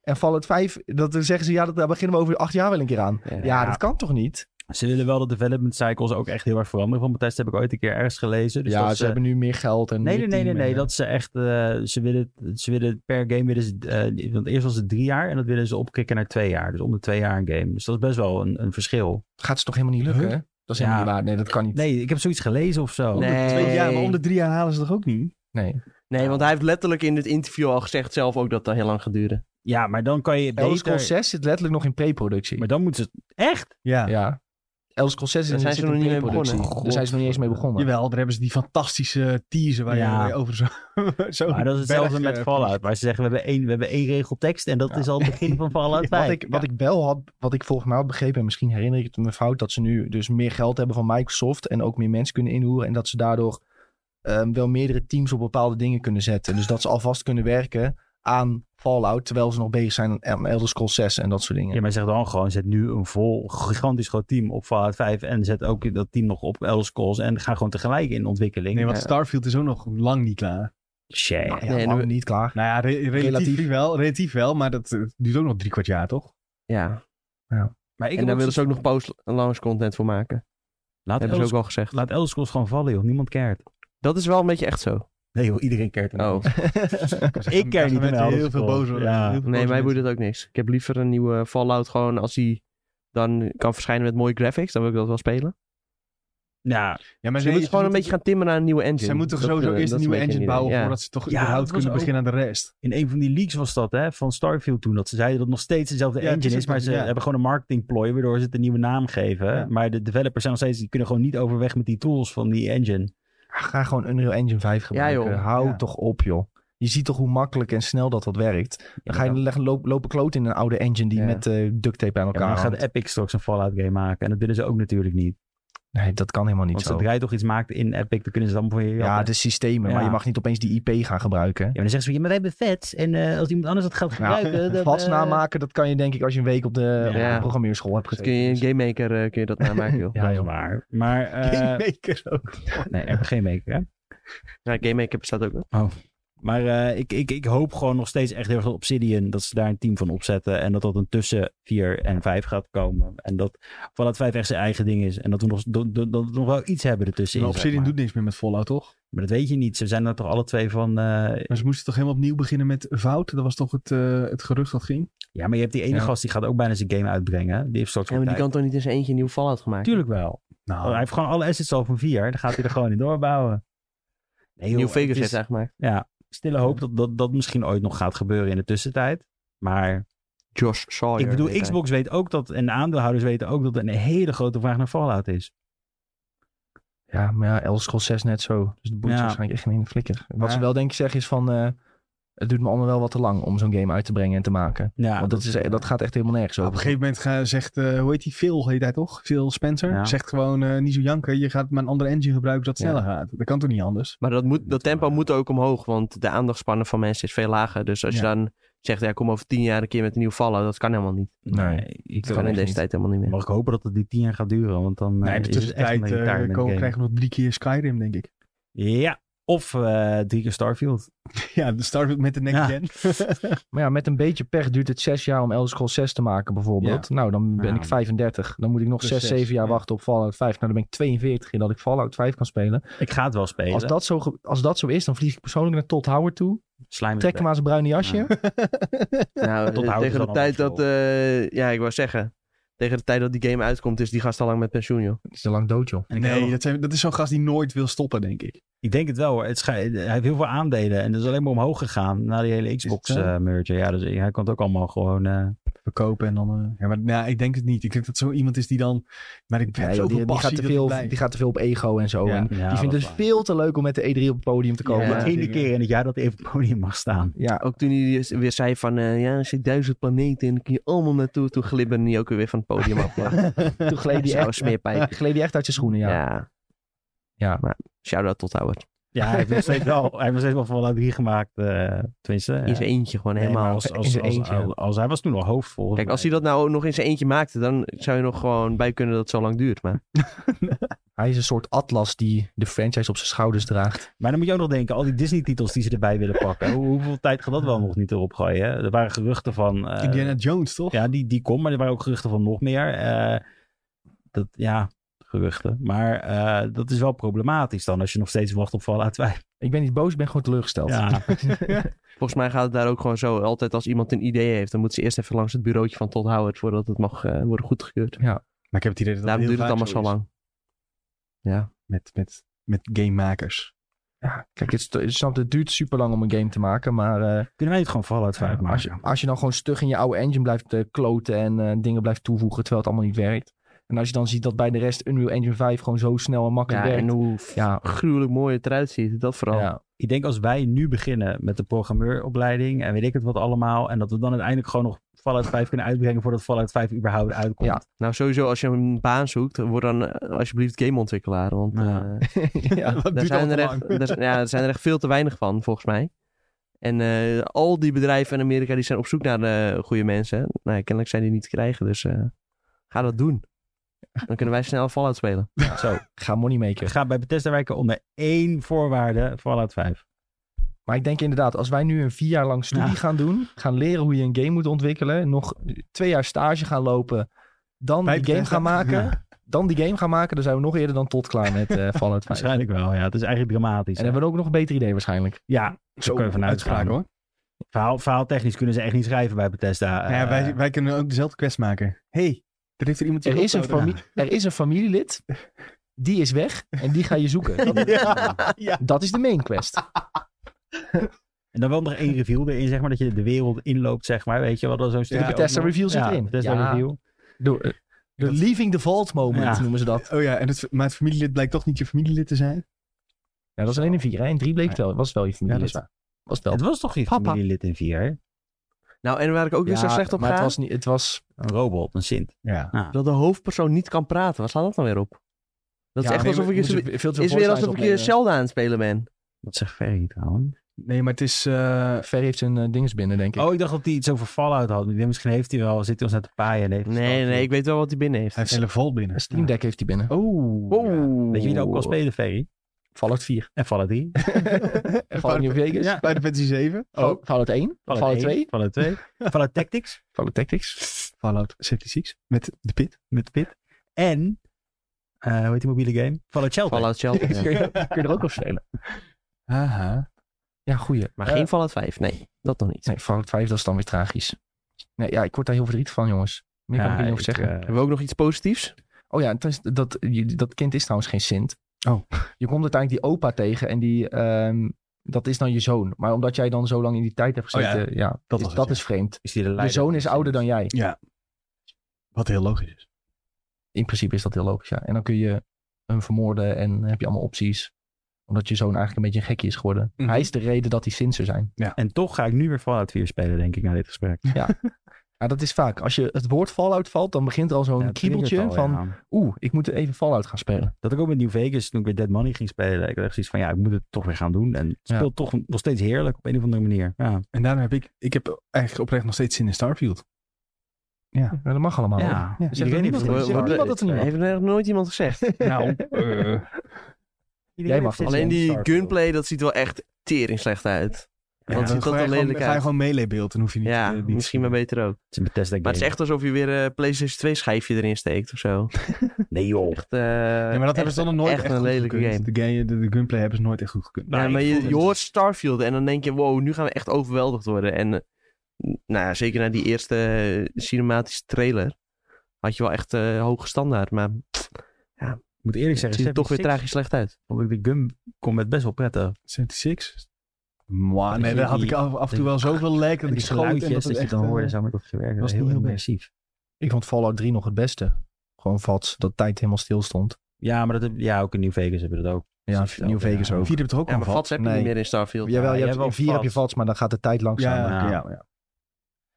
[SPEAKER 1] En Fallout 5, dat dan zeggen ze, ja, dat, daar beginnen we over acht jaar wel een keer aan.
[SPEAKER 3] Ja.
[SPEAKER 1] ja dat kan toch niet?
[SPEAKER 4] Ze willen wel de development cycles ook echt heel erg veranderen. Van Bethesda heb ik ooit een keer ergens gelezen. Dus
[SPEAKER 1] ja,
[SPEAKER 4] dat
[SPEAKER 1] ze hebben nu meer geld. En
[SPEAKER 4] Nee,
[SPEAKER 1] meer
[SPEAKER 4] nee, nee, nee,
[SPEAKER 1] team
[SPEAKER 4] nee.
[SPEAKER 1] en,
[SPEAKER 4] Dat ze echt. eh, ze, willen, ze willen per game willen ze. eh, want eerst was het drie jaar en dat willen ze opkikken naar twee jaar. Dus om de twee jaar een game. Dus dat is best wel een, een verschil.
[SPEAKER 1] eh, Gaat ze toch helemaal niet lukken?
[SPEAKER 2] Huh?
[SPEAKER 1] hè? Dat is
[SPEAKER 4] Ja.
[SPEAKER 1] helemaal niet waar. Nee, dat kan niet. Nee.
[SPEAKER 4] Nee, ik heb zoiets gelezen of zo.
[SPEAKER 3] Nee.
[SPEAKER 2] Onder twee jaar, maar onder drie jaar halen ze toch ook niet?
[SPEAKER 3] Nee, want hij heeft letterlijk in het interview al gezegd zelf ook dat dat heel lang gaat duren.
[SPEAKER 4] Ja, maar dan kan je.
[SPEAKER 1] Elder Scrolls
[SPEAKER 4] Beter,
[SPEAKER 1] 6 zit letterlijk nog in pre-productie.
[SPEAKER 4] maar dan moeten ze. Echt?
[SPEAKER 2] Ja.
[SPEAKER 1] Ja. Elder Scrolls 6
[SPEAKER 3] Daar
[SPEAKER 1] zit
[SPEAKER 3] zijn ze
[SPEAKER 1] in
[SPEAKER 3] nog niet mee
[SPEAKER 1] pre-productie.
[SPEAKER 3] begonnen.
[SPEAKER 1] Daar zijn ze nog niet eens mee begonnen.
[SPEAKER 2] Jawel, daar hebben ze die fantastische teaser waar, je,
[SPEAKER 4] Ja.
[SPEAKER 2] waar je over zo... zo
[SPEAKER 4] Maar dat is hetzelfde
[SPEAKER 2] berg,
[SPEAKER 4] met
[SPEAKER 2] eh,
[SPEAKER 4] Fallout. Waar ze zeggen: we hebben één, we hebben één regel tekst. En dat is al het begin van Fallout 5.
[SPEAKER 1] Wat ik, wat
[SPEAKER 4] Ja.
[SPEAKER 1] ik wel had, wat ik volgens mij had begrepen, en misschien herinner ik het me fout, dat ze nu dus meer geld hebben van Microsoft en ook meer mensen kunnen inhuren. En dat ze daardoor ehm, wel meerdere teams op bepaalde dingen kunnen zetten. Dus dat ze alvast kunnen werken aan Fallout, terwijl ze nog bezig zijn aan Elder Scrolls 6 en dat soort dingen.
[SPEAKER 4] Ja, maar zeg dan gewoon, zet nu een vol, gigantisch groot team op Fallout 5. En zet ook dat team nog op Elder Scrolls. En ga gewoon tegelijk in ontwikkeling.
[SPEAKER 2] Nee, want
[SPEAKER 3] Ja.
[SPEAKER 2] Starfield is ook nog lang niet klaar.
[SPEAKER 4] Shit.
[SPEAKER 1] Ah, Ja,
[SPEAKER 3] Nee,
[SPEAKER 1] lang
[SPEAKER 3] nu-
[SPEAKER 1] niet klaar.
[SPEAKER 2] Nou ja, re- relatief,
[SPEAKER 1] Relatief.
[SPEAKER 2] wel, relatief wel, maar dat eh, duurt ook nog drie kwart jaar, toch?
[SPEAKER 3] Ja.
[SPEAKER 4] Maar
[SPEAKER 3] en
[SPEAKER 4] ik heb
[SPEAKER 3] daar
[SPEAKER 4] ook
[SPEAKER 3] willen ze ook nog post-launch content voor maken.
[SPEAKER 4] Laat
[SPEAKER 3] hebben
[SPEAKER 4] Elder,
[SPEAKER 3] ze ook al gezegd.
[SPEAKER 4] laat Elder Scrolls gewoon vallen, joh. Niemand keert.
[SPEAKER 3] Dat is wel een beetje echt zo.
[SPEAKER 4] Nee, joh. Iedereen keert.
[SPEAKER 3] Oh.
[SPEAKER 4] Ik ken niet
[SPEAKER 2] met
[SPEAKER 4] een Elder
[SPEAKER 2] heel veel
[SPEAKER 4] Scrolls.
[SPEAKER 2] boze
[SPEAKER 4] Ja.
[SPEAKER 2] heel veel
[SPEAKER 3] Nee,
[SPEAKER 2] boze
[SPEAKER 3] mij boeit
[SPEAKER 2] mensen.
[SPEAKER 3] het ook niks. Ik heb liever een nieuwe Fallout gewoon als die dan kan verschijnen met mooie graphics. Dan wil ik dat wel spelen.
[SPEAKER 4] Ja,
[SPEAKER 2] Ja, maar
[SPEAKER 3] Ze
[SPEAKER 2] nee,
[SPEAKER 3] moeten gewoon een beetje gaan timmeren aan een nieuwe engine.
[SPEAKER 2] Ze moeten toch
[SPEAKER 3] Dat-
[SPEAKER 2] sowieso
[SPEAKER 3] dat
[SPEAKER 2] eerst een
[SPEAKER 3] is
[SPEAKER 2] nieuwe
[SPEAKER 3] beetje
[SPEAKER 2] engine
[SPEAKER 3] idee.
[SPEAKER 2] bouwen
[SPEAKER 3] Ja,
[SPEAKER 2] voordat ze toch
[SPEAKER 4] Ja,
[SPEAKER 2] überhaupt
[SPEAKER 4] dat was
[SPEAKER 2] kunnen
[SPEAKER 4] ook-
[SPEAKER 2] beginnen aan de rest.
[SPEAKER 4] in een van die leaks was dat, hè, van Starfield toen. Dat ze zeiden dat het nog steeds dezelfde
[SPEAKER 2] Ja, het
[SPEAKER 4] engine
[SPEAKER 2] is
[SPEAKER 4] is,
[SPEAKER 2] ook
[SPEAKER 4] maar
[SPEAKER 2] dat-
[SPEAKER 4] ze
[SPEAKER 2] ja.
[SPEAKER 4] hebben gewoon een marketingplooi waardoor ze het een nieuwe naam geven.
[SPEAKER 2] Ja.
[SPEAKER 4] Maar de developers zijn nog steeds, die kunnen gewoon niet overweg met die tools van die engine.
[SPEAKER 1] Ah, Ga gewoon Unreal Engine 5 gebruiken.
[SPEAKER 3] joh.
[SPEAKER 1] Hou
[SPEAKER 2] Ja.
[SPEAKER 1] toch op, joh. Je ziet toch hoe makkelijk en snel dat dat werkt. Dan ga je leggen, loop, lopen kloot in een oude engine die
[SPEAKER 3] Ja.
[SPEAKER 1] met eh, duct tape aan
[SPEAKER 4] Ja,
[SPEAKER 1] elkaar
[SPEAKER 4] maar dan gaat
[SPEAKER 1] hangt.
[SPEAKER 4] Epic straks een Fallout game maken. En dat willen ze ook natuurlijk niet.
[SPEAKER 1] Nee, dat kan helemaal niet
[SPEAKER 4] Want
[SPEAKER 1] zo.
[SPEAKER 4] zodra je toch iets maakt in Epic, dan kunnen ze dan voor je
[SPEAKER 1] Ja, de systemen. Maar
[SPEAKER 4] Ja.
[SPEAKER 1] je mag niet opeens die IP gaan gebruiken.
[SPEAKER 4] Ja, maar dan zeggen ze, ja, maar wij hebben vets. En eh, als iemand anders dat gaat
[SPEAKER 1] Nou,
[SPEAKER 4] gebruiken... dan,
[SPEAKER 1] Vats
[SPEAKER 4] eh,
[SPEAKER 1] namaken, dat kan je denk ik als je een week op de,
[SPEAKER 4] Ja.
[SPEAKER 1] op de programmeerschool hebt
[SPEAKER 3] Dat kun
[SPEAKER 1] gezeten.
[SPEAKER 3] je in Game Maker eh, kun je dat namaken, joh.
[SPEAKER 1] Ja,
[SPEAKER 4] dat is
[SPEAKER 1] joh.
[SPEAKER 4] waar. Maar, eh,
[SPEAKER 1] Dus-
[SPEAKER 2] Maker ook.
[SPEAKER 4] nee, RPG Maker, hè?
[SPEAKER 3] Ja, Game Maker bestaat ook nog.
[SPEAKER 4] Oh. Maar eh, ik, ik, ik hoop gewoon nog steeds echt heel erg dat Obsidian, dat ze daar een team van opzetten. En dat dat een tussen 4 en 5 gaat komen. En dat Fallout 5 echt zijn eigen ding is. En dat we nog, dat, dat- dat we nog wel iets hebben ertussen.
[SPEAKER 2] Maar Obsidian doet niks meer met Fallout, toch?
[SPEAKER 4] Maar dat weet je niet. Ze zijn er toch alle twee van. eh,
[SPEAKER 2] Maar ze moesten toch helemaal opnieuw beginnen met Vout? Dat was toch het, eh, het gerucht dat ging?
[SPEAKER 4] Ja, maar je hebt die ene
[SPEAKER 2] Ja.
[SPEAKER 4] gast die gaat ook bijna zijn game uitbrengen. Die heeft straks.
[SPEAKER 3] Ja, maar die kan toch niet eens eentje een nieuw Fallout gemaakt?
[SPEAKER 4] Natuurlijk wel.
[SPEAKER 2] Nou,
[SPEAKER 4] Oh, Hij heeft gewoon alle assets al van vier. Dan gaat hij er gewoon in doorbouwen. Nee, joh,
[SPEAKER 3] Nieuw Vegas
[SPEAKER 4] het
[SPEAKER 3] heeft
[SPEAKER 4] is-
[SPEAKER 3] hij gemaakt.
[SPEAKER 4] Ja, stille hoop dat, dat dat misschien ooit nog gaat gebeuren in de tussentijd. Maar
[SPEAKER 3] Josh Sawyer.
[SPEAKER 4] ik bedoel,
[SPEAKER 3] heet hij.
[SPEAKER 4] Xbox weet ook dat, en de aandeelhouders weten ook dat er een hele grote vraag naar Fallout is.
[SPEAKER 1] Ja, maar ja, Elder Scrolls 6 net zo. Dus dat boeit
[SPEAKER 4] Ja.
[SPEAKER 1] ze waarschijnlijk echt geen ene flikker. Wat
[SPEAKER 4] Maar-
[SPEAKER 1] ze wel denk ik zeggen is van... eh, het duurt me allemaal wel wat te lang om zo'n game uit te brengen en te maken.
[SPEAKER 4] Ja,
[SPEAKER 1] Want dat, is, dat gaat echt helemaal nergens
[SPEAKER 2] op
[SPEAKER 1] over.
[SPEAKER 2] een gegeven moment ga- zegt, eh, hoe heet die, Phil heet hij toch? Phil Spencer?
[SPEAKER 4] Ja.
[SPEAKER 2] Zegt gewoon, eh, niet zo janken, je gaat maar een andere engine gebruiken zodat het
[SPEAKER 3] Ja.
[SPEAKER 2] sneller gaat. Dat kan toch niet anders?
[SPEAKER 3] Maar dat, moet, dat tempo moet ook omhoog, want de aandachtspannen van mensen is veel lager. Dus als je
[SPEAKER 2] Ja.
[SPEAKER 3] dan zegt, ja, kom over tien jaar een keer met een nieuw Fallout, dat kan helemaal niet.
[SPEAKER 1] Nee,
[SPEAKER 4] ik
[SPEAKER 3] Dat
[SPEAKER 1] kan
[SPEAKER 3] kan in
[SPEAKER 1] echt
[SPEAKER 3] deze
[SPEAKER 1] niet.
[SPEAKER 3] tijd helemaal niet meer.
[SPEAKER 4] Mag ik hopen dat het die tien jaar gaat duren, want dan
[SPEAKER 2] Nee,
[SPEAKER 4] eh,
[SPEAKER 2] in de
[SPEAKER 4] is het echt een
[SPEAKER 2] tussentijd eh,
[SPEAKER 4] retirement
[SPEAKER 2] komen,
[SPEAKER 4] game.
[SPEAKER 2] krijgen we nog drie keer Skyrim, denk ik.
[SPEAKER 4] Ja, of eh, drie keer Starfield.
[SPEAKER 2] Ja, de start met de next
[SPEAKER 4] Ja.
[SPEAKER 2] gen.
[SPEAKER 1] Maar ja, met een beetje pech duurt het zes jaar om Elder Scrolls 6 te maken bijvoorbeeld. Nou, dan ben
[SPEAKER 4] Ja.
[SPEAKER 1] ik 35. Dan moet ik nog
[SPEAKER 2] Dus
[SPEAKER 1] zes,
[SPEAKER 2] zes,
[SPEAKER 1] zeven jaar
[SPEAKER 2] ja.
[SPEAKER 1] wachten op Fallout 5. Nou, dan ben ik 42 en dat ik Fallout 5 kan spelen.
[SPEAKER 4] Ik ga het wel spelen.
[SPEAKER 1] Als dat, zo, ge- als dat zo is, dan vlieg ik persoonlijk naar Todd Howard toe.
[SPEAKER 4] Slijm is
[SPEAKER 1] Trek hem
[SPEAKER 4] weg.
[SPEAKER 1] aan zijn bruine jasje.
[SPEAKER 4] Ja.
[SPEAKER 3] Nou,
[SPEAKER 4] Tot houden ze
[SPEAKER 3] tegen
[SPEAKER 4] dan
[SPEAKER 3] de tijd
[SPEAKER 4] allemaal
[SPEAKER 3] dat, eh, ja, ik wou zeggen, tegen de tijd dat die game uitkomt, is die gast al lang met pensioen, joh.
[SPEAKER 1] Die is te lang dood, joh.
[SPEAKER 4] En ik heb
[SPEAKER 2] nee,
[SPEAKER 4] nog-
[SPEAKER 2] dat, zijn- dat is zo'n gast die nooit wil stoppen, denk ik.
[SPEAKER 4] Ik denk het wel hoor. Het schij- hij heeft heel veel aandelen en dat is alleen maar omhoog gegaan na die hele Xbox
[SPEAKER 2] zo?
[SPEAKER 4] eh, merger. Ja, dus hij kan het ook allemaal gewoon... eh,
[SPEAKER 2] Verkopen en dan... eh, ja, maar nou, ik denk het niet. Ik denk dat zo iemand is die dan... Maar ik
[SPEAKER 1] Ja,
[SPEAKER 2] heb
[SPEAKER 1] joh, die,
[SPEAKER 2] zoveel
[SPEAKER 1] die gaat
[SPEAKER 2] passie
[SPEAKER 1] te
[SPEAKER 2] dat ik
[SPEAKER 1] veel,
[SPEAKER 2] blijf.
[SPEAKER 1] die gaat te veel op ego en zo.
[SPEAKER 2] Ja.
[SPEAKER 1] en
[SPEAKER 4] ja, eh,
[SPEAKER 1] die vindt
[SPEAKER 4] dat
[SPEAKER 1] het
[SPEAKER 4] is waar.
[SPEAKER 1] veel te leuk om met de E3 op het podium te komen.
[SPEAKER 2] Ja.
[SPEAKER 1] Ja,
[SPEAKER 4] De ene keer in het jaar dat hij even op het podium mag staan.
[SPEAKER 3] Ook toen hij weer zei van, eh, ja, er zitten duizend planeten in, daar kun je allemaal naartoe. Toen glibberde hij ook weer van het podium af.
[SPEAKER 1] toen gleed die,
[SPEAKER 3] Zo'n
[SPEAKER 1] echt,
[SPEAKER 3] smeerpijp.
[SPEAKER 1] gleed die echt uit je schoenen, ja.
[SPEAKER 3] Ja.
[SPEAKER 1] ja.
[SPEAKER 3] ja.
[SPEAKER 1] Ja.
[SPEAKER 3] Maar shout-out tot Howard.
[SPEAKER 4] Ja, hij heeft nog steeds wel, hij heeft nog steeds wel Fallout 3 gemaakt. eh tenminste,
[SPEAKER 3] In zijn eentje gewoon helemaal.
[SPEAKER 4] als,
[SPEAKER 1] in
[SPEAKER 4] als,
[SPEAKER 1] zijn
[SPEAKER 4] als,
[SPEAKER 1] eentje.
[SPEAKER 4] als- als- hij was toen al hoofd volgens
[SPEAKER 3] Kijk, als
[SPEAKER 4] mij.
[SPEAKER 3] hij dat nou ook nog in zijn eentje maakte, dan zou je nog gewoon bij kunnen dat het zo lang duurt. Maar
[SPEAKER 1] Hij is een soort atlas die de franchise op zijn schouders draagt.
[SPEAKER 4] Maar dan moet je ook nog denken, al die Disney-titels die ze erbij willen pakken. hoe, hoeveel tijd gaat dat wel nog niet erop gooien? hè? Er waren geruchten van... eh,
[SPEAKER 2] Indiana Jones, toch?
[SPEAKER 4] ja, die, die kon, maar er waren ook geruchten van nog meer. Eh, dat, ja, geruchten. Maar eh, dat is wel problematisch dan, als je nog steeds wacht op Fallout 5.
[SPEAKER 1] Ik ben niet boos, ik ben gewoon teleurgesteld.
[SPEAKER 4] Ja,
[SPEAKER 3] volgens mij gaat het daar ook gewoon zo. Altijd als iemand een idee heeft, dan moet ze eerst even langs het bureautje van Todd Howard voordat het mag eh, worden goedgekeurd.
[SPEAKER 2] Maar ik heb het idee dat dat
[SPEAKER 3] Daarom
[SPEAKER 2] heel
[SPEAKER 3] duurt het
[SPEAKER 2] vaak
[SPEAKER 3] allemaal
[SPEAKER 2] is.
[SPEAKER 3] zo lang. Ja.
[SPEAKER 2] Met, met, met gamemakers.
[SPEAKER 1] Ja, kijk, het, is- ik snap, het duurt super lang om een game te maken, maar eh,
[SPEAKER 4] kunnen wij het gewoon Fallout 5
[SPEAKER 1] als, je,
[SPEAKER 4] maken?
[SPEAKER 1] als je dan gewoon stug in je oude engine blijft eh, kloten en eh, dingen blijft toevoegen terwijl het allemaal niet werkt. En als je dan ziet dat bij de rest Unreal Engine 5 gewoon zo snel en
[SPEAKER 3] ja,
[SPEAKER 1] makkelijk werkt.
[SPEAKER 3] en hoe
[SPEAKER 1] ja,
[SPEAKER 3] gruwelijk mooi het eruit ziet. Dat vooral.
[SPEAKER 1] ja,
[SPEAKER 4] Ik denk als wij nu beginnen met de programmeuropleiding en weet ik het wat allemaal. En dat we dan uiteindelijk gewoon nog Fallout 5 kunnen uitbrengen voordat Fallout 5 überhaupt uitkomt.
[SPEAKER 1] Ja.
[SPEAKER 3] Nou, sowieso als je een baan zoekt, word dan eh, alsjeblieft gameontwikkelaar. Want
[SPEAKER 4] Ja.
[SPEAKER 3] eh,
[SPEAKER 1] ja.
[SPEAKER 2] Wat
[SPEAKER 3] Daar
[SPEAKER 2] duurt
[SPEAKER 3] zijn,
[SPEAKER 2] allemaal
[SPEAKER 3] er
[SPEAKER 2] lang?
[SPEAKER 3] echt, daar, zijn- ja, er zijn er echt veel te weinig van, volgens mij. En eh, al die bedrijven in Amerika die zijn op zoek naar eh, goede mensen. Nou, ja, kennelijk zijn die niet te krijgen, dus eh, ga dat doen. Dan kunnen wij snel Fallout spelen.
[SPEAKER 4] Zo,
[SPEAKER 1] Ga moneymaker.
[SPEAKER 4] ik ga bij Bethesda werken onder één voorwaarde, Fallout 5.
[SPEAKER 1] Maar ik denk inderdaad, als wij nu een vier jaar lang studie
[SPEAKER 4] Ja.
[SPEAKER 1] gaan doen, gaan leren hoe je een game moet ontwikkelen, nog twee jaar stage gaan lopen, dan
[SPEAKER 2] Bij
[SPEAKER 1] die game
[SPEAKER 2] Bethesda?
[SPEAKER 1] gaan maken,
[SPEAKER 2] Ja.
[SPEAKER 1] dan die game gaan maken, dan zijn we nog eerder dan tot klaar met eh Fallout 5. En
[SPEAKER 4] Waarschijnlijk wel, ja. Het is eigenlijk dramatisch.
[SPEAKER 1] dan hebben we ook nog een beter idee waarschijnlijk.
[SPEAKER 4] Ja, zo kunnen we vanuit gaan.
[SPEAKER 2] hoor.
[SPEAKER 4] Verhaal, verhaaltechnisch kunnen ze echt niet schrijven bij Bethesda.
[SPEAKER 2] Nou ja,
[SPEAKER 4] Eh,
[SPEAKER 2] wij, wij kunnen ook dezelfde quest maken. Hé, hey, er heeft er iemand
[SPEAKER 1] Er
[SPEAKER 2] die
[SPEAKER 1] is, een
[SPEAKER 2] uploaden.
[SPEAKER 1] familie, er is een familielid, die is weg en die ga je zoeken. Dat,
[SPEAKER 2] Ja, ja.
[SPEAKER 1] dat is de main quest.
[SPEAKER 4] En dan wel nog één reveal erin, zeg maar, dat je de wereld inloopt, zeg maar. Weet je wel, dat is zo'n stukje. ook
[SPEAKER 1] Bethesda
[SPEAKER 4] nog.
[SPEAKER 1] reveal zit
[SPEAKER 4] ja,
[SPEAKER 1] erin.
[SPEAKER 4] Bethesda
[SPEAKER 1] Ja.
[SPEAKER 4] reveal.
[SPEAKER 1] De, eh, de
[SPEAKER 2] Dat-
[SPEAKER 1] leaving the vault moment
[SPEAKER 4] Ja.
[SPEAKER 1] noemen ze dat.
[SPEAKER 2] Oh ja, en het, maar het familielid blijkt toch niet je familielid te zijn?
[SPEAKER 1] Ja, dat is alleen in 4. In 3 bleek het wel, was wel je familielid.
[SPEAKER 2] waar.
[SPEAKER 1] was het wel.
[SPEAKER 4] Het was toch geen
[SPEAKER 1] Papa.
[SPEAKER 4] familielid in 4, hè?
[SPEAKER 3] Nou, en waar ik ook weer zo
[SPEAKER 1] Ja,
[SPEAKER 3] slecht op
[SPEAKER 1] maar
[SPEAKER 3] ga,
[SPEAKER 1] het was, niet, het was
[SPEAKER 4] Een robot, een Sint.
[SPEAKER 2] Ja.
[SPEAKER 3] dat de hoofdpersoon niet kan praten. Waar slaat dat dan weer op? Dat
[SPEAKER 1] Ja,
[SPEAKER 3] is echt
[SPEAKER 1] nee,
[SPEAKER 3] alsof ik...
[SPEAKER 1] we
[SPEAKER 3] Is,
[SPEAKER 1] moeten veel te
[SPEAKER 3] is
[SPEAKER 1] veel voice
[SPEAKER 3] weer alsof ik
[SPEAKER 1] opnemen.
[SPEAKER 3] je Zelda aan het spelen ben.
[SPEAKER 4] Dat zegt Ferry trouwens.
[SPEAKER 2] Nee, maar het is... eh,
[SPEAKER 1] Ferry heeft zijn eh, dinges binnen, denk ik.
[SPEAKER 4] Oh, ik dacht dat hij iets over Fallout had. Ik dacht, Misschien heeft hij wel, zit hij ons naar te paaien. en heeft hij
[SPEAKER 3] Nee,
[SPEAKER 4] Starfield.
[SPEAKER 3] nee, ik weet wel wat hij binnen heeft.
[SPEAKER 1] Eh,
[SPEAKER 2] hij heeft hele vol binnen.
[SPEAKER 1] Een Steam Deck heeft hij binnen.
[SPEAKER 2] Oh.
[SPEAKER 3] Wow.
[SPEAKER 4] Weet je wie dat ook kan spelen, Ferry?
[SPEAKER 5] Fallout 4.
[SPEAKER 4] En Fallout 3.
[SPEAKER 5] En Fallout New Vegas.
[SPEAKER 4] Ja.
[SPEAKER 2] Final Fantasy 7.
[SPEAKER 1] Oh.
[SPEAKER 5] Fallout- Fallout 1. Fallout, 2.
[SPEAKER 4] Fallout 2. Fallout Tactics.
[SPEAKER 1] Fallout Tactics.
[SPEAKER 2] Fallout 76. Met de pit.
[SPEAKER 4] Met Pit. En, eh hoe heet die mobiele game? Fallout Shelter.
[SPEAKER 3] Fallout Shelter. ja.
[SPEAKER 5] Kun, je, kun je er ook op spelen.
[SPEAKER 2] Haha.
[SPEAKER 1] Ja, goeie.
[SPEAKER 3] Maar geen Fallout 5. Nee, dat nog niet.
[SPEAKER 1] Nee, Fallout 5, dat is dan weer tragisch. Nee, ja, ik word daar heel verdrietig van, jongens. Meer kan ik er niet over zeggen.
[SPEAKER 2] eh,
[SPEAKER 4] eh,
[SPEAKER 3] Hebben we ook nog iets positiefs?
[SPEAKER 1] Oh ja, trouwens, dat, je- dat kind is trouwens geen Sint.
[SPEAKER 2] Oh.
[SPEAKER 1] Je komt uiteindelijk die opa tegen en die, ehm, dat is dan je zoon. Maar omdat jij dan zo lang in die tijd hebt
[SPEAKER 2] Oh ja,
[SPEAKER 1] gezeten, ja,
[SPEAKER 2] dat
[SPEAKER 1] is,
[SPEAKER 2] was het,
[SPEAKER 1] dat
[SPEAKER 2] ja.
[SPEAKER 1] is vreemd.
[SPEAKER 4] Is die de
[SPEAKER 1] Je
[SPEAKER 4] leider?
[SPEAKER 1] zoon is ouder dan jij.
[SPEAKER 2] Wat heel logisch is.
[SPEAKER 1] In principe is dat heel logisch, ja. En dan kun je hem vermoorden en dan heb je allemaal opties. Omdat je zoon eigenlijk een beetje een gekje is geworden.
[SPEAKER 2] Mhm.
[SPEAKER 1] Hij is de reden dat die Sint zou zijn.
[SPEAKER 4] En toch ga ik nu weer Fallout 4 spelen, denk ik, na dit gesprek.
[SPEAKER 1] Ja, dat is vaak. Als je het woord Fallout valt, dan begint er al zo'n
[SPEAKER 4] Ja, het triggert
[SPEAKER 1] kriebeltje
[SPEAKER 4] al,
[SPEAKER 1] van...
[SPEAKER 4] ja.
[SPEAKER 1] Oeh, ik moet even Fallout gaan spelen.
[SPEAKER 4] Dat ik ook met New Vegas, toen ik weer Dead Money ging spelen, ik had echt zoiets van, ja, ik moet het toch weer gaan doen. En het
[SPEAKER 1] Ja.
[SPEAKER 4] speelt toch nog steeds heerlijk, op een of andere manier. Ja,
[SPEAKER 2] En daarom heb ik, ik heb eigenlijk oprecht nog steeds zin in Starfield.
[SPEAKER 1] Ja, dat mag allemaal. hoor.
[SPEAKER 4] ja.
[SPEAKER 1] Zegt er niemand-
[SPEAKER 4] het.
[SPEAKER 1] zegt
[SPEAKER 3] Wordt- wordt-
[SPEAKER 1] niemand dat er nu
[SPEAKER 3] Heeft er nog nooit iemand gezegd.
[SPEAKER 2] Nou, eh,
[SPEAKER 1] Jij mag
[SPEAKER 3] Alleen die gunplay, dat ziet wel echt tering slecht uit.
[SPEAKER 2] Ja,
[SPEAKER 3] Wat
[SPEAKER 2] dan
[SPEAKER 3] ziet
[SPEAKER 2] ga
[SPEAKER 3] dat
[SPEAKER 2] je
[SPEAKER 3] er
[SPEAKER 2] gewoon-
[SPEAKER 3] lelijk
[SPEAKER 2] Ga je
[SPEAKER 3] uit.
[SPEAKER 2] gewoon melee beeld, dan hoef je niet...
[SPEAKER 3] Ja,
[SPEAKER 2] eh, niet-
[SPEAKER 3] misschien maar beter ook.
[SPEAKER 4] Het is een Bethesda game.
[SPEAKER 3] Maar het is echt alsof je weer eh PlayStation 2 schijfje erin steekt of zo.
[SPEAKER 4] Nee joh.
[SPEAKER 3] Echt, eh,
[SPEAKER 2] Ja, maar dat hebben ze dan nog nooit echt,
[SPEAKER 3] echt een
[SPEAKER 2] goed
[SPEAKER 3] lelijke
[SPEAKER 2] gekund.
[SPEAKER 3] game.
[SPEAKER 2] De, game de, de gunplay hebben ze nooit echt goed gekund.
[SPEAKER 3] Ja, maar je, je hoort Starfield en dan denk je, wow, nu gaan we echt overweldigd worden. En eh, nou ja, zeker na die eerste eh, cinematische trailer had je wel echt eh hoge standaard. Maar het
[SPEAKER 4] Ik moet eerlijk zeggen,
[SPEAKER 3] ziet er toch weer
[SPEAKER 4] 76
[SPEAKER 3] tragisch slecht uit.
[SPEAKER 4] Vond ik de gun combat best wel prettig.
[SPEAKER 2] 76? Mwah, nee,
[SPEAKER 4] Die-
[SPEAKER 2] daar had ik af, af en toe wel zoveel lek dat
[SPEAKER 4] En
[SPEAKER 2] ik
[SPEAKER 4] die
[SPEAKER 2] schoot. En dat
[SPEAKER 4] geluidjes
[SPEAKER 2] het
[SPEAKER 4] dat je
[SPEAKER 2] echt,
[SPEAKER 4] dan
[SPEAKER 2] eh,
[SPEAKER 4] hoorde, zo met dat gewerkt.
[SPEAKER 2] was
[SPEAKER 4] heel,
[SPEAKER 2] niet heel best.
[SPEAKER 4] immersief.
[SPEAKER 1] Ik vond Fallout 3 nog het beste. Gewoon vats, dat tijd helemaal stil stond.
[SPEAKER 4] Ja, maar dat heb- ja, ook in New Vegas hebben we dat ook.
[SPEAKER 1] Ja,
[SPEAKER 4] Precies,
[SPEAKER 1] New
[SPEAKER 4] ook,
[SPEAKER 1] Vegas
[SPEAKER 4] ja.
[SPEAKER 1] ook.
[SPEAKER 2] Vier heb je toch ook
[SPEAKER 3] Ja,
[SPEAKER 2] al
[SPEAKER 3] maar vats heb je
[SPEAKER 1] nee.
[SPEAKER 3] niet meer in Starfield.
[SPEAKER 1] Jawel,
[SPEAKER 4] Ja,
[SPEAKER 1] je
[SPEAKER 4] jij
[SPEAKER 1] hebt,
[SPEAKER 4] wel
[SPEAKER 1] in 4 heb je
[SPEAKER 4] vals.
[SPEAKER 1] vals, maar dan gaat de tijd langzamer.
[SPEAKER 2] Ja,
[SPEAKER 4] Ja.
[SPEAKER 2] ja, ja.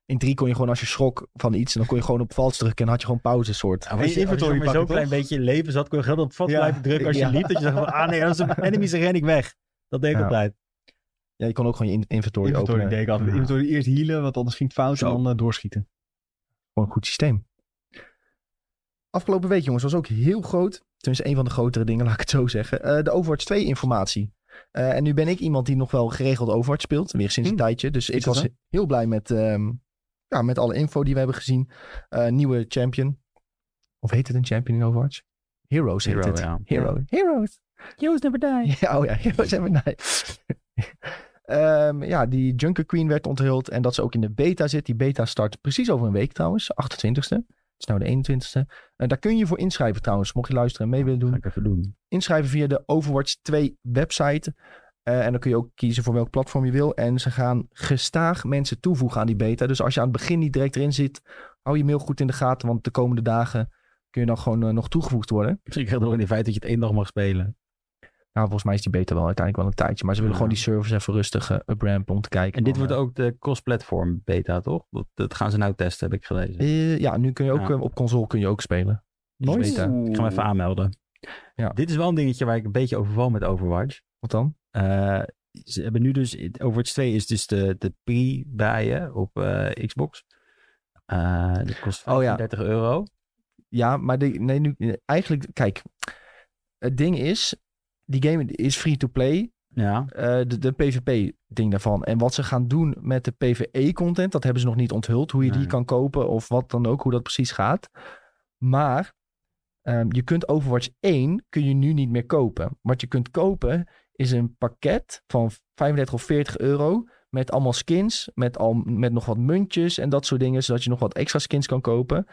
[SPEAKER 1] In 3 kon je gewoon als je schrok van iets, en dan kon je gewoon op vals drukken en had je gewoon pauze soort.
[SPEAKER 2] Hey,
[SPEAKER 4] Als je, als je
[SPEAKER 2] inventory
[SPEAKER 4] maar zo'n
[SPEAKER 2] pakken,
[SPEAKER 4] klein
[SPEAKER 2] toch?
[SPEAKER 4] beetje leven zat, kon je heel dat vat
[SPEAKER 2] Ja.
[SPEAKER 4] blijven drukken als je
[SPEAKER 1] Ja.
[SPEAKER 4] liep. Dat je zag van, ah nee, als er enemies ren ik weg. Dat deed ik
[SPEAKER 1] Ja.
[SPEAKER 4] altijd.
[SPEAKER 1] Ja, je kon ook eh, gewoon je in- inventory,
[SPEAKER 2] Inventory
[SPEAKER 1] openen.
[SPEAKER 2] deed ik altijd.
[SPEAKER 4] Ja.
[SPEAKER 2] Inventory eerst healen, want anders ging het fout.
[SPEAKER 4] Zo.
[SPEAKER 2] En dan eh, doorschieten.
[SPEAKER 1] Gewoon een goed systeem. Afgelopen week, jongens, was ook heel groot. Tenminste, een van de grotere dingen, laat ik het zo zeggen. eh, de Overwatch 2 informatie. Eh, en nu ben ik iemand die nog wel geregeld Overwatch speelt. Weer sinds een
[SPEAKER 2] Hm.
[SPEAKER 1] tijdje. Dus ik
[SPEAKER 2] dat
[SPEAKER 1] was
[SPEAKER 2] zo?
[SPEAKER 1] heel blij met, ehm, ja, met alle info die we hebben gezien. Eh, nieuwe champion. Of heet het een champion in Overwatch? Heroes heet het.
[SPEAKER 4] ja.
[SPEAKER 1] Hero. Heroes.
[SPEAKER 4] Heroes never die.
[SPEAKER 1] Ja, oh ja, Heroes and Midnight. Ehm ja, die Junker Queen werd onthuld en dat ze ook in de beta zit. Die beta start precies over een week trouwens, 28ste. Het is nou de 21ste. Eh, daar kun je voor inschrijven trouwens, mocht je luisteren en mee willen
[SPEAKER 4] Ga
[SPEAKER 1] doen.
[SPEAKER 4] ik even doen.
[SPEAKER 1] Inschrijven via de Overwatch 2 website. Eh, en dan kun je ook kiezen voor welk platform je wil. En ze gaan gestaag mensen toevoegen aan die beta. Dus als je aan het begin niet direct erin zit, hou je mail goed in de gaten. Want de komende dagen kun je dan gewoon eh, nog toegevoegd worden.
[SPEAKER 4] Misschien krijg je er ook in het feit dat je het één dag mag spelen.
[SPEAKER 1] Nou, volgens mij is die beta wel uiteindelijk wel een tijdje. Maar ze willen
[SPEAKER 4] Ja.
[SPEAKER 1] gewoon die servers even rustig eh, uprampen om te kijken.
[SPEAKER 4] En dit
[SPEAKER 1] van,
[SPEAKER 4] wordt ook de cross-platform beta, toch? Dat, dat gaan ze nou testen, heb ik gelezen.
[SPEAKER 1] eh, eh, ja, nu kun je ook
[SPEAKER 4] Ja.
[SPEAKER 1] eh, op console kun je ook spelen.
[SPEAKER 4] Die is
[SPEAKER 1] Nice.
[SPEAKER 4] beta. Ik ga me even aanmelden.
[SPEAKER 1] Ja.
[SPEAKER 4] Dit is wel een dingetje waar ik een beetje over woon met Overwatch.
[SPEAKER 1] Wat dan?
[SPEAKER 4] Eh, ze hebben nu dus, Overwatch 2 is dus de, de pre-buy hè, op eh, Xbox. Eh dat kost
[SPEAKER 1] Oh ja.
[SPEAKER 4] 35 euro.
[SPEAKER 1] Ja, maar de, nee, nu, eh, eigenlijk, kijk, het ding is, die game is free-to-play.
[SPEAKER 4] Ja.
[SPEAKER 1] eh, de, de PvP-ding daarvan. En wat ze gaan doen met de PvE-content, dat hebben ze nog niet onthuld. Hoe je die
[SPEAKER 4] Nee.
[SPEAKER 1] kan kopen of wat dan ook, hoe dat precies gaat. Maar ehm, je kunt Overwatch 1 kun je nu niet meer kopen. Wat je kunt kopen is een pakket van 35 of 40 euro met allemaal skins, met, al, met nog wat muntjes en dat soort dingen, zodat je nog wat extra skins kan kopen.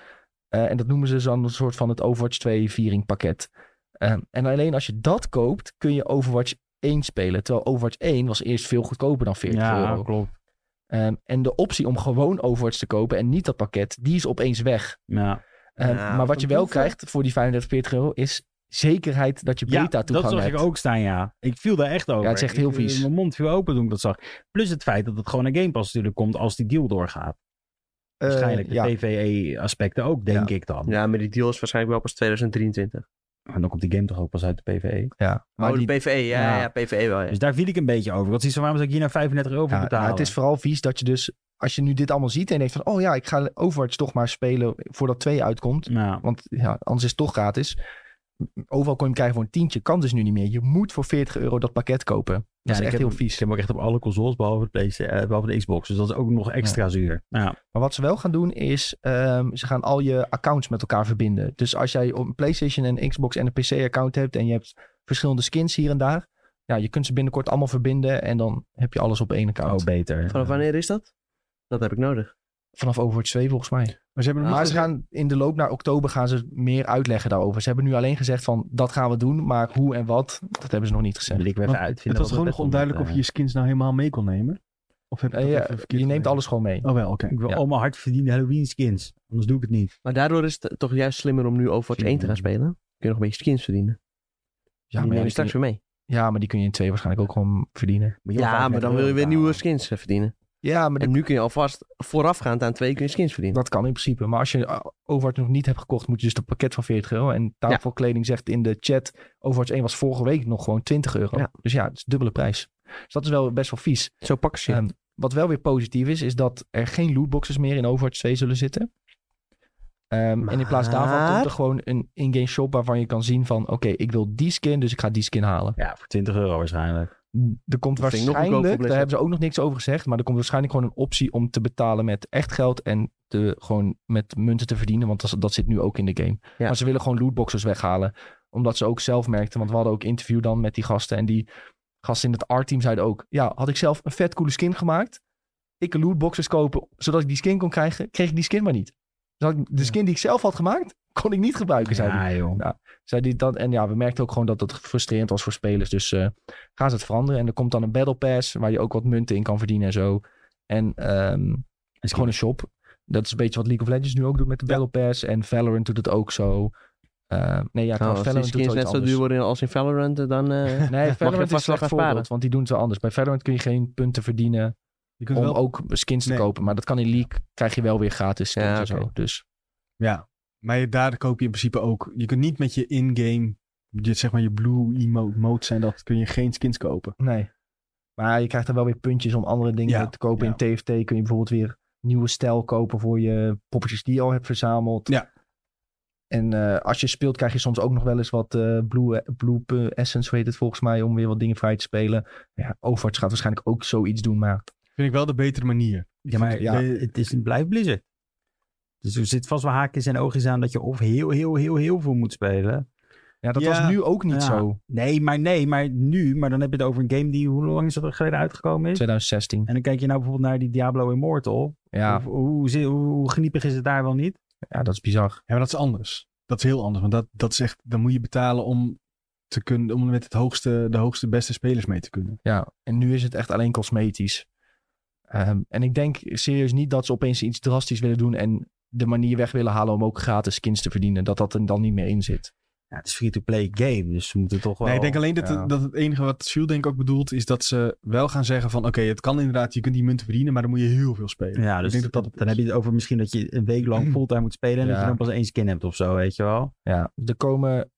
[SPEAKER 1] Eh, en dat noemen ze dan een soort van het Overwatch 2 viering pakket. Ehm, en alleen als je dat koopt, kun je Overwatch 1 spelen. Terwijl Overwatch 1 was eerst veel goedkoper dan 40
[SPEAKER 4] ja,
[SPEAKER 1] euro.
[SPEAKER 4] klopt.
[SPEAKER 1] Ehm, en de optie om gewoon Overwatch te kopen en niet dat pakket, die is opeens weg.
[SPEAKER 4] Ja,
[SPEAKER 1] Ehm,
[SPEAKER 3] Ja,
[SPEAKER 1] maar wat
[SPEAKER 3] wat
[SPEAKER 1] je
[SPEAKER 3] een
[SPEAKER 1] wel
[SPEAKER 3] toevoeg.
[SPEAKER 1] krijgt voor die 35, 40 euro is zekerheid dat je
[SPEAKER 4] ja
[SPEAKER 1] beta
[SPEAKER 4] dat
[SPEAKER 1] toegang
[SPEAKER 4] zag
[SPEAKER 1] hebt.
[SPEAKER 4] ik ook staan, ja. Ik viel daar echt over.
[SPEAKER 1] Ja, het is echt heel
[SPEAKER 4] Ik- eh,
[SPEAKER 1] vies.
[SPEAKER 4] Mijn mond viel open toen ik dat zag. Plus het feit dat het gewoon naar Game Pass natuurlijk komt als die deal doorgaat.
[SPEAKER 1] Eh,
[SPEAKER 4] Waarschijnlijk de
[SPEAKER 1] ja.
[SPEAKER 4] PvE-aspecten ook, denk ik dan.
[SPEAKER 3] Ja, maar die deal is waarschijnlijk wel pas 2023.
[SPEAKER 4] En dan komt die game toch ook pas uit de PvE.
[SPEAKER 1] Ja, maar
[SPEAKER 3] oh,
[SPEAKER 1] die-
[SPEAKER 3] de PvE, ja,
[SPEAKER 4] Ja.
[SPEAKER 3] ja. PvE wel. Ja.
[SPEAKER 4] Dus daar viel ik een beetje over. Want waarom zou ik hier nou 35 euro voor
[SPEAKER 1] ja,
[SPEAKER 4] betalen?
[SPEAKER 1] maar het is vooral vies dat je dus, als je nu dit allemaal ziet en je denkt van, oh ja, ik ga Overwatch toch maar spelen voordat 2 uitkomt.
[SPEAKER 4] Ja.
[SPEAKER 1] Want ja, anders is het toch gratis. overal kon je hem krijgen voor een tientje. Kan dus nu niet meer. Je moet voor 40 euro dat pakket kopen. Dat is
[SPEAKER 4] en
[SPEAKER 1] echt
[SPEAKER 4] ik heb
[SPEAKER 1] heel
[SPEAKER 4] hem-
[SPEAKER 1] vies.
[SPEAKER 4] Ik heb hem ook echt op alle consoles, behalve de, PlayStation, eh, behalve de Xbox. Dus dat is ook nog extra zuur. Ja.
[SPEAKER 1] Maar wat ze wel gaan doen is, ehm, ze gaan al je accounts met elkaar verbinden. Dus als jij op een PlayStation en een Xbox en een PC-account hebt en je hebt verschillende skins hier en daar. Ja, je kunt ze binnenkort allemaal verbinden en dan heb je alles op één account.
[SPEAKER 4] Oh, beter.
[SPEAKER 3] Vanaf wanneer is dat? Dat heb ik nodig.
[SPEAKER 1] Vanaf Overwatch 2 volgens mij.
[SPEAKER 2] Maar Ah, ze hebben nog
[SPEAKER 1] Maar
[SPEAKER 2] niet
[SPEAKER 1] ze gaan in de loop naar oktober gaan ze meer uitleggen daarover. Ze hebben nu alleen gezegd van dat gaan we doen, maar hoe en wat, dat hebben ze nog niet gezegd.
[SPEAKER 4] Wil ik weer even
[SPEAKER 2] Want
[SPEAKER 4] uitvinden.
[SPEAKER 2] het was
[SPEAKER 4] wat
[SPEAKER 2] gewoon nog
[SPEAKER 4] met-
[SPEAKER 2] onduidelijk of je je skins nou helemaal mee kon nemen. Of heb ik
[SPEAKER 1] Eh,
[SPEAKER 2] dat
[SPEAKER 1] ja,
[SPEAKER 2] even verkeerd
[SPEAKER 1] je neemt
[SPEAKER 2] gelezen?
[SPEAKER 1] alles gewoon mee.
[SPEAKER 2] Oh wel, oké.
[SPEAKER 4] Ik wil
[SPEAKER 1] Ja.
[SPEAKER 4] allemaal hard verdiende Halloween skins. Anders doe ik het niet.
[SPEAKER 3] Maar daardoor is het toch juist slimmer om nu Overwatch 1 te gaan spelen. Kun je nog een beetje skins verdienen.
[SPEAKER 1] Ja,
[SPEAKER 3] die
[SPEAKER 1] maar, ja,
[SPEAKER 3] neem je
[SPEAKER 1] die kun
[SPEAKER 3] straks
[SPEAKER 1] je,
[SPEAKER 3] weer mee.
[SPEAKER 1] ja, maar die kun je in 2 waarschijnlijk ook gewoon verdienen.
[SPEAKER 4] Moet je wel
[SPEAKER 3] Ja,
[SPEAKER 4] vaak
[SPEAKER 3] maar
[SPEAKER 4] met
[SPEAKER 3] dan
[SPEAKER 4] euro
[SPEAKER 3] wil je weer
[SPEAKER 4] betalen.
[SPEAKER 3] nieuwe skins eh, verdienen.
[SPEAKER 1] Ja, maar
[SPEAKER 3] En nu kun je alvast voorafgaand aan twee kun je skins verdienen.
[SPEAKER 1] Dat kan in principe. Maar als je eh, Overwatch nog niet hebt gekocht, moet je dus dat pakket van 40 euro. En tafelkleding zegt in de chat, Overwatch 1 was vorige week nog gewoon 20 euro.
[SPEAKER 3] Ja.
[SPEAKER 1] Dus ja, het is dubbele prijs. Dus dat is wel best wel vies.
[SPEAKER 3] Zo pakken ze je.
[SPEAKER 1] Ehm, wat wel weer positief is, is dat er geen lootboxes meer in Overwatch 2 zullen zitten. Ehm, En in plaats daarvan komt
[SPEAKER 3] Maar-
[SPEAKER 1] er gewoon een in-game shop waarvan je kan zien van... oké, ik wil die skin, dus ik ga die skin halen.
[SPEAKER 4] Ja, voor 20 euro waarschijnlijk.
[SPEAKER 1] Er komt
[SPEAKER 3] Dat vind ik nog goedkoop voor
[SPEAKER 1] waarschijnlijk, daar
[SPEAKER 3] Blizzard.
[SPEAKER 1] hebben ze ook nog niks over gezegd... maar er komt waarschijnlijk gewoon een optie om te betalen met echt geld... en te, gewoon met munten te verdienen, want dat, dat zit nu ook in de game.
[SPEAKER 3] Ja.
[SPEAKER 1] Maar ze willen gewoon lootboxes weghalen. Omdat ze ook zelf merkten, want we hadden ook interview dan met die gasten... en die gasten in het art-team zeiden ook... ja, had ik zelf een vet coole skin gemaakt... ik een lootboxes kopen, zodat ik die skin kon krijgen... kreeg ik die skin maar niet. Dus had ik- de skin die ik zelf had gemaakt, kon ik niet gebruiken, zei die.
[SPEAKER 4] Ja, joh.
[SPEAKER 1] Zei die dat, en ja, we merkten ook gewoon dat dat frustrerend was voor spelers. Dus eh, gaan ze het veranderen. En er komt dan een battle pass waar je ook wat munten in kan verdienen en zo. En ehm, het is gewoon een shop. Dat is een beetje wat League of Legends nu ook doet met de battle pass. En Valorant doet het ook zo. Eh, nee, ja,
[SPEAKER 3] Nou,
[SPEAKER 1] trouwens,
[SPEAKER 3] als die
[SPEAKER 1] Valorant doet
[SPEAKER 3] skins
[SPEAKER 1] het
[SPEAKER 3] net zo duur worden als in Valorant, eh, dan... eh,
[SPEAKER 1] Nee,
[SPEAKER 3] vast
[SPEAKER 1] Valorant
[SPEAKER 3] wel
[SPEAKER 1] is slecht
[SPEAKER 3] gaan
[SPEAKER 1] voorbeeld,
[SPEAKER 3] sparen.
[SPEAKER 1] want die doen ze anders. Bij Valorant kun je geen punten verdienen
[SPEAKER 2] Je kunt
[SPEAKER 1] om
[SPEAKER 2] wel...
[SPEAKER 1] ook skins te
[SPEAKER 2] Nee.
[SPEAKER 1] kopen. Maar dat kan in League, krijg je wel weer gratis skins
[SPEAKER 3] Ja,
[SPEAKER 1] en zo.
[SPEAKER 3] oké.
[SPEAKER 1] Dus
[SPEAKER 2] Ja, maar je- daar koop je in principe ook... Je kunt niet met je in-game, je- zeg maar je blue emote mode zijn, dat kun je geen skins kopen.
[SPEAKER 1] Nee. Maar je krijgt dan wel weer puntjes om andere dingen
[SPEAKER 2] Ja,
[SPEAKER 1] te kopen.
[SPEAKER 2] ja.
[SPEAKER 1] In TFT kun je bijvoorbeeld weer nieuwe stijl kopen voor je poppetjes die je al hebt verzameld.
[SPEAKER 2] Ja.
[SPEAKER 1] En eh, als je speelt krijg je soms ook nog wel eens wat eh, Blue, blue eh, Essence, hoe heet het volgens mij, om weer wat dingen vrij te spelen. Ja, Overwatch gaat waarschijnlijk ook zoiets doen, maar
[SPEAKER 2] Vind ik wel de betere manier.
[SPEAKER 4] Ja, maar
[SPEAKER 1] Ja.
[SPEAKER 4] eh, het is, het blijft Blizzard. Dus er zit vast wel haakjes en oogjes aan dat je of heel, heel, heel, heel veel moet spelen.
[SPEAKER 1] ja, dat
[SPEAKER 2] Ja,
[SPEAKER 1] was nu ook niet
[SPEAKER 4] ja.
[SPEAKER 1] zo,
[SPEAKER 4] Nee, maar nee, maar nu. Maar dan heb je het over een game die, hoe lang is dat er geleden uitgekomen is?
[SPEAKER 1] 2016.
[SPEAKER 4] En dan kijk je nou bijvoorbeeld naar die Diablo Immortal.
[SPEAKER 1] Ja,
[SPEAKER 4] Hoe, hoe, zi- hoe, hoe geniepig is het daar wel niet?
[SPEAKER 1] ja dat is bizar.
[SPEAKER 2] Ja, maar dat is anders. Dat is heel anders. Want dat, dat is echt, dan moet je betalen om te kunnen, om met het hoogste, de hoogste beste spelers mee te kunnen.
[SPEAKER 1] Ja, en nu is het echt alleen cosmetisch. Ehm, en ik denk serieus niet dat ze opeens iets drastisch willen doen en de manier weg willen halen om ook gratis skins te verdienen. Dat dat er dan niet meer in zit.
[SPEAKER 4] Ja, het is free-to-play game, dus ze moeten toch wel...
[SPEAKER 2] nee, ik denk alleen dat,
[SPEAKER 1] ja.
[SPEAKER 2] dat het enige wat Shield denk ik ook bedoelt, is dat ze wel gaan zeggen van oké, het kan inderdaad, je kunt die munten verdienen, maar dan moet je heel veel spelen.
[SPEAKER 4] Ja, dus
[SPEAKER 2] ik denk dat dat het
[SPEAKER 4] dan
[SPEAKER 2] is.
[SPEAKER 4] heb je het over misschien dat je een week lang fulltime moet spelen... en dat
[SPEAKER 1] Ja.
[SPEAKER 4] je dan pas één skin hebt of zo, weet je wel?
[SPEAKER 1] Ja, er komen,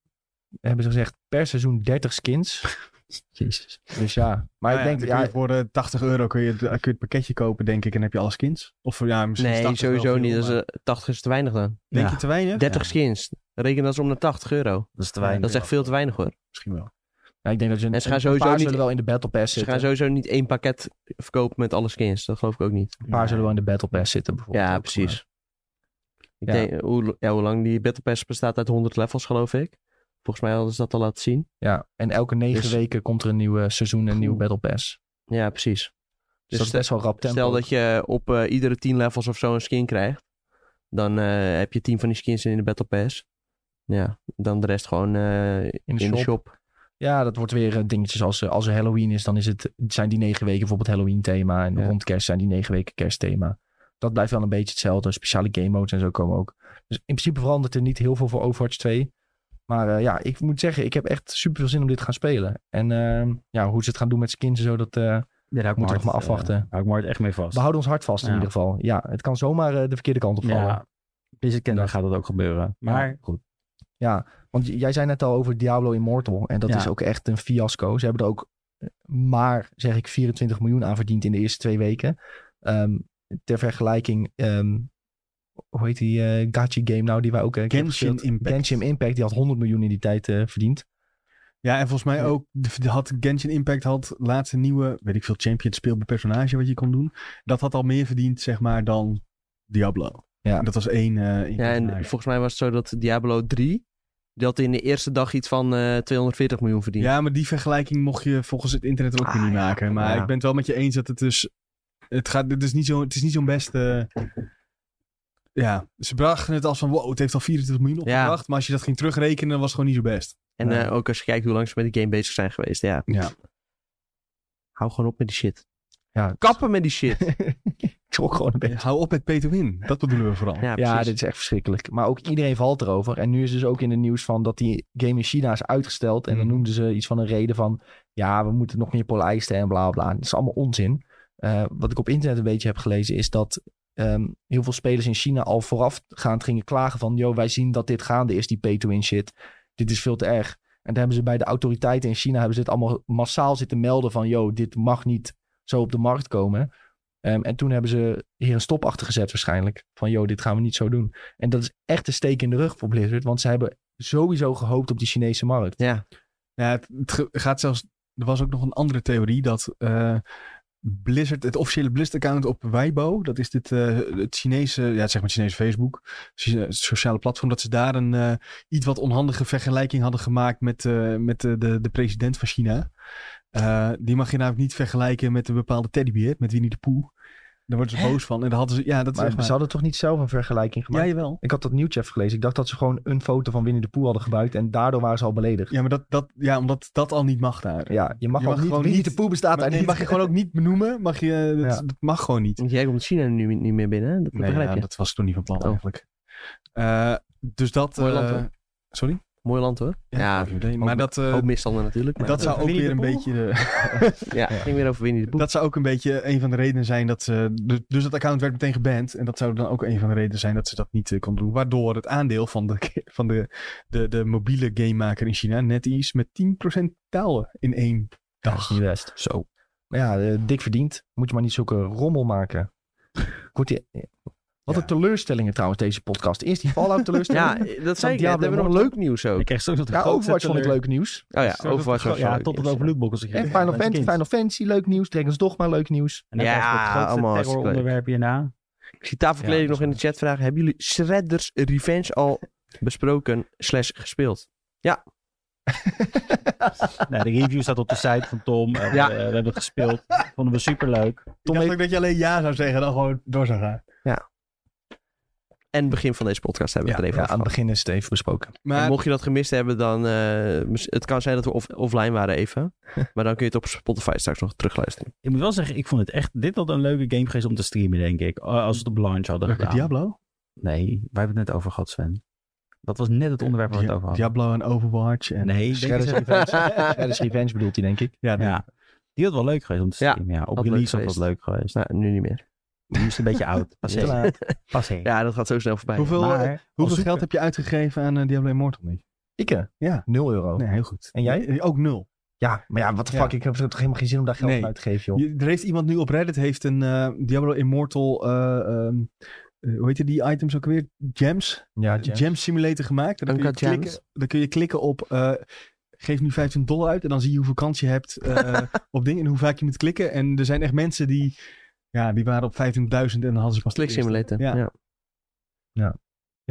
[SPEAKER 1] hebben ze gezegd, per seizoen 30 skins. Jezus. Dus ja, maar ik
[SPEAKER 2] Nou ja,
[SPEAKER 1] denk,
[SPEAKER 2] dan
[SPEAKER 1] ja,
[SPEAKER 2] kun je voor eh, 80 euro kun je, het- kun je het pakketje kopen, denk ik, en heb je alle skins. Of ja, misschien is
[SPEAKER 3] nee,
[SPEAKER 2] 80 wel
[SPEAKER 3] sowieso
[SPEAKER 2] veel,
[SPEAKER 3] niet. Dat is,
[SPEAKER 2] maar-
[SPEAKER 3] eh, 80 is te weinig dan.
[SPEAKER 2] Denk
[SPEAKER 4] Ja.
[SPEAKER 2] je te weinig?
[SPEAKER 3] 30
[SPEAKER 2] Ja,
[SPEAKER 3] skins. Reken dat ze om naar 80 euro.
[SPEAKER 4] Dat is te weinig.
[SPEAKER 3] Dat is echt veel te weinig hoor. Dus
[SPEAKER 2] misschien wel.
[SPEAKER 1] ja, ik denk dat je
[SPEAKER 3] En ze gaan
[SPEAKER 1] een
[SPEAKER 3] sowieso
[SPEAKER 1] paar
[SPEAKER 3] niet-
[SPEAKER 1] zullen wel in de Battle Pass
[SPEAKER 3] Ze
[SPEAKER 1] zitten.
[SPEAKER 3] gaan sowieso niet één pakket verkopen met alle skins. Dat geloof ik ook niet.
[SPEAKER 1] Een paar zullen wel in de Battle Pass zitten bijvoorbeeld.
[SPEAKER 3] Ja,
[SPEAKER 1] ook,
[SPEAKER 3] precies. Ik
[SPEAKER 1] Ja.
[SPEAKER 3] Denk, eh, hoe, ja, hoe lang die Battle Pass bestaat uit 100 levels geloof ik. Volgens mij hadden ze dat al laten zien.
[SPEAKER 1] maar- ja, en elke negen
[SPEAKER 3] Dus-
[SPEAKER 1] weken komt er een nieuwe seizoen, een nieuwe
[SPEAKER 3] Oeh.
[SPEAKER 1] Battle Pass.
[SPEAKER 3] Ja, precies.
[SPEAKER 1] Dus,
[SPEAKER 3] Dus
[SPEAKER 1] dat is best wel rap tempo.
[SPEAKER 3] stel dat je op eh, iedere 10 levels of zo een skin krijgt. Dan eh, heb je 10 van die skins in de Battle Pass. Ja, dan de rest gewoon eh, in,
[SPEAKER 1] in de
[SPEAKER 3] de
[SPEAKER 1] shop.
[SPEAKER 3] shop.
[SPEAKER 1] Ja, dat wordt weer eh, dingetjes als, eh, als er Halloween is, dan is het, zijn die negen weken bijvoorbeeld Halloween thema. En
[SPEAKER 3] Ja.
[SPEAKER 1] rond kerst zijn die negen weken kerstthema. Dat blijft wel een beetje hetzelfde. Speciale game modes en zo komen ook. Dus in principe verandert er niet heel veel voor Overwatch 2. Maar eh, ja, ik moet zeggen, ik heb echt super veel zin om dit te gaan spelen. En ehm, ja, hoe ze het gaan doen met skins en zo, dat eh
[SPEAKER 4] Ja, daar hou ik mijn
[SPEAKER 1] moeten we nog maar
[SPEAKER 4] hart, eh,
[SPEAKER 1] afwachten.
[SPEAKER 4] hou ik me hard echt mee
[SPEAKER 1] we
[SPEAKER 4] vast.
[SPEAKER 1] houden ons hard vast in
[SPEAKER 4] Ja.
[SPEAKER 1] ieder geval. Ja, het kan zomaar eh, de verkeerde kant op vallen.
[SPEAKER 4] Ja, Blizzard kennelijk gaat dat ook gebeuren. Maar goed.
[SPEAKER 1] Want j- jij zei net al over Diablo Immortal. En dat
[SPEAKER 4] Ja.
[SPEAKER 1] is ook echt een fiasco. Ze hebben er ook eh, maar, zeg ik, 24 miljoen aan verdiend in de eerste twee weken. Ehm, ter vergelijking, ehm, hoe heet die eh gacha game nou die wij ook eh, een keer
[SPEAKER 2] Genshin
[SPEAKER 1] gespeeld?
[SPEAKER 2] Impact.
[SPEAKER 1] Genshin Impact, die had 100 miljoen in die tijd eh, verdiend.
[SPEAKER 2] Ja, en volgens mij
[SPEAKER 1] Ja.
[SPEAKER 2] ook de- had Genshin Impact had laatste nieuwe, weet ik veel, champion speelbaar personage wat je kon doen. Dat had al meer verdiend, zeg maar, dan Diablo.
[SPEAKER 1] Ja.
[SPEAKER 2] En Dat was één. eh, één
[SPEAKER 3] Ja, en
[SPEAKER 2] personage.
[SPEAKER 3] volgens mij was het zo dat Diablo 3, die had in de eerste dag iets van eh, 240 miljoen verdiend.
[SPEAKER 2] ja, maar die vergelijking mocht je volgens het internet ook weer
[SPEAKER 1] Ah,
[SPEAKER 2] niet
[SPEAKER 1] ja.
[SPEAKER 2] maken. Maar
[SPEAKER 1] Ja.
[SPEAKER 2] ik ben het wel met je eens dat het dus. Het, gaat, het is niet zo- het is niet zo'n beste. Ja, ze brachten het als van wow, het heeft al 24 miljoen
[SPEAKER 3] Ja.
[SPEAKER 2] opgebracht. Maar als je dat ging terugrekenen, dan was het gewoon niet zo best.
[SPEAKER 3] En
[SPEAKER 2] Ja.
[SPEAKER 3] eh, ook als je kijkt hoe lang ze met die game bezig zijn geweest, ja.
[SPEAKER 2] Ja.
[SPEAKER 3] Hou gewoon op met die shit.
[SPEAKER 1] Ja.
[SPEAKER 3] Kappen met die shit.
[SPEAKER 1] Trok gewoon een beetje.
[SPEAKER 2] Hou op met Peter Win. Dat bedoelen we vooral.
[SPEAKER 3] Ja,
[SPEAKER 1] Ja,
[SPEAKER 3] precies.
[SPEAKER 1] dit is echt verschrikkelijk. Maar ook iedereen valt erover. En nu is dus ook in het nieuws van dat die game in China is uitgesteld. En dan
[SPEAKER 2] Mm.
[SPEAKER 1] noemden ze iets van een reden van... Ja, we moeten nog meer polijsten en bla bla. Dat is allemaal onzin. Eh, wat ik op internet een beetje heb gelezen is dat... ehm, heel veel spelers in China al voorafgaand gingen klagen van... Yo, wij zien dat dit gaande is, die pay-to-win shit. Dit is veel te erg. En daar hebben ze bij de autoriteiten in China... hebben ze dit allemaal massaal zitten melden van... Yo, dit mag niet zo op de markt komen. Ehm, en toen hebben ze hier een stop achter gezet waarschijnlijk. Van, joh, dit gaan we niet zo doen. En dat is echt een steek in de rug voor Blizzard. Want ze hebben sowieso gehoopt op die Chinese markt.
[SPEAKER 3] Ja,
[SPEAKER 2] Ja, het, het ge- gaat zelfs. Er was ook nog een andere theorie dat eh, Blizzard, het officiële Blizzard-account op Weibo, dat is dit, eh, het Chinese, ja, zeg maar Chinese Facebook, Chi- het sociale platform, dat ze daar een eh, iets wat onhandige vergelijking hadden gemaakt met, eh, met de, de, de president van China. Eh, die mag je namelijk niet vergelijken met een bepaalde teddybeer, met Winnie de Pooh. Daar worden ze boos van. En daar hadden ze, ja, dat is
[SPEAKER 1] Maar
[SPEAKER 2] echt waar.
[SPEAKER 1] ze hadden toch niet zelf een vergelijking
[SPEAKER 2] Ja,
[SPEAKER 1] gemaakt?
[SPEAKER 2] jawel.
[SPEAKER 1] Ik had dat nieuwtje even gelezen. Ik dacht dat ze gewoon een foto van Winnie de Pooh hadden gebruikt. En daardoor waren ze al beledigd.
[SPEAKER 2] Ja, maar dat, dat, ja, omdat dat al niet mag daar.
[SPEAKER 1] Ja, je mag,
[SPEAKER 2] Je
[SPEAKER 1] ook
[SPEAKER 2] mag
[SPEAKER 1] niet...
[SPEAKER 2] gewoon
[SPEAKER 1] Winnie
[SPEAKER 2] niet-
[SPEAKER 1] de Pooh bestaat
[SPEAKER 2] Maar
[SPEAKER 1] daar
[SPEAKER 2] die
[SPEAKER 1] niet.
[SPEAKER 2] mag je gewoon ook niet benoemen. Mag je, dat,
[SPEAKER 1] Ja.
[SPEAKER 2] dat mag gewoon niet.
[SPEAKER 3] want jij komt China nu niet, niet meer binnen, hè? dat
[SPEAKER 2] Nee,
[SPEAKER 3] begrijp
[SPEAKER 2] ja,
[SPEAKER 3] je.
[SPEAKER 2] dat was ik toen niet van plan
[SPEAKER 3] Oh.
[SPEAKER 2] eigenlijk. Eh, dus dat...
[SPEAKER 3] Mooi land,
[SPEAKER 2] eh,
[SPEAKER 3] hoor.
[SPEAKER 2] Sorry?
[SPEAKER 3] Mooi land hoor. Ja,
[SPEAKER 2] geen idee. maar dat, eh,
[SPEAKER 3] ook misstanden natuurlijk. Maar eh,
[SPEAKER 2] dat zou ook
[SPEAKER 4] Winnie
[SPEAKER 2] weer
[SPEAKER 4] de
[SPEAKER 2] een
[SPEAKER 4] Pooh?
[SPEAKER 2] beetje... de-
[SPEAKER 3] Ja, het ging weer over Winnie de Pooh.
[SPEAKER 2] dat zou ook een beetje een van de redenen zijn dat ze... du- Dus dat account werd meteen geband. En dat zou dan ook een van de redenen zijn dat ze dat niet eh, kon doen. Waardoor het aandeel van de, van de, de, de mobiele gamemaker in China, NetEase, met 10% daalde in één dag.
[SPEAKER 1] Niet best.
[SPEAKER 4] Zo.
[SPEAKER 1] Maar ja, eh, dik verdiend. Moet je maar niet zulke rommel maken. Wordt die... Wat
[SPEAKER 2] Ja.
[SPEAKER 1] een teleurstellingen trouwens deze podcast. Eerst die Fallout teleurstelling.
[SPEAKER 3] Ja, eh, dat zei ik net.
[SPEAKER 1] Diablo
[SPEAKER 3] We hebben nog
[SPEAKER 1] Immortal.
[SPEAKER 3] leuk nieuws ook.
[SPEAKER 4] Ik kreeg straks nog de
[SPEAKER 1] Ja,
[SPEAKER 4] grootste
[SPEAKER 1] Overwatch vond ik
[SPEAKER 4] teleur-
[SPEAKER 1] leuk nieuws.
[SPEAKER 3] Oh ja,
[SPEAKER 4] straks nog de
[SPEAKER 3] Overwatch
[SPEAKER 4] gro-
[SPEAKER 3] was
[SPEAKER 4] Ja,
[SPEAKER 3] leuk
[SPEAKER 4] tot het
[SPEAKER 3] nieuws,
[SPEAKER 4] over
[SPEAKER 3] ja.
[SPEAKER 4] lootboxes ging.
[SPEAKER 1] En Final, Fantasy, Final Fantasy, leuk nieuws. Dragon's Dogma, leuk nieuws.
[SPEAKER 4] En dan
[SPEAKER 3] Ja,
[SPEAKER 4] krijg je
[SPEAKER 3] allemaal
[SPEAKER 4] het grootste
[SPEAKER 3] hartstikke leuk.
[SPEAKER 4] terroronderwerp hierna.
[SPEAKER 3] Ik zie tafelkleding
[SPEAKER 1] Ja, dat
[SPEAKER 3] nog
[SPEAKER 1] is
[SPEAKER 3] in de chat vragen. Hebben jullie Shredder's Revenge al besproken slash gespeeld?
[SPEAKER 4] Nou, de review staat op de site van Tom. En,
[SPEAKER 3] Ja.
[SPEAKER 4] eh, we hebben het gespeeld. Vonden we superleuk.
[SPEAKER 2] Ik dacht ook dat je alleen ja zou zeggen en dan gewoon door zou gaan.
[SPEAKER 3] En begin van deze podcast hebben we het er even
[SPEAKER 1] Ja,
[SPEAKER 3] over
[SPEAKER 1] aan het
[SPEAKER 3] gehad.
[SPEAKER 1] begin is het even besproken.
[SPEAKER 3] En
[SPEAKER 2] Maar
[SPEAKER 3] mocht je dat gemist hebben, dan... eh, mis- het kan zijn dat we off- offline waren even. maar dan kun je het op Spotify straks nog terugluisteren.
[SPEAKER 4] Ik moet wel zeggen, ik vond het echt... Dit had een leuke game geweest om te streamen, denk ik. Eh, Als we het op launch hadden
[SPEAKER 2] Welke
[SPEAKER 4] gedaan.
[SPEAKER 2] Diablo?
[SPEAKER 4] Nee, wij hebben het net over gehad, Sven. Dat was net het onderwerp waar we het over hadden.
[SPEAKER 2] Diablo en Overwatch. En...
[SPEAKER 4] Nee, ik denk
[SPEAKER 1] Shredder's
[SPEAKER 4] dat ze-
[SPEAKER 1] Revenge. Shredder's Revenge bedoelt hij, denk ik.
[SPEAKER 2] Ja, nee.
[SPEAKER 4] ja. Die had wel leuk geweest om te
[SPEAKER 3] Ja,
[SPEAKER 4] streamen. Ja, op
[SPEAKER 3] had
[SPEAKER 4] release
[SPEAKER 3] leuk
[SPEAKER 4] had dat leuk geweest.
[SPEAKER 3] Nou, nu niet meer.
[SPEAKER 4] Die is een beetje oud. Passé.
[SPEAKER 3] Te laat.
[SPEAKER 4] Passé.
[SPEAKER 3] Ja, dat gaat zo snel voorbij.
[SPEAKER 2] Hoeveel,
[SPEAKER 4] Maar-
[SPEAKER 2] eh, hoeveel
[SPEAKER 4] zoeken.
[SPEAKER 2] geld heb je uitgegeven aan eh, Diablo Immortal niet?
[SPEAKER 1] Ik, eh,
[SPEAKER 2] Ja.
[SPEAKER 1] 0 euro.
[SPEAKER 2] Nee, heel goed.
[SPEAKER 1] En jij?
[SPEAKER 2] Eh, Ook nul.
[SPEAKER 1] Ja, maar ja, wat de
[SPEAKER 2] Ja.
[SPEAKER 1] fuck. Ik heb toch helemaal geen zin om daar geld
[SPEAKER 2] Nee.
[SPEAKER 1] voor uit te geven, joh.
[SPEAKER 2] Je- er heeft iemand nu op Reddit heeft een eh, Diablo Immortal, eh, ehm, eh, hoe heet die items ook weer? Gems?
[SPEAKER 1] Ja,
[SPEAKER 2] Gem
[SPEAKER 1] Jam.
[SPEAKER 2] Simulator gemaakt. En Dan kun, je
[SPEAKER 3] Uncut
[SPEAKER 2] klikken,
[SPEAKER 3] gems.
[SPEAKER 2] dan kun je klikken op eh, geef nu 15 dollar uit en dan zie je hoeveel kans je hebt eh, op dingen en hoe vaak je moet klikken. En er zijn echt mensen die, ja, die waren op 15.000 en dan hadden ze pas de
[SPEAKER 3] Click
[SPEAKER 2] eerste.
[SPEAKER 3] Simulator.
[SPEAKER 2] Ja.
[SPEAKER 3] Ja.
[SPEAKER 1] Heel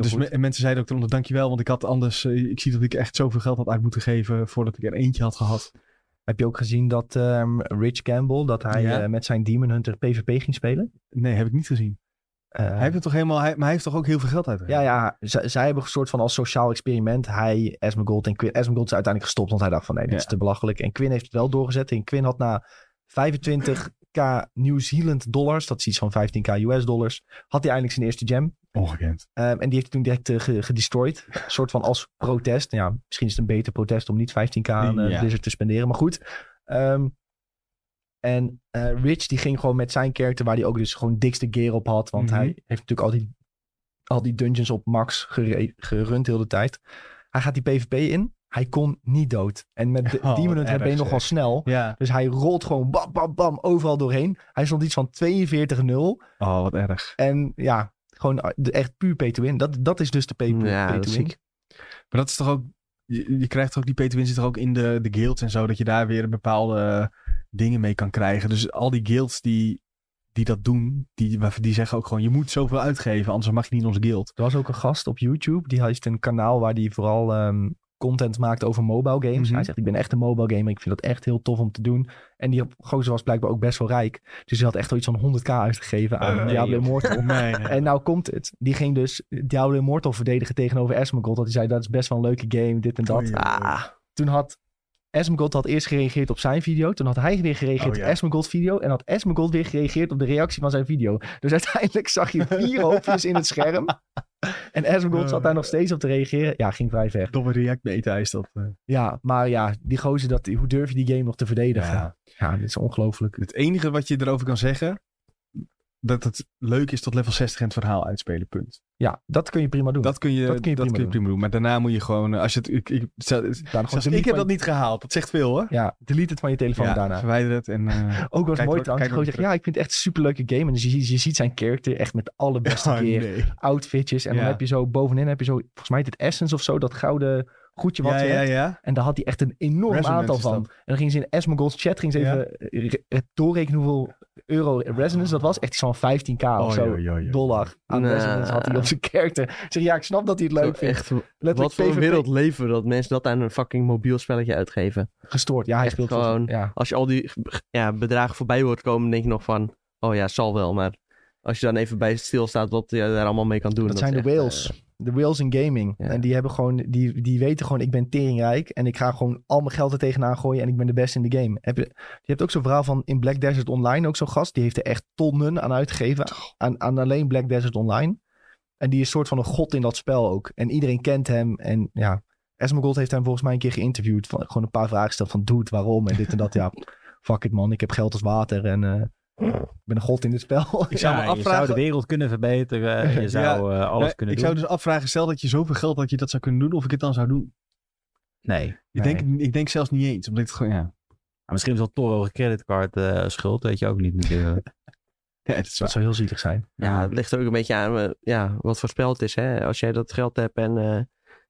[SPEAKER 2] Dus
[SPEAKER 1] goed.
[SPEAKER 2] me- en mensen zeiden ook eronder, dankjewel, want ik had anders, eh, ik zie dat ik echt zoveel geld had uit moeten geven voordat ik er eentje had gehad.
[SPEAKER 1] Heb je ook gezien dat ehm, Rich Campbell, dat hij
[SPEAKER 2] Ja.
[SPEAKER 1] eh, met zijn Demon Hunter PvP ging spelen?
[SPEAKER 2] Nee, heb ik niet gezien.
[SPEAKER 1] Eh,
[SPEAKER 2] Hij heeft het toch helemaal, hij, maar hij heeft toch ook heel veel geld
[SPEAKER 1] ja,
[SPEAKER 2] uitgegeven?
[SPEAKER 1] ja, z- zij hebben een soort van als sociaal experiment. Hij, Esmergold en Quinn. Esmergold is uiteindelijk gestopt, want hij dacht van nee, dit
[SPEAKER 2] Ja.
[SPEAKER 1] is te belachelijk. En Quinn heeft het wel doorgezet. En Quinn had na 25k New Zealand dollars, dat is iets van 15k US dollars, had hij eindelijk zijn eerste gem.
[SPEAKER 2] Ongekend.
[SPEAKER 1] Ehm, en die heeft hij toen direct eh, ge- gedestroyed. Een soort van als protest. Nou Ja, misschien is het een beter protest om niet 15k aan eh,
[SPEAKER 2] Ja.
[SPEAKER 1] Blizzard te spenderen. Maar goed. Ehm, en eh, Rich die ging gewoon met zijn character, waar hij ook dus gewoon dikste gear op had. Want
[SPEAKER 2] Mhm.
[SPEAKER 1] hij heeft natuurlijk al die, al die dungeons op max gere- gerund heel de tijd. Hij gaat die PvP in. Hij kon niet dood. En met de
[SPEAKER 2] Oh,
[SPEAKER 1] Demon Hunter
[SPEAKER 2] erg
[SPEAKER 1] ben je nog
[SPEAKER 2] zeg.
[SPEAKER 1] wel snel.
[SPEAKER 2] Ja.
[SPEAKER 1] Dus hij rolt gewoon bam, bam, bam overal doorheen. Hij stond iets van 42-0.
[SPEAKER 2] Oh, wat erg.
[SPEAKER 1] En ja, Gewoon eh, de- echt puur pay-to-win. Dat, dat is dus de pay-
[SPEAKER 3] Ja, dat is
[SPEAKER 1] pay-to-win.
[SPEAKER 3] ziek.
[SPEAKER 2] Maar dat is toch ook... Je, je krijgt ook die Peter Win zit toch ook in de, de guilds en zo. Dat je daar weer bepaalde eh, dingen mee kan krijgen. Dus al die guilds die, die dat doen, die, die zeggen ook gewoon... Je moet zoveel uitgeven, anders mag je niet in onze guild.
[SPEAKER 1] er was ook een gast op YouTube. Die heeft een kanaal waar hij vooral ehm, content maakt over mobile games.
[SPEAKER 2] Mhm.
[SPEAKER 1] Hij zegt, ik ben echt een mobile gamer. Ik vind dat echt heel tof om te doen. En die gozer was blijkbaar ook best wel rijk. Dus hij had echt al iets van 100k uitgegeven aan
[SPEAKER 2] Eh, nee,
[SPEAKER 1] Diablo Immortal.
[SPEAKER 2] Nee, nee.
[SPEAKER 1] En nou komt het. Die ging dus Diablo Immortal verdedigen tegenover Asmongold. Dat hij zei, dat is best wel een leuke game, dit en dat.
[SPEAKER 2] Oei.
[SPEAKER 3] Ah,
[SPEAKER 1] Toen had Asmongold had eerst gereageerd op zijn video. Toen had hij weer gereageerd
[SPEAKER 2] Oh, ja.
[SPEAKER 1] op Asmongold video. En had Asmongold weer gereageerd op de reactie van zijn video. Dus uiteindelijk zag je vier hoopjes in het scherm. En Asmongold zat daar
[SPEAKER 2] Oh.
[SPEAKER 1] nog steeds op te reageren. Ja, ging vrij ver.
[SPEAKER 2] Domme React beta is dat. eh.
[SPEAKER 1] Ja, maar ja, die gozer, dat, hoe durf je die game nog te verdedigen? Ja,
[SPEAKER 2] Ja.
[SPEAKER 1] dit is ongelooflijk.
[SPEAKER 2] Het enige wat je erover kan zeggen... Dat het leuk is tot level 60 en het verhaal uitspelen, punt.
[SPEAKER 1] Ja, dat kun je prima doen.
[SPEAKER 2] Dat kun je, dat kun je, prima, doen. Maar daarna moet je gewoon... eh, Als je het, ik, ik, stel-
[SPEAKER 1] Daarna gewoon
[SPEAKER 2] zelfs
[SPEAKER 1] delete
[SPEAKER 2] ik heb
[SPEAKER 1] van
[SPEAKER 2] dat niet gehaald. Dat zegt veel, hoor.
[SPEAKER 1] je- Ja, delete het van je telefoon
[SPEAKER 2] ja,
[SPEAKER 1] daarna.
[SPEAKER 2] verwijder het en... eh,
[SPEAKER 1] Ook wel eens
[SPEAKER 2] Kijk
[SPEAKER 1] mooi
[SPEAKER 2] ook-
[SPEAKER 1] trouwens.
[SPEAKER 2] kijk ook
[SPEAKER 1] Gewoon zegt,
[SPEAKER 2] terug.
[SPEAKER 1] ja, ik vind het echt een superleuke game. En dus je, je ziet zijn karakter echt met alle beste
[SPEAKER 2] oh,
[SPEAKER 1] keer.
[SPEAKER 2] nee.
[SPEAKER 1] Outfitjes. En dan
[SPEAKER 2] Ja.
[SPEAKER 1] heb je zo, bovenin heb je zo, volgens mij heet het Essence of zo. Dat gouden goedje wat
[SPEAKER 2] Ja,
[SPEAKER 1] je
[SPEAKER 2] ja,
[SPEAKER 1] hebt.
[SPEAKER 2] ja.
[SPEAKER 1] En daar had hij echt een enorm
[SPEAKER 2] Resonance
[SPEAKER 1] aantal
[SPEAKER 2] is
[SPEAKER 1] van.
[SPEAKER 2] dat.
[SPEAKER 1] En dan gingen ze in Asmongold's chat ging ze
[SPEAKER 2] Ja.
[SPEAKER 1] even eh, re- eh, doorrekenen hoeveel euro resonance dat was. Echt zo'n 15k of Nou, zo.
[SPEAKER 2] joh, joh, joh.
[SPEAKER 1] Dollar aan
[SPEAKER 3] Nou.
[SPEAKER 1] resonance had hij op zijn karakter. Ik Zeg, ja, ik snap dat hij het leuk
[SPEAKER 3] zo
[SPEAKER 1] vindt.
[SPEAKER 3] echt, wat
[SPEAKER 1] Letterlijk
[SPEAKER 3] voor een
[SPEAKER 1] PvP
[SPEAKER 3] wereld leven we dat mensen dat aan een fucking mobiel spelletje uitgeven.
[SPEAKER 1] gestoord. Ja, hij
[SPEAKER 3] Echt
[SPEAKER 1] speelt
[SPEAKER 3] gewoon-
[SPEAKER 1] Ja.
[SPEAKER 3] Als je al die ja, bedragen voorbij hoort komen, denk je nog van, oh ja, zal wel. Maar als je dan even bij stilstaat wat je daar allemaal mee kan doen.
[SPEAKER 1] Dat zijn de
[SPEAKER 3] is echt, eh,
[SPEAKER 1] whales. De whales in gaming.
[SPEAKER 3] Ja.
[SPEAKER 1] En die hebben gewoon, die, die weten gewoon, ik ben teringrijk. En ik ga gewoon al mijn geld er tegenaan gooien. En ik ben de beste in de game. Heb je, je hebt ook zo'n verhaal van in Black Desert Online. Ook zo'n gast. Die heeft er echt tonnen aan uitgegeven. Aan, aan alleen Black Desert Online. En die is soort van een god in dat spel ook. En iedereen kent hem. En ja, Esmeralda heeft hem volgens mij een keer geïnterviewd. Van, gewoon een paar vragen gesteld van doet, waarom en dit en dat. Ja, fuck it man. Ik heb geld als water. En eh, ik ben een god in dit spel.
[SPEAKER 2] Ik zou
[SPEAKER 4] Ja,
[SPEAKER 2] me
[SPEAKER 4] je
[SPEAKER 2] afvragen...
[SPEAKER 4] zou de wereld kunnen verbeteren. Je zou eh, alles
[SPEAKER 2] Nee,
[SPEAKER 4] kunnen
[SPEAKER 2] ik
[SPEAKER 4] doen.
[SPEAKER 2] zou dus afvragen, stel dat je zoveel geld had, dat je dat zou kunnen doen, of ik het dan zou doen. dus-
[SPEAKER 4] Nee.
[SPEAKER 2] Ik,
[SPEAKER 4] Nee.
[SPEAKER 2] denk, ik denk zelfs niet eens, omdat ik het gewoon, ja.
[SPEAKER 4] Maar misschien is wel Toro een creditcard eh, schuld. weet je ook niet natuurlijk.
[SPEAKER 2] ja het is
[SPEAKER 1] Dat
[SPEAKER 2] waar.
[SPEAKER 1] zou heel zielig zijn.
[SPEAKER 3] eh, Ja, het ligt er ook een beetje aan eh, ja, wat voor spel het is. Hè? Als jij dat geld hebt en eh,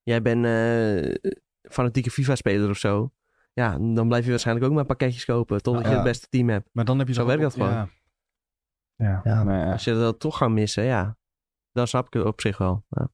[SPEAKER 3] jij bent eh, fanatieke FIFA-speler of zo. Ja, dan blijf je waarschijnlijk ook maar pakketjes kopen totdat
[SPEAKER 1] Ja.
[SPEAKER 3] je het beste team hebt.
[SPEAKER 2] Maar dan heb je
[SPEAKER 3] Zo
[SPEAKER 2] toch
[SPEAKER 3] werkt
[SPEAKER 2] ook-
[SPEAKER 3] dat gewoon.
[SPEAKER 2] Ja. Ja.
[SPEAKER 1] Ja.
[SPEAKER 2] maar ja.
[SPEAKER 3] Als je dat toch gaat missen, ja. Dan snap ik het op zich wel. Ja.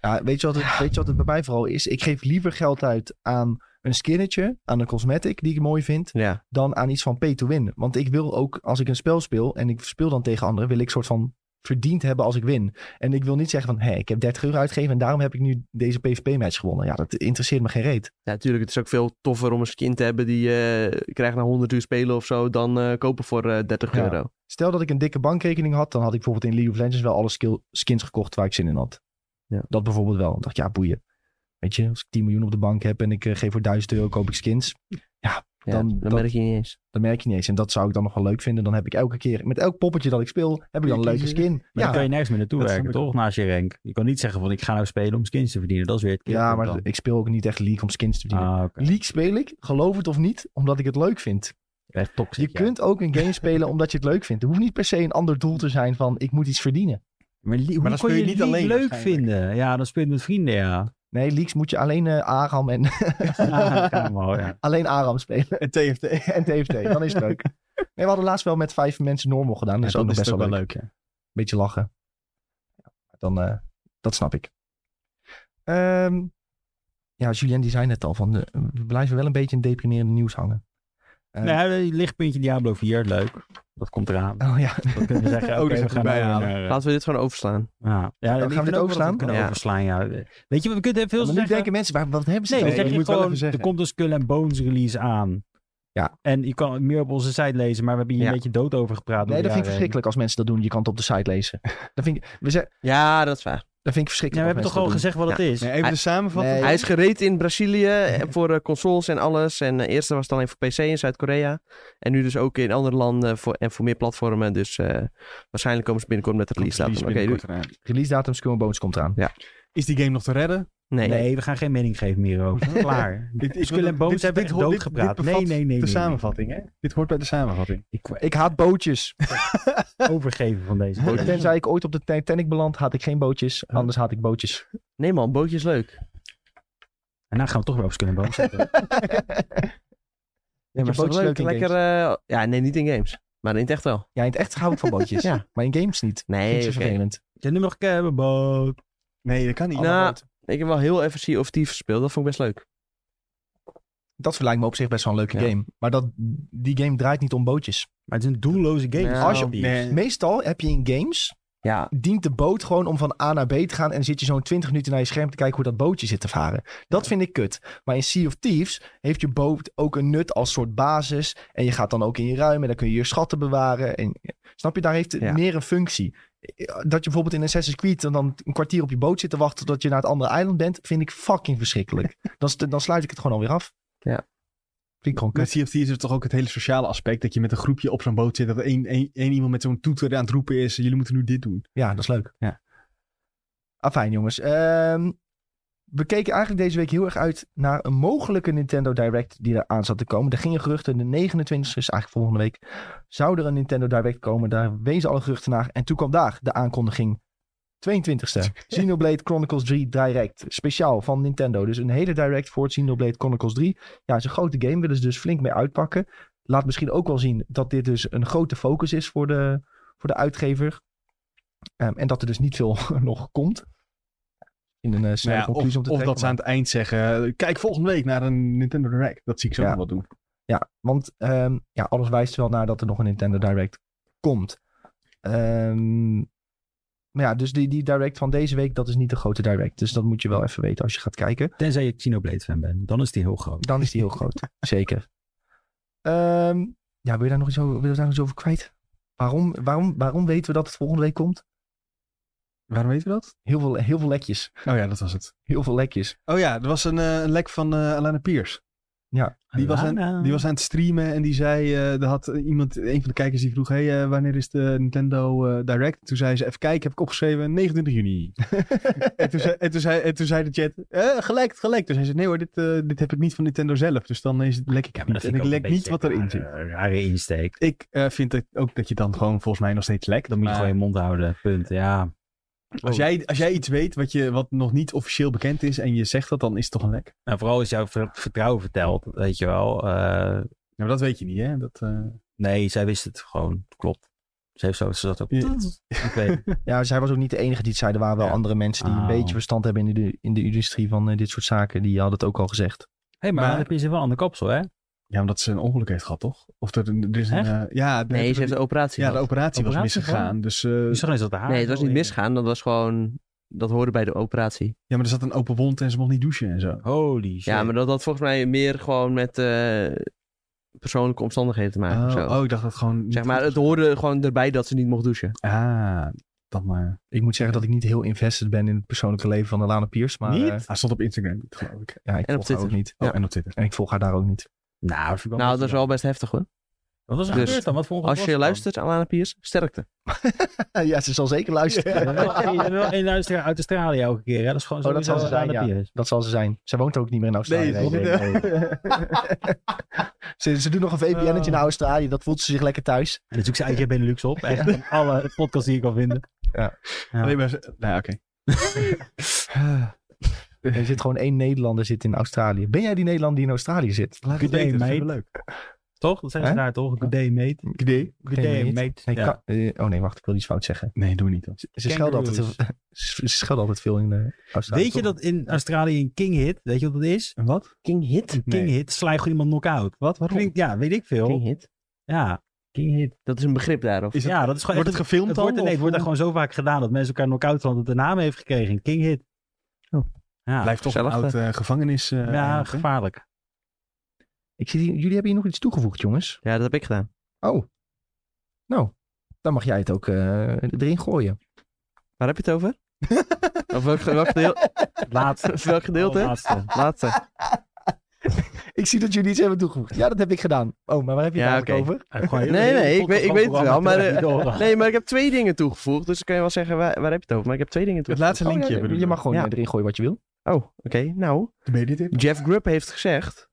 [SPEAKER 1] Ja, weet, je wat het, weet je wat het bij mij vooral is? Ik geef liever geld uit aan een skinnetje, aan een cosmetic die ik mooi vind,
[SPEAKER 3] ja.
[SPEAKER 1] dan aan iets van pay to win. Want ik wil ook, als ik een spel speel en ik speel dan tegen anderen, wil ik soort van verdiend hebben als ik win. En ik wil niet zeggen van, hé, ik heb 30 euro uitgegeven en daarom heb ik nu deze PvP-match gewonnen. Ja, dat interesseert me geen reet.
[SPEAKER 3] Ja, natuurlijk. Het is ook veel toffer om een skin te hebben die je krijgt na 100 uur spelen of zo. Dan eh, kopen voor eh, 30
[SPEAKER 1] Ja.
[SPEAKER 3] euro.
[SPEAKER 1] Stel dat ik een dikke bankrekening had, dan had ik bijvoorbeeld in League of Legends wel alle skill, skins gekocht waar ik zin in had.
[SPEAKER 3] Ja.
[SPEAKER 1] Dat bijvoorbeeld wel. Ik dacht, ja, boeien. Weet je, als ik 10 miljoen op de bank heb en ik eh, geef voor 1000 euro, koop ik skins.
[SPEAKER 3] Ja,
[SPEAKER 1] Dan-
[SPEAKER 3] dan
[SPEAKER 1] dat-
[SPEAKER 3] merk je niet eens.
[SPEAKER 1] Dat merk je niet eens. En dat zou ik dan nog wel leuk vinden. Dan heb ik elke keer, met elk poppetje dat ik speel, heb ik dan een leuke skin.
[SPEAKER 4] Maar dan kan
[SPEAKER 1] Ja,
[SPEAKER 4] je nergens meer naartoe
[SPEAKER 2] Dat
[SPEAKER 4] werken,
[SPEAKER 2] snap ik
[SPEAKER 4] toch? Naast je rank. Je kan niet zeggen van ik ga nou spelen om skins te verdienen. Dat is weer het
[SPEAKER 1] ja
[SPEAKER 4] keerpunt
[SPEAKER 1] maar
[SPEAKER 4] dan.
[SPEAKER 1] ik speel ook niet echt League om skins te verdienen.
[SPEAKER 4] Ah, oké.
[SPEAKER 1] League speel ik, geloof het of niet, omdat ik het leuk vind.
[SPEAKER 4] Echt toxic,
[SPEAKER 1] Je
[SPEAKER 4] ja.
[SPEAKER 1] kunt ook een game spelen omdat je het leuk vindt. Het hoeft niet per se een ander doel te zijn van ik moet iets verdienen.
[SPEAKER 4] Maar, li- hoe
[SPEAKER 2] dan speel
[SPEAKER 4] kon je
[SPEAKER 2] je
[SPEAKER 4] het
[SPEAKER 2] niet
[SPEAKER 4] niet
[SPEAKER 2] alleen
[SPEAKER 4] leuk
[SPEAKER 2] waarschijnlijk.
[SPEAKER 4] vinden? Ja, dan speel je het met vrienden, ja.
[SPEAKER 1] Nee, Leagues moet je alleen eh, Aram en
[SPEAKER 4] Ja, dat kan wel, ja.
[SPEAKER 1] alleen Aram spelen.
[SPEAKER 2] eh, En TFT.
[SPEAKER 1] en TFT, dan is het leuk. Nee, we hadden laatst wel met vijf mensen normal gedaan. dus Dat is ook nog best wel leuk.
[SPEAKER 2] ja.
[SPEAKER 1] beetje lachen. Dan, eh, dat snap ik. Ehm, ja, Julien die zei net al van, eh, we blijven wel een beetje in deprimerende nieuws hangen. Eh,
[SPEAKER 4] Nee, lichtpuntje Diablo 4, leuk. Dat komt eraan.
[SPEAKER 1] Oh ja,
[SPEAKER 4] Dat kunnen we zeggen.
[SPEAKER 2] Oh,
[SPEAKER 4] oké,
[SPEAKER 2] die
[SPEAKER 4] we
[SPEAKER 2] gaan
[SPEAKER 4] gaan
[SPEAKER 2] we erbij
[SPEAKER 4] nou
[SPEAKER 2] halen.
[SPEAKER 4] weer naar, eh,
[SPEAKER 3] Laten we dit gewoon overslaan.
[SPEAKER 4] Ja, ja
[SPEAKER 1] gaan we
[SPEAKER 4] ik vind
[SPEAKER 1] dit
[SPEAKER 4] ook wel dat
[SPEAKER 1] overslaan?
[SPEAKER 4] we kunnen
[SPEAKER 3] Ja.
[SPEAKER 4] overslaan, ja. Weet je, we kunnen er veel
[SPEAKER 1] maar nu
[SPEAKER 4] zeggen.
[SPEAKER 1] denken mensen, waar, wat hebben ze
[SPEAKER 4] Nee,
[SPEAKER 1] dan?
[SPEAKER 4] we
[SPEAKER 2] Nee, je
[SPEAKER 4] zeggen
[SPEAKER 2] moet wel
[SPEAKER 4] gewoon,
[SPEAKER 2] even zeggen.
[SPEAKER 4] er komt een Skull and Bones release aan.
[SPEAKER 1] Ja.
[SPEAKER 4] En je kan meer op onze site lezen, maar we hebben hier
[SPEAKER 3] Ja.
[SPEAKER 4] een beetje dood over
[SPEAKER 1] Nee,
[SPEAKER 4] gepraat. door
[SPEAKER 1] dat
[SPEAKER 4] de
[SPEAKER 1] vind ik
[SPEAKER 4] jaren heen.
[SPEAKER 1] verschrikkelijk als mensen dat doen. Je kan het op de site lezen. Dat vind ik, we ze-
[SPEAKER 3] Ja, dat is waar.
[SPEAKER 1] dat vind ik
[SPEAKER 4] Ja, we
[SPEAKER 1] verschrikkelijk.
[SPEAKER 4] hebben toch al
[SPEAKER 1] al
[SPEAKER 4] gezegd wat
[SPEAKER 3] Ja.
[SPEAKER 4] het is?
[SPEAKER 2] Nee, even de samenvatting.
[SPEAKER 1] Nee.
[SPEAKER 3] Hij is gereed in Brazilië eh, voor eh, consoles en alles. En eh, eerst was het alleen voor PC in Zuid-Korea. En nu dus ook in andere landen voor, en voor meer platformen. Dus eh, waarschijnlijk komen ze binnenkort met de release datum. Oké, doei.
[SPEAKER 2] binnenkort eraan.
[SPEAKER 1] Release datum, Skull and Bones komt eraan.
[SPEAKER 3] Ja.
[SPEAKER 2] Is die game nog te redden?
[SPEAKER 3] Nee.
[SPEAKER 4] Nee, we gaan geen mening geven meer over. Klaar. Skull en Bones hebben echt doodgepraat. Nee, nee, nee. nee,
[SPEAKER 2] De
[SPEAKER 4] nee.
[SPEAKER 2] samenvatting, hè? Dit hoort bij de samenvatting.
[SPEAKER 4] Ik
[SPEAKER 1] Ik haat bootjes.
[SPEAKER 4] overgeven van deze.
[SPEAKER 1] Tenzij ik ooit op de Titanic beland, haat ik geen bootjes. Anders haat ik bootjes.
[SPEAKER 3] Nee man, bootje is leuk.
[SPEAKER 4] En nou gaan we toch weer over Skull and Bones hebben.
[SPEAKER 1] Ja,
[SPEAKER 3] maar is toch
[SPEAKER 1] bootjes
[SPEAKER 3] leuk?
[SPEAKER 1] leuk in
[SPEAKER 3] Lekker, eh, ja, nee, niet in games. Maar in het echt wel.
[SPEAKER 1] Ja, in het echt hou ik van bootjes.
[SPEAKER 3] Ja.
[SPEAKER 1] Maar in games niet. Vind
[SPEAKER 3] Nee,
[SPEAKER 1] ik
[SPEAKER 3] oké.
[SPEAKER 1] zo vervelend.
[SPEAKER 4] Je nummer eh, nog Cabboot.
[SPEAKER 2] Nee, dat kan niet.
[SPEAKER 3] Nou, ik heb wel heel even Sea of Thieves gespeeld. Dat vond ik best leuk.
[SPEAKER 1] Dat lijkt me op zich best wel een leuke
[SPEAKER 3] Ja.
[SPEAKER 1] game. Maar dat, die game draait niet om bootjes.
[SPEAKER 4] Maar het is een doelloze game.
[SPEAKER 3] Ja.
[SPEAKER 1] Als je-
[SPEAKER 4] Die-
[SPEAKER 2] nee.
[SPEAKER 1] Meestal heb je in games,
[SPEAKER 3] Ja,
[SPEAKER 1] dient de boot gewoon om van A naar B te gaan. En dan zit je zo'n 20 minuten naar je scherm te kijken hoe dat bootje zit te varen. Dat vind ik kut. Maar in Sea of Thieves heeft je boot ook een nut als soort basis. En je gaat dan ook in je ruim en dan kun je je schatten bewaren. En, snap je, daar heeft het
[SPEAKER 3] Ja.
[SPEAKER 1] meer een functie. Dat je bijvoorbeeld in Assassin's Creed dan- dan een kwartier op je boot zit te wachten tot je naar het andere eiland bent, vind ik fucking verschrikkelijk. dan, st- dan sluit ik het gewoon alweer af.
[SPEAKER 3] Ja.
[SPEAKER 1] Vind ik gewoon kut.
[SPEAKER 2] Met CFT is er toch ook het hele sociale aspect dat je met een groepje op zo'n boot zit. Dat één, één, één iemand met zo'n toeter aan het roepen is. Jullie moeten nu dit doen.
[SPEAKER 1] Ja, dat is leuk.
[SPEAKER 2] Ja.
[SPEAKER 1] Afijn, jongens. Ehm, we keken eigenlijk deze week heel erg uit naar een mogelijke Nintendo Direct die eraan zat te komen. Er gingen geruchten, de 29 is eigenlijk volgende week, zou er een Nintendo Direct komen. Daar wezen alle geruchten naar. En toen kwam daar de aankondiging. 22e. Xenoblade Chronicles 3 Direct. Speciaal van Nintendo. Dus een hele direct voor het Xenoblade Chronicles 3. Ja, het is een grote game. Willen ze dus flink mee uitpakken. Laat misschien ook wel zien dat dit dus een grote focus is voor de, voor de uitgever. Ehm, en dat er dus niet veel nog komt. In een eh, snelle
[SPEAKER 2] Nou ja,
[SPEAKER 1] conclusie
[SPEAKER 2] of
[SPEAKER 1] om te
[SPEAKER 2] of
[SPEAKER 1] trekken.
[SPEAKER 2] dat ze aan het eind zeggen, kijk volgende week naar een Nintendo Direct. Dat zie ik zo
[SPEAKER 1] Ja.
[SPEAKER 2] nog wel doen.
[SPEAKER 1] Ja, want ehm, ja, alles wijst wel naar dat er nog een Nintendo Direct komt. Ehm, maar ja, dus die, die Direct van deze week, dat is niet de grote Direct. Dus dat moet je wel even weten als je gaat kijken.
[SPEAKER 4] Tenzij je Xenoblade fan bent. Dan is die heel groot.
[SPEAKER 1] Dan is die heel groot, zeker. Ehm, ja, wil je daar nog iets over, wil je daar nog iets over kwijt? Waarom, waarom, waarom weten we dat het volgende week komt?
[SPEAKER 2] Waarom weten we dat?
[SPEAKER 1] Heel veel, heel veel lekjes.
[SPEAKER 2] Oh ja, dat was het.
[SPEAKER 1] Heel veel lekjes.
[SPEAKER 2] Oh ja, er was een, eh, een lek van eh, Alana Pierce. Die was,
[SPEAKER 4] nou.
[SPEAKER 2] aan, die was aan het streamen en die zei, eh, er had iemand, een van de kijkers die vroeg, hey, eh, wanneer is de Nintendo eh, Direct? Toen zei ze, even kijken, heb ik opgeschreven, 29 juni. en, toen zei, en, toen zei, en toen zei de chat, eh, gelijk, gelijk. Toen zei ze, nee hoor, dit, eh, dit heb ik niet van Nintendo zelf, dus dan is het, lek ik het
[SPEAKER 4] Maar dat
[SPEAKER 2] niet.
[SPEAKER 4] vind
[SPEAKER 2] En ik
[SPEAKER 4] ook
[SPEAKER 2] lek
[SPEAKER 4] een
[SPEAKER 2] niet
[SPEAKER 4] beetje
[SPEAKER 2] wat erin zit.
[SPEAKER 4] rare- Rare insteek.
[SPEAKER 2] Ik eh, vind het ook dat je dan gewoon volgens mij nog steeds lekt.
[SPEAKER 4] Dan moet je
[SPEAKER 2] Maar
[SPEAKER 4] gewoon je mond houden. Punt. Ja. Oh.
[SPEAKER 2] als, jij, als jij iets weet wat, je, wat nog niet officieel bekend is en je zegt dat, dan is het toch een lek.
[SPEAKER 4] En Nou, vooral is jouw ver- vertrouwen verteld. Weet je wel. Eh,
[SPEAKER 2] Ja, maar dat weet je niet, hè? Dat, eh,
[SPEAKER 4] nee, zij wist het gewoon. Klopt. Ze heeft zo, ze zat ook.
[SPEAKER 2] Ja.
[SPEAKER 4] Ik weet het.
[SPEAKER 1] Ja, zij was ook niet de enige die het zei. Er waren wel
[SPEAKER 2] Ja.
[SPEAKER 1] andere mensen die een
[SPEAKER 4] Oh.
[SPEAKER 1] beetje verstand hebben in de, in de industrie van eh, dit soort zaken. Die hadden het ook al gezegd.
[SPEAKER 4] hey, maar,
[SPEAKER 2] Maar-
[SPEAKER 4] dan heb je ze wel aan de kapsel, hè?
[SPEAKER 2] Ja, omdat ze een ongeluk heeft gehad, toch? Of er, er is een...
[SPEAKER 4] Echt?
[SPEAKER 2] eh, ja, de-
[SPEAKER 3] nee, ze heeft een operatie
[SPEAKER 2] ja, de
[SPEAKER 3] gehad.
[SPEAKER 2] operatie was
[SPEAKER 4] Operatie
[SPEAKER 2] misgegaan.
[SPEAKER 4] gewoon?
[SPEAKER 2] Dus, eh,
[SPEAKER 4] Dus dan is dat de haar.
[SPEAKER 3] Nee, het was niet
[SPEAKER 4] Oh,
[SPEAKER 3] misgaan. Dat was gewoon... Dat hoorde bij de operatie.
[SPEAKER 2] ja, maar er zat een open wond en ze mocht niet douchen en zo.
[SPEAKER 4] Holy shit.
[SPEAKER 3] Ja, maar dat had volgens mij meer gewoon met eh, persoonlijke omstandigheden te maken. of zo.
[SPEAKER 2] oh, oh, ik dacht dat gewoon... niet
[SPEAKER 3] zeg maar,
[SPEAKER 2] goed
[SPEAKER 3] het hoorde gewoon erbij dat ze niet mocht douchen.
[SPEAKER 2] was. Ah, dan maar.
[SPEAKER 1] Ik moet zeggen dat ik niet heel invested ben in het persoonlijke leven van Alana Piers. Maar eh,
[SPEAKER 2] Hij stond op Instagram, niet, geloof ik.
[SPEAKER 1] ja, ik volg
[SPEAKER 3] En op
[SPEAKER 1] haar ook
[SPEAKER 3] Twitter.
[SPEAKER 1] niet.
[SPEAKER 2] Oh,
[SPEAKER 3] Ja.
[SPEAKER 2] en op Twitter.
[SPEAKER 1] En ik volg haar daar ook niet.
[SPEAKER 4] Nou, dat vind ik wel
[SPEAKER 3] nou, dat
[SPEAKER 4] mooi
[SPEAKER 3] is wel best heftig hoor.
[SPEAKER 4] gedaan. Wat was er
[SPEAKER 3] Dus,
[SPEAKER 4] gebeurd dan? Wat voor ongeluk
[SPEAKER 3] Als je
[SPEAKER 4] was het dan?
[SPEAKER 3] luistert, Alana Piers, sterkte.
[SPEAKER 1] ja, ze zal zeker luisteren.
[SPEAKER 4] Ja, je hebt wel één luisteraar uit Australië elke keer, hè? Dat is gewoon
[SPEAKER 1] Oh,
[SPEAKER 4] zo.
[SPEAKER 1] dat zal ze zijn, ja. Dat zal ze zijn. Zij woont ook niet meer in Australië.
[SPEAKER 2] Nee,
[SPEAKER 4] nee,
[SPEAKER 1] ze, ze doet nog een VPN'tje naar Australië. Dat voelt ze zich lekker thuis.
[SPEAKER 4] En dan zoek ze uit je Benelux op. Echt van alle podcasts die ik kan vinden. Ja.
[SPEAKER 2] Alleen maar... ze- Nou, ja, oké.
[SPEAKER 1] Er zit gewoon één Nederlander zit in Australië. Ben jij die Nederlander die in Australië zit?
[SPEAKER 2] Laat
[SPEAKER 4] Good
[SPEAKER 2] het
[SPEAKER 4] day,
[SPEAKER 2] weten, dat
[SPEAKER 4] mate.
[SPEAKER 2] is leuk.
[SPEAKER 4] Toch? Dat zijn ze
[SPEAKER 1] Hè?
[SPEAKER 4] daar toch? Good day, mate.
[SPEAKER 2] Idee?
[SPEAKER 4] Good day,
[SPEAKER 1] mate.
[SPEAKER 4] mate.
[SPEAKER 1] Nee,
[SPEAKER 4] Ja.
[SPEAKER 1] kan- eh, oh nee, wacht. Ik wil iets fout zeggen.
[SPEAKER 2] Nee, doe niet dan.
[SPEAKER 1] Ze, ze schelden altijd,
[SPEAKER 4] Kangaroos.
[SPEAKER 1] heel- ze schelden altijd veel in eh, Australië.
[SPEAKER 4] Weet je
[SPEAKER 1] toch?
[SPEAKER 4] dat in Australië een king hit, weet je wat dat is?
[SPEAKER 2] En wat?
[SPEAKER 3] King Hit?
[SPEAKER 4] Een king hit, sla je gewoon iemand knock-out.
[SPEAKER 2] Wat? Waarom?
[SPEAKER 4] Klinkt, ja, weet ik veel.
[SPEAKER 3] King Hit?
[SPEAKER 4] Ja, king hit.
[SPEAKER 3] Dat is een begrip daarof.
[SPEAKER 2] Is het-
[SPEAKER 4] ja, dat is gewoon
[SPEAKER 2] Wordt
[SPEAKER 4] echt
[SPEAKER 2] het gefilmd
[SPEAKER 4] Het
[SPEAKER 2] dan?
[SPEAKER 4] wordt, nee, het
[SPEAKER 2] of-
[SPEAKER 4] wordt daar gewoon zo vaak gedaan dat mensen elkaar knock-out slaan dat het de naam heeft gekregen. Een King hit.
[SPEAKER 3] Oh.
[SPEAKER 4] Ja,
[SPEAKER 2] Blijft toch een
[SPEAKER 3] gezellig,
[SPEAKER 2] oud eh, gevangenis... eh,
[SPEAKER 4] ja
[SPEAKER 2] eiland, hè?
[SPEAKER 4] gevaarlijk.
[SPEAKER 1] Ik zie, hier- jullie hebben hier nog iets toegevoegd, jongens.
[SPEAKER 3] Ja, dat heb ik gedaan.
[SPEAKER 1] Oh. Nou, dan mag jij het ook eh, erin gooien.
[SPEAKER 3] Waar heb je het over? of welk, welk, gedeel-
[SPEAKER 4] Het laatste.
[SPEAKER 3] welk gedeelte?
[SPEAKER 4] Laatste.
[SPEAKER 3] Laatste.
[SPEAKER 1] Ik zie dat jullie iets hebben toegevoegd. Ja, dat heb ik gedaan. Oh, maar waar heb je het
[SPEAKER 3] Ja,
[SPEAKER 1] eigenlijk
[SPEAKER 3] oké.
[SPEAKER 1] over?
[SPEAKER 3] Nee, nee, ik weet, ik weet het wel. Maar, eh,
[SPEAKER 5] nee.
[SPEAKER 3] nee, maar ik heb twee dingen toegevoegd. Dus dan kan je wel zeggen, waar, waar heb je het over? Maar ik heb twee dingen
[SPEAKER 2] Het
[SPEAKER 3] toegevoegd.
[SPEAKER 2] laatste linkje
[SPEAKER 1] Oh, ja,
[SPEAKER 2] bedoel
[SPEAKER 1] je mag gewoon
[SPEAKER 3] Ja.
[SPEAKER 1] eh, erin gooien wat je wil.
[SPEAKER 3] Oh, oké. Nou,
[SPEAKER 2] ik. Ben je dit in?
[SPEAKER 3] Jeff Grubb heeft gezegd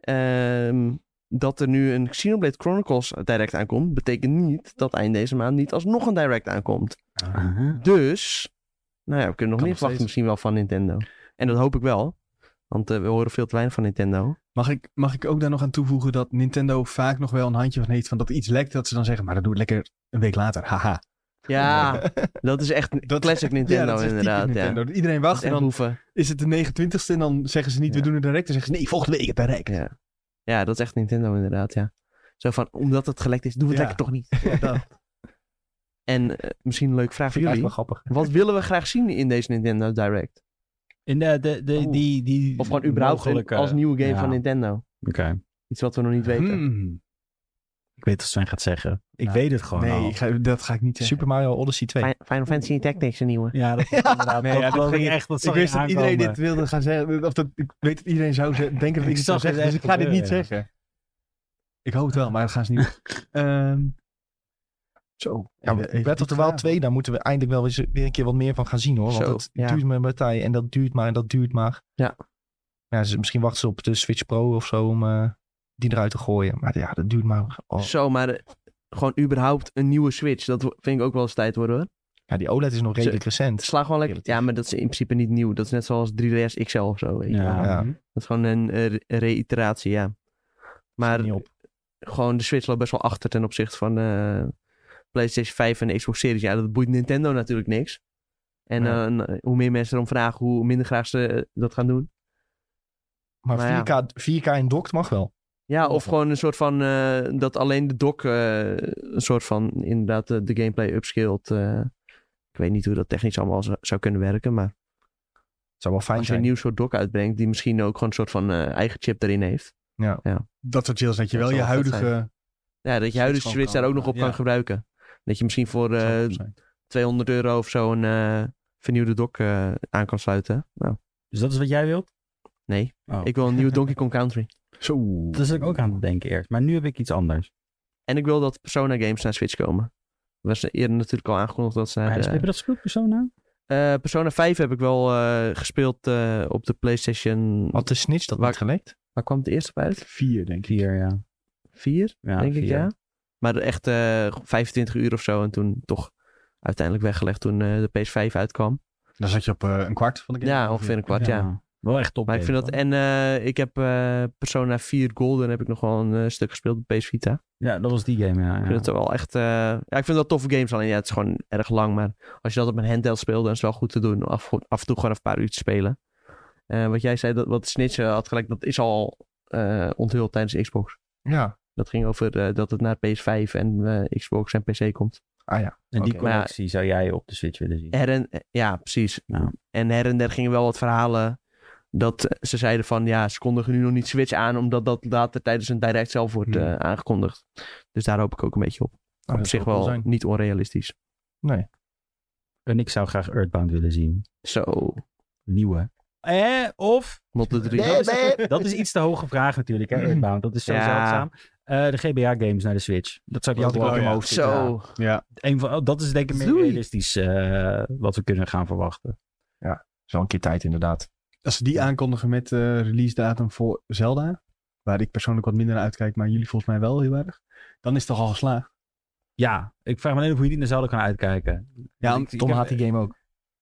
[SPEAKER 3] ehm, dat er nu een Xenoblade Chronicles direct aankomt. Betekent niet dat eind deze maand niet alsnog een direct aankomt.
[SPEAKER 4] Uh-huh.
[SPEAKER 3] Dus, nou ja, we kunnen nog meer
[SPEAKER 2] nog
[SPEAKER 3] verwachten
[SPEAKER 2] steeds.
[SPEAKER 3] misschien wel van Nintendo. En dat hoop ik wel. Want eh, we horen veel te weinig van Nintendo.
[SPEAKER 2] Mag ik, mag ik ook daar nog aan toevoegen dat Nintendo vaak nog wel een handje van heeft van dat iets lekt, dat ze dan zeggen, maar dat doe het lekker een week later. Haha.
[SPEAKER 3] Ja, dat is echt
[SPEAKER 2] Dat-
[SPEAKER 3] classic Nintendo
[SPEAKER 2] Ja, dat is echt typisch
[SPEAKER 3] inderdaad.
[SPEAKER 2] Nintendo.
[SPEAKER 3] Ja.
[SPEAKER 2] Dat Iedereen
[SPEAKER 3] Dat is
[SPEAKER 2] wacht en
[SPEAKER 3] echt
[SPEAKER 2] dan
[SPEAKER 3] hoeven.
[SPEAKER 2] is het de 29ste en dan zeggen ze niet,
[SPEAKER 3] Ja.
[SPEAKER 2] we doen het direct. Dan zeggen ze, nee, volgende week het direct.
[SPEAKER 3] Ja. ja, dat is echt Nintendo inderdaad, ja. Zo van, omdat het gelekt is, doen we het
[SPEAKER 2] Ja.
[SPEAKER 3] lekker toch niet.
[SPEAKER 2] dat.
[SPEAKER 3] En eh, misschien een leuke vraag voor
[SPEAKER 1] Vind ik eigenlijk
[SPEAKER 3] jullie.
[SPEAKER 1] wel grappig.
[SPEAKER 3] Wat willen we graag zien in deze Nintendo Direct?
[SPEAKER 4] In de, de, de,
[SPEAKER 3] Oeh.
[SPEAKER 4] die, die
[SPEAKER 3] Of gewoon überhaupt een-
[SPEAKER 4] mogelijke-
[SPEAKER 3] als nieuwe game
[SPEAKER 4] ja.
[SPEAKER 3] van Nintendo?
[SPEAKER 4] Oké.
[SPEAKER 3] Iets wat we nog niet weten.
[SPEAKER 2] Hmm.
[SPEAKER 4] Ik weet wat Sven gaat zeggen. Ik
[SPEAKER 3] Nou,
[SPEAKER 2] Ja.
[SPEAKER 4] weet het gewoon
[SPEAKER 2] nee,
[SPEAKER 4] al.
[SPEAKER 2] ik ga- dat ga ik niet zeggen.
[SPEAKER 1] Super Mario Odyssey 2.
[SPEAKER 3] Fi- Final Fantasy Tactics, een nieuwe.
[SPEAKER 4] Ja, dat was inderdaad.
[SPEAKER 2] Nee,
[SPEAKER 4] dat,
[SPEAKER 2] ja, dat
[SPEAKER 4] dat
[SPEAKER 2] ging
[SPEAKER 4] ging echt, dat
[SPEAKER 2] ik
[SPEAKER 4] zag
[SPEAKER 2] wist dat iedereen dit
[SPEAKER 4] aankomen.
[SPEAKER 2] wilde gaan zeggen. Of dat, ik weet dat iedereen zou ze- denken dat ik,
[SPEAKER 4] Ik
[SPEAKER 2] het zou
[SPEAKER 4] zag het
[SPEAKER 2] zeggen. Dus
[SPEAKER 4] echt
[SPEAKER 2] ik ga dit niet
[SPEAKER 4] gebeuren, ja.
[SPEAKER 2] zeggen. Ik hoop het wel, maar dat gaan ze niet doen. Ehm, zo.
[SPEAKER 1] Ja,
[SPEAKER 2] Even- even
[SPEAKER 1] Breath of the
[SPEAKER 2] diep
[SPEAKER 1] Wild 2, daar moeten we eindelijk wel eens weer een keer wat meer van gaan zien hoor. Want
[SPEAKER 3] Zo,
[SPEAKER 1] dat
[SPEAKER 3] ja.
[SPEAKER 1] duurt maar een partij en dat duurt maar en dat duurt maar.
[SPEAKER 3] Ja.
[SPEAKER 1] ja ze, misschien wachten ze op de Switch Pro of zo om eh, die eruit te gooien. Maar ja, dat duurt maar. Oh.
[SPEAKER 3] Zo, maar eh, gewoon überhaupt een nieuwe Switch. Dat wo- vind ik ook wel eens tijd worden hoor.
[SPEAKER 1] Ja, die OLED is nog redelijk recent.
[SPEAKER 3] Sla gewoon lekker.
[SPEAKER 1] Relatief.
[SPEAKER 3] Ja, maar dat is in principe niet nieuw. Dat is net zoals 3DS XL of zo. Weet je.
[SPEAKER 4] Ja.
[SPEAKER 1] Ja.
[SPEAKER 3] Dat is gewoon een eh, re- reiteratie, ja. Maar
[SPEAKER 1] Niet op.
[SPEAKER 3] gewoon de Switch loopt best wel achter ten opzichte van eh, PlayStation 5 en de Xbox Series. Ja, dat boeit Nintendo natuurlijk niks. En
[SPEAKER 1] Nee.
[SPEAKER 3] eh, hoe meer mensen erom vragen, hoe minder graag ze eh, dat gaan doen.
[SPEAKER 1] Maar,
[SPEAKER 3] maar ja.
[SPEAKER 1] 4K, 4K in docked mag wel.
[SPEAKER 3] Ja, of gewoon een soort van eh, dat alleen de dock eh, een soort van inderdaad eh, de gameplay upscaled. eh. ik weet niet hoe dat technisch allemaal zou, zou kunnen werken, maar
[SPEAKER 1] Het zou wel fijn
[SPEAKER 3] als je een
[SPEAKER 1] zijn.
[SPEAKER 3] nieuw soort dock uitbrengt die misschien ook gewoon een soort van eh, eigen chip erin heeft.
[SPEAKER 2] Dat soort chills, dat je
[SPEAKER 3] Dat
[SPEAKER 2] wel je
[SPEAKER 3] zou wel vet
[SPEAKER 2] huidige...
[SPEAKER 3] Ja, dat je
[SPEAKER 2] Switch
[SPEAKER 3] huidige
[SPEAKER 2] gewoon
[SPEAKER 3] Switch
[SPEAKER 2] kan,
[SPEAKER 3] daar ook nog op
[SPEAKER 2] ja.
[SPEAKER 3] kan gebruiken. Dat je misschien voor eh,
[SPEAKER 2] zou zijn.
[SPEAKER 3] 200 euro of zo een eh, vernieuwde dock eh, aan kan sluiten. Nou,
[SPEAKER 4] Dus dat is wat jij wilt?
[SPEAKER 3] nee.
[SPEAKER 4] Oh.
[SPEAKER 3] Ik wil een nieuwe Donkey Kong Country.
[SPEAKER 2] Zo.
[SPEAKER 4] Dat is ik ook aan het denken eerst. Maar nu heb ik iets anders.
[SPEAKER 3] En ik wil dat Persona games naar Switch komen. Was eerder natuurlijk al aangekondigd dat ze naar
[SPEAKER 4] Maar
[SPEAKER 3] de-
[SPEAKER 4] Heb je Ah, dat nou? gespeeld, Persona?
[SPEAKER 3] Eh, Persona 5 heb ik wel eh, gespeeld eh, op de PlayStation.
[SPEAKER 1] Had de Snitch dat
[SPEAKER 3] Waar-
[SPEAKER 1] niet gelekt?
[SPEAKER 3] Waar kwam het eerst op uit?
[SPEAKER 2] Vier, denk ik.
[SPEAKER 4] Vier, ja.
[SPEAKER 3] 4,
[SPEAKER 4] Ja,
[SPEAKER 3] denk ik,
[SPEAKER 4] vier.
[SPEAKER 3] ja. Maar echt eh 25 uur of zo. En toen toch uiteindelijk weggelegd toen eh, de PS5 uitkwam.
[SPEAKER 2] Dan zat je op eh, een kwart van de game.
[SPEAKER 3] Ja, ongeveer een kwart, ja.
[SPEAKER 4] Wel echt top.
[SPEAKER 3] Maar ik vind dat...
[SPEAKER 4] echt...
[SPEAKER 3] En eh, ik heb eh, Persona 4 Golden heb ik nog wel een eh, stuk gespeeld op PS Vita.
[SPEAKER 4] Ja, dat was die game, ja.
[SPEAKER 3] Ik
[SPEAKER 4] Ah, ja.
[SPEAKER 3] vind het wel echt... eh, ja, ik vind wel toffe games. Alleen ja, het is gewoon erg lang. Maar als je dat op een handheld speelde, dan is het wel goed te doen. Af, af en toe gewoon een paar uur te spelen. Eh, wat jij zei, dat, wat Snitch eh, had gelijk, dat is al eh, onthuld tijdens Xbox.
[SPEAKER 1] Ja.
[SPEAKER 3] Dat ging over eh, dat het naar PS5 en eh, Xbox en PC komt.
[SPEAKER 1] Ah ja.
[SPEAKER 4] En die
[SPEAKER 1] Oké.
[SPEAKER 3] Maar ja,
[SPEAKER 4] collectie zou jij op de Switch willen zien.
[SPEAKER 3] Her en, ja, precies.
[SPEAKER 4] Ja.
[SPEAKER 3] En her en der gingen wel wat verhalen. Dat eh, ze zeiden van ja, ze kondigen nu nog niet Switch aan, omdat dat later tijdens een direct zelf wordt
[SPEAKER 2] Hmm.
[SPEAKER 3] eh, aangekondigd. Dus daar hoop ik ook een beetje op.
[SPEAKER 1] Nou,
[SPEAKER 3] op
[SPEAKER 1] dat zou
[SPEAKER 3] zich
[SPEAKER 1] cool
[SPEAKER 3] wel
[SPEAKER 1] zijn.
[SPEAKER 3] niet onrealistisch.
[SPEAKER 4] En ik zou graag Earthbound willen zien.
[SPEAKER 3] Zo,
[SPEAKER 4] Nieuwe. Eh, of...
[SPEAKER 3] Mod de 3.
[SPEAKER 1] Nee, nee.
[SPEAKER 4] Dat is iets te hoge vraag natuurlijk, hè, Earthbound. Dat is zo
[SPEAKER 3] Ja.
[SPEAKER 4] zeldzaam. Eh, de GBA-games naar de Switch. Dat zou ik
[SPEAKER 1] Die
[SPEAKER 4] ook
[SPEAKER 1] had ik
[SPEAKER 4] wel
[SPEAKER 2] ook,
[SPEAKER 4] in mijn
[SPEAKER 2] ja.
[SPEAKER 4] hoofd zitten.
[SPEAKER 3] Oh, Zo.
[SPEAKER 2] Ja.
[SPEAKER 4] Een van, oh, dat is denk ik meer
[SPEAKER 3] Doei.
[SPEAKER 4] realistisch eh, wat we kunnen gaan verwachten.
[SPEAKER 1] Is wel een keer tijd inderdaad.
[SPEAKER 2] Als ze die aankondigen met eh release datum voor Zelda, waar ik persoonlijk wat minder naar uitkijk, maar jullie volgens mij wel heel erg, dan is het toch al geslaagd.
[SPEAKER 4] Ja, ik vraag me alleen af hoe je die naar zouden kan uitkijken.
[SPEAKER 2] Ja,
[SPEAKER 4] Ik- ik
[SPEAKER 1] Tom
[SPEAKER 4] heb-
[SPEAKER 1] haat die game ook.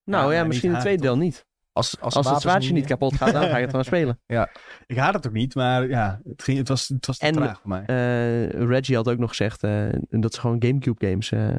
[SPEAKER 3] Nou
[SPEAKER 2] Ja,
[SPEAKER 3] ja,
[SPEAKER 2] maar
[SPEAKER 3] misschien
[SPEAKER 2] niet
[SPEAKER 3] het tweede deel niet.
[SPEAKER 1] eh, Als, als,
[SPEAKER 3] Als het
[SPEAKER 1] wapens
[SPEAKER 3] zwaardje niet kapot gaat, dan ga ik het gewoon spelen.
[SPEAKER 2] Ik haat het ook niet, maar ja, het, ging, het, was, het was te
[SPEAKER 3] En-
[SPEAKER 2] traag voor mij.
[SPEAKER 3] Eh, Reggie had ook nog gezegd eh, dat ze gewoon Gamecube games eh,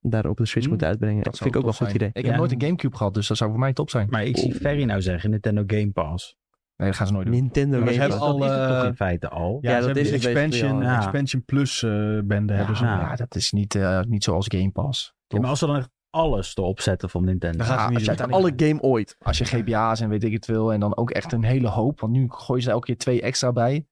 [SPEAKER 3] daar op de Switch
[SPEAKER 2] Hmm,
[SPEAKER 3] moeten uitbrengen. Dat
[SPEAKER 1] zou
[SPEAKER 3] vind ik ook wel een
[SPEAKER 1] top
[SPEAKER 3] goed idee.
[SPEAKER 1] zijn. Ik
[SPEAKER 4] Ja.
[SPEAKER 1] heb nooit een Gamecube gehad, dus dat zou voor mij top zijn.
[SPEAKER 4] Maar ik zie Ferry nou zeggen, Nintendo Game Pass.
[SPEAKER 1] Nee, dat gaan ze nooit doen.
[SPEAKER 3] Nintendo
[SPEAKER 2] Maar
[SPEAKER 3] games.
[SPEAKER 2] ze hebben
[SPEAKER 4] dat
[SPEAKER 2] al,
[SPEAKER 4] is het
[SPEAKER 2] eh,
[SPEAKER 4] toch in feite al.
[SPEAKER 2] ja,
[SPEAKER 3] ja,
[SPEAKER 2] ze
[SPEAKER 3] dat
[SPEAKER 2] hebben
[SPEAKER 3] is
[SPEAKER 2] die
[SPEAKER 3] het basically
[SPEAKER 2] expansion,
[SPEAKER 3] al,
[SPEAKER 4] ja.
[SPEAKER 2] expansion plus eh, bende hebben ze.
[SPEAKER 4] nou.
[SPEAKER 1] Ja, dat is niet, eh, niet zoals Game Pass.
[SPEAKER 4] Ja, maar als ze dan echt alles erop zetten van Nintendo.
[SPEAKER 2] Dan gaan ze
[SPEAKER 1] Ja,
[SPEAKER 2] niet
[SPEAKER 1] als je
[SPEAKER 2] doen.
[SPEAKER 1] uiteindelijk-
[SPEAKER 3] Alle game ooit.
[SPEAKER 1] Als je GBA's en weet ik het wil. En dan ook echt een hele hoop. Want nu gooien ze elke keer twee extra bij.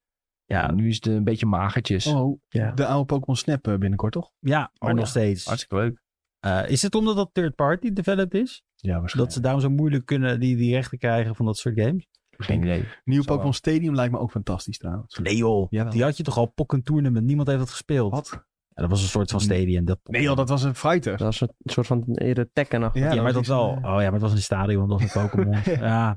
[SPEAKER 4] Ja,
[SPEAKER 1] En nu is het een beetje magertjes.
[SPEAKER 2] Oh,
[SPEAKER 3] Ja.
[SPEAKER 2] de oude Pokémon Snap eh, binnenkort, toch?
[SPEAKER 4] ja
[SPEAKER 1] Oh,
[SPEAKER 4] maar nog
[SPEAKER 1] ja.
[SPEAKER 4] steeds.
[SPEAKER 1] Hartstikke leuk.
[SPEAKER 4] Eh, is het omdat dat third-party developed is?
[SPEAKER 2] Ja,
[SPEAKER 4] Dat
[SPEAKER 2] waarschijnlijk.
[SPEAKER 4] ze daarom zo moeilijk kunnen die, die rechten krijgen van dat soort games?
[SPEAKER 5] Geen idee.
[SPEAKER 2] Nieuw
[SPEAKER 1] Zo wel.
[SPEAKER 2] Pokémon Stadium lijkt me ook fantastisch trouwens.
[SPEAKER 4] Nee joh,
[SPEAKER 2] Jawel.
[SPEAKER 4] die had je toch al Pokken Tournament, niemand heeft dat gespeeld.
[SPEAKER 2] Wat?
[SPEAKER 4] Ja, dat was een soort van stadion. Dat
[SPEAKER 2] Mm. Nee joh, dat was een fighter.
[SPEAKER 3] Dat was een soort van eerder tekken nog.
[SPEAKER 4] ja, maar dat
[SPEAKER 2] is-
[SPEAKER 4] wel. Oh ja, maar het was een stadion, dat was een Pokémon. ja.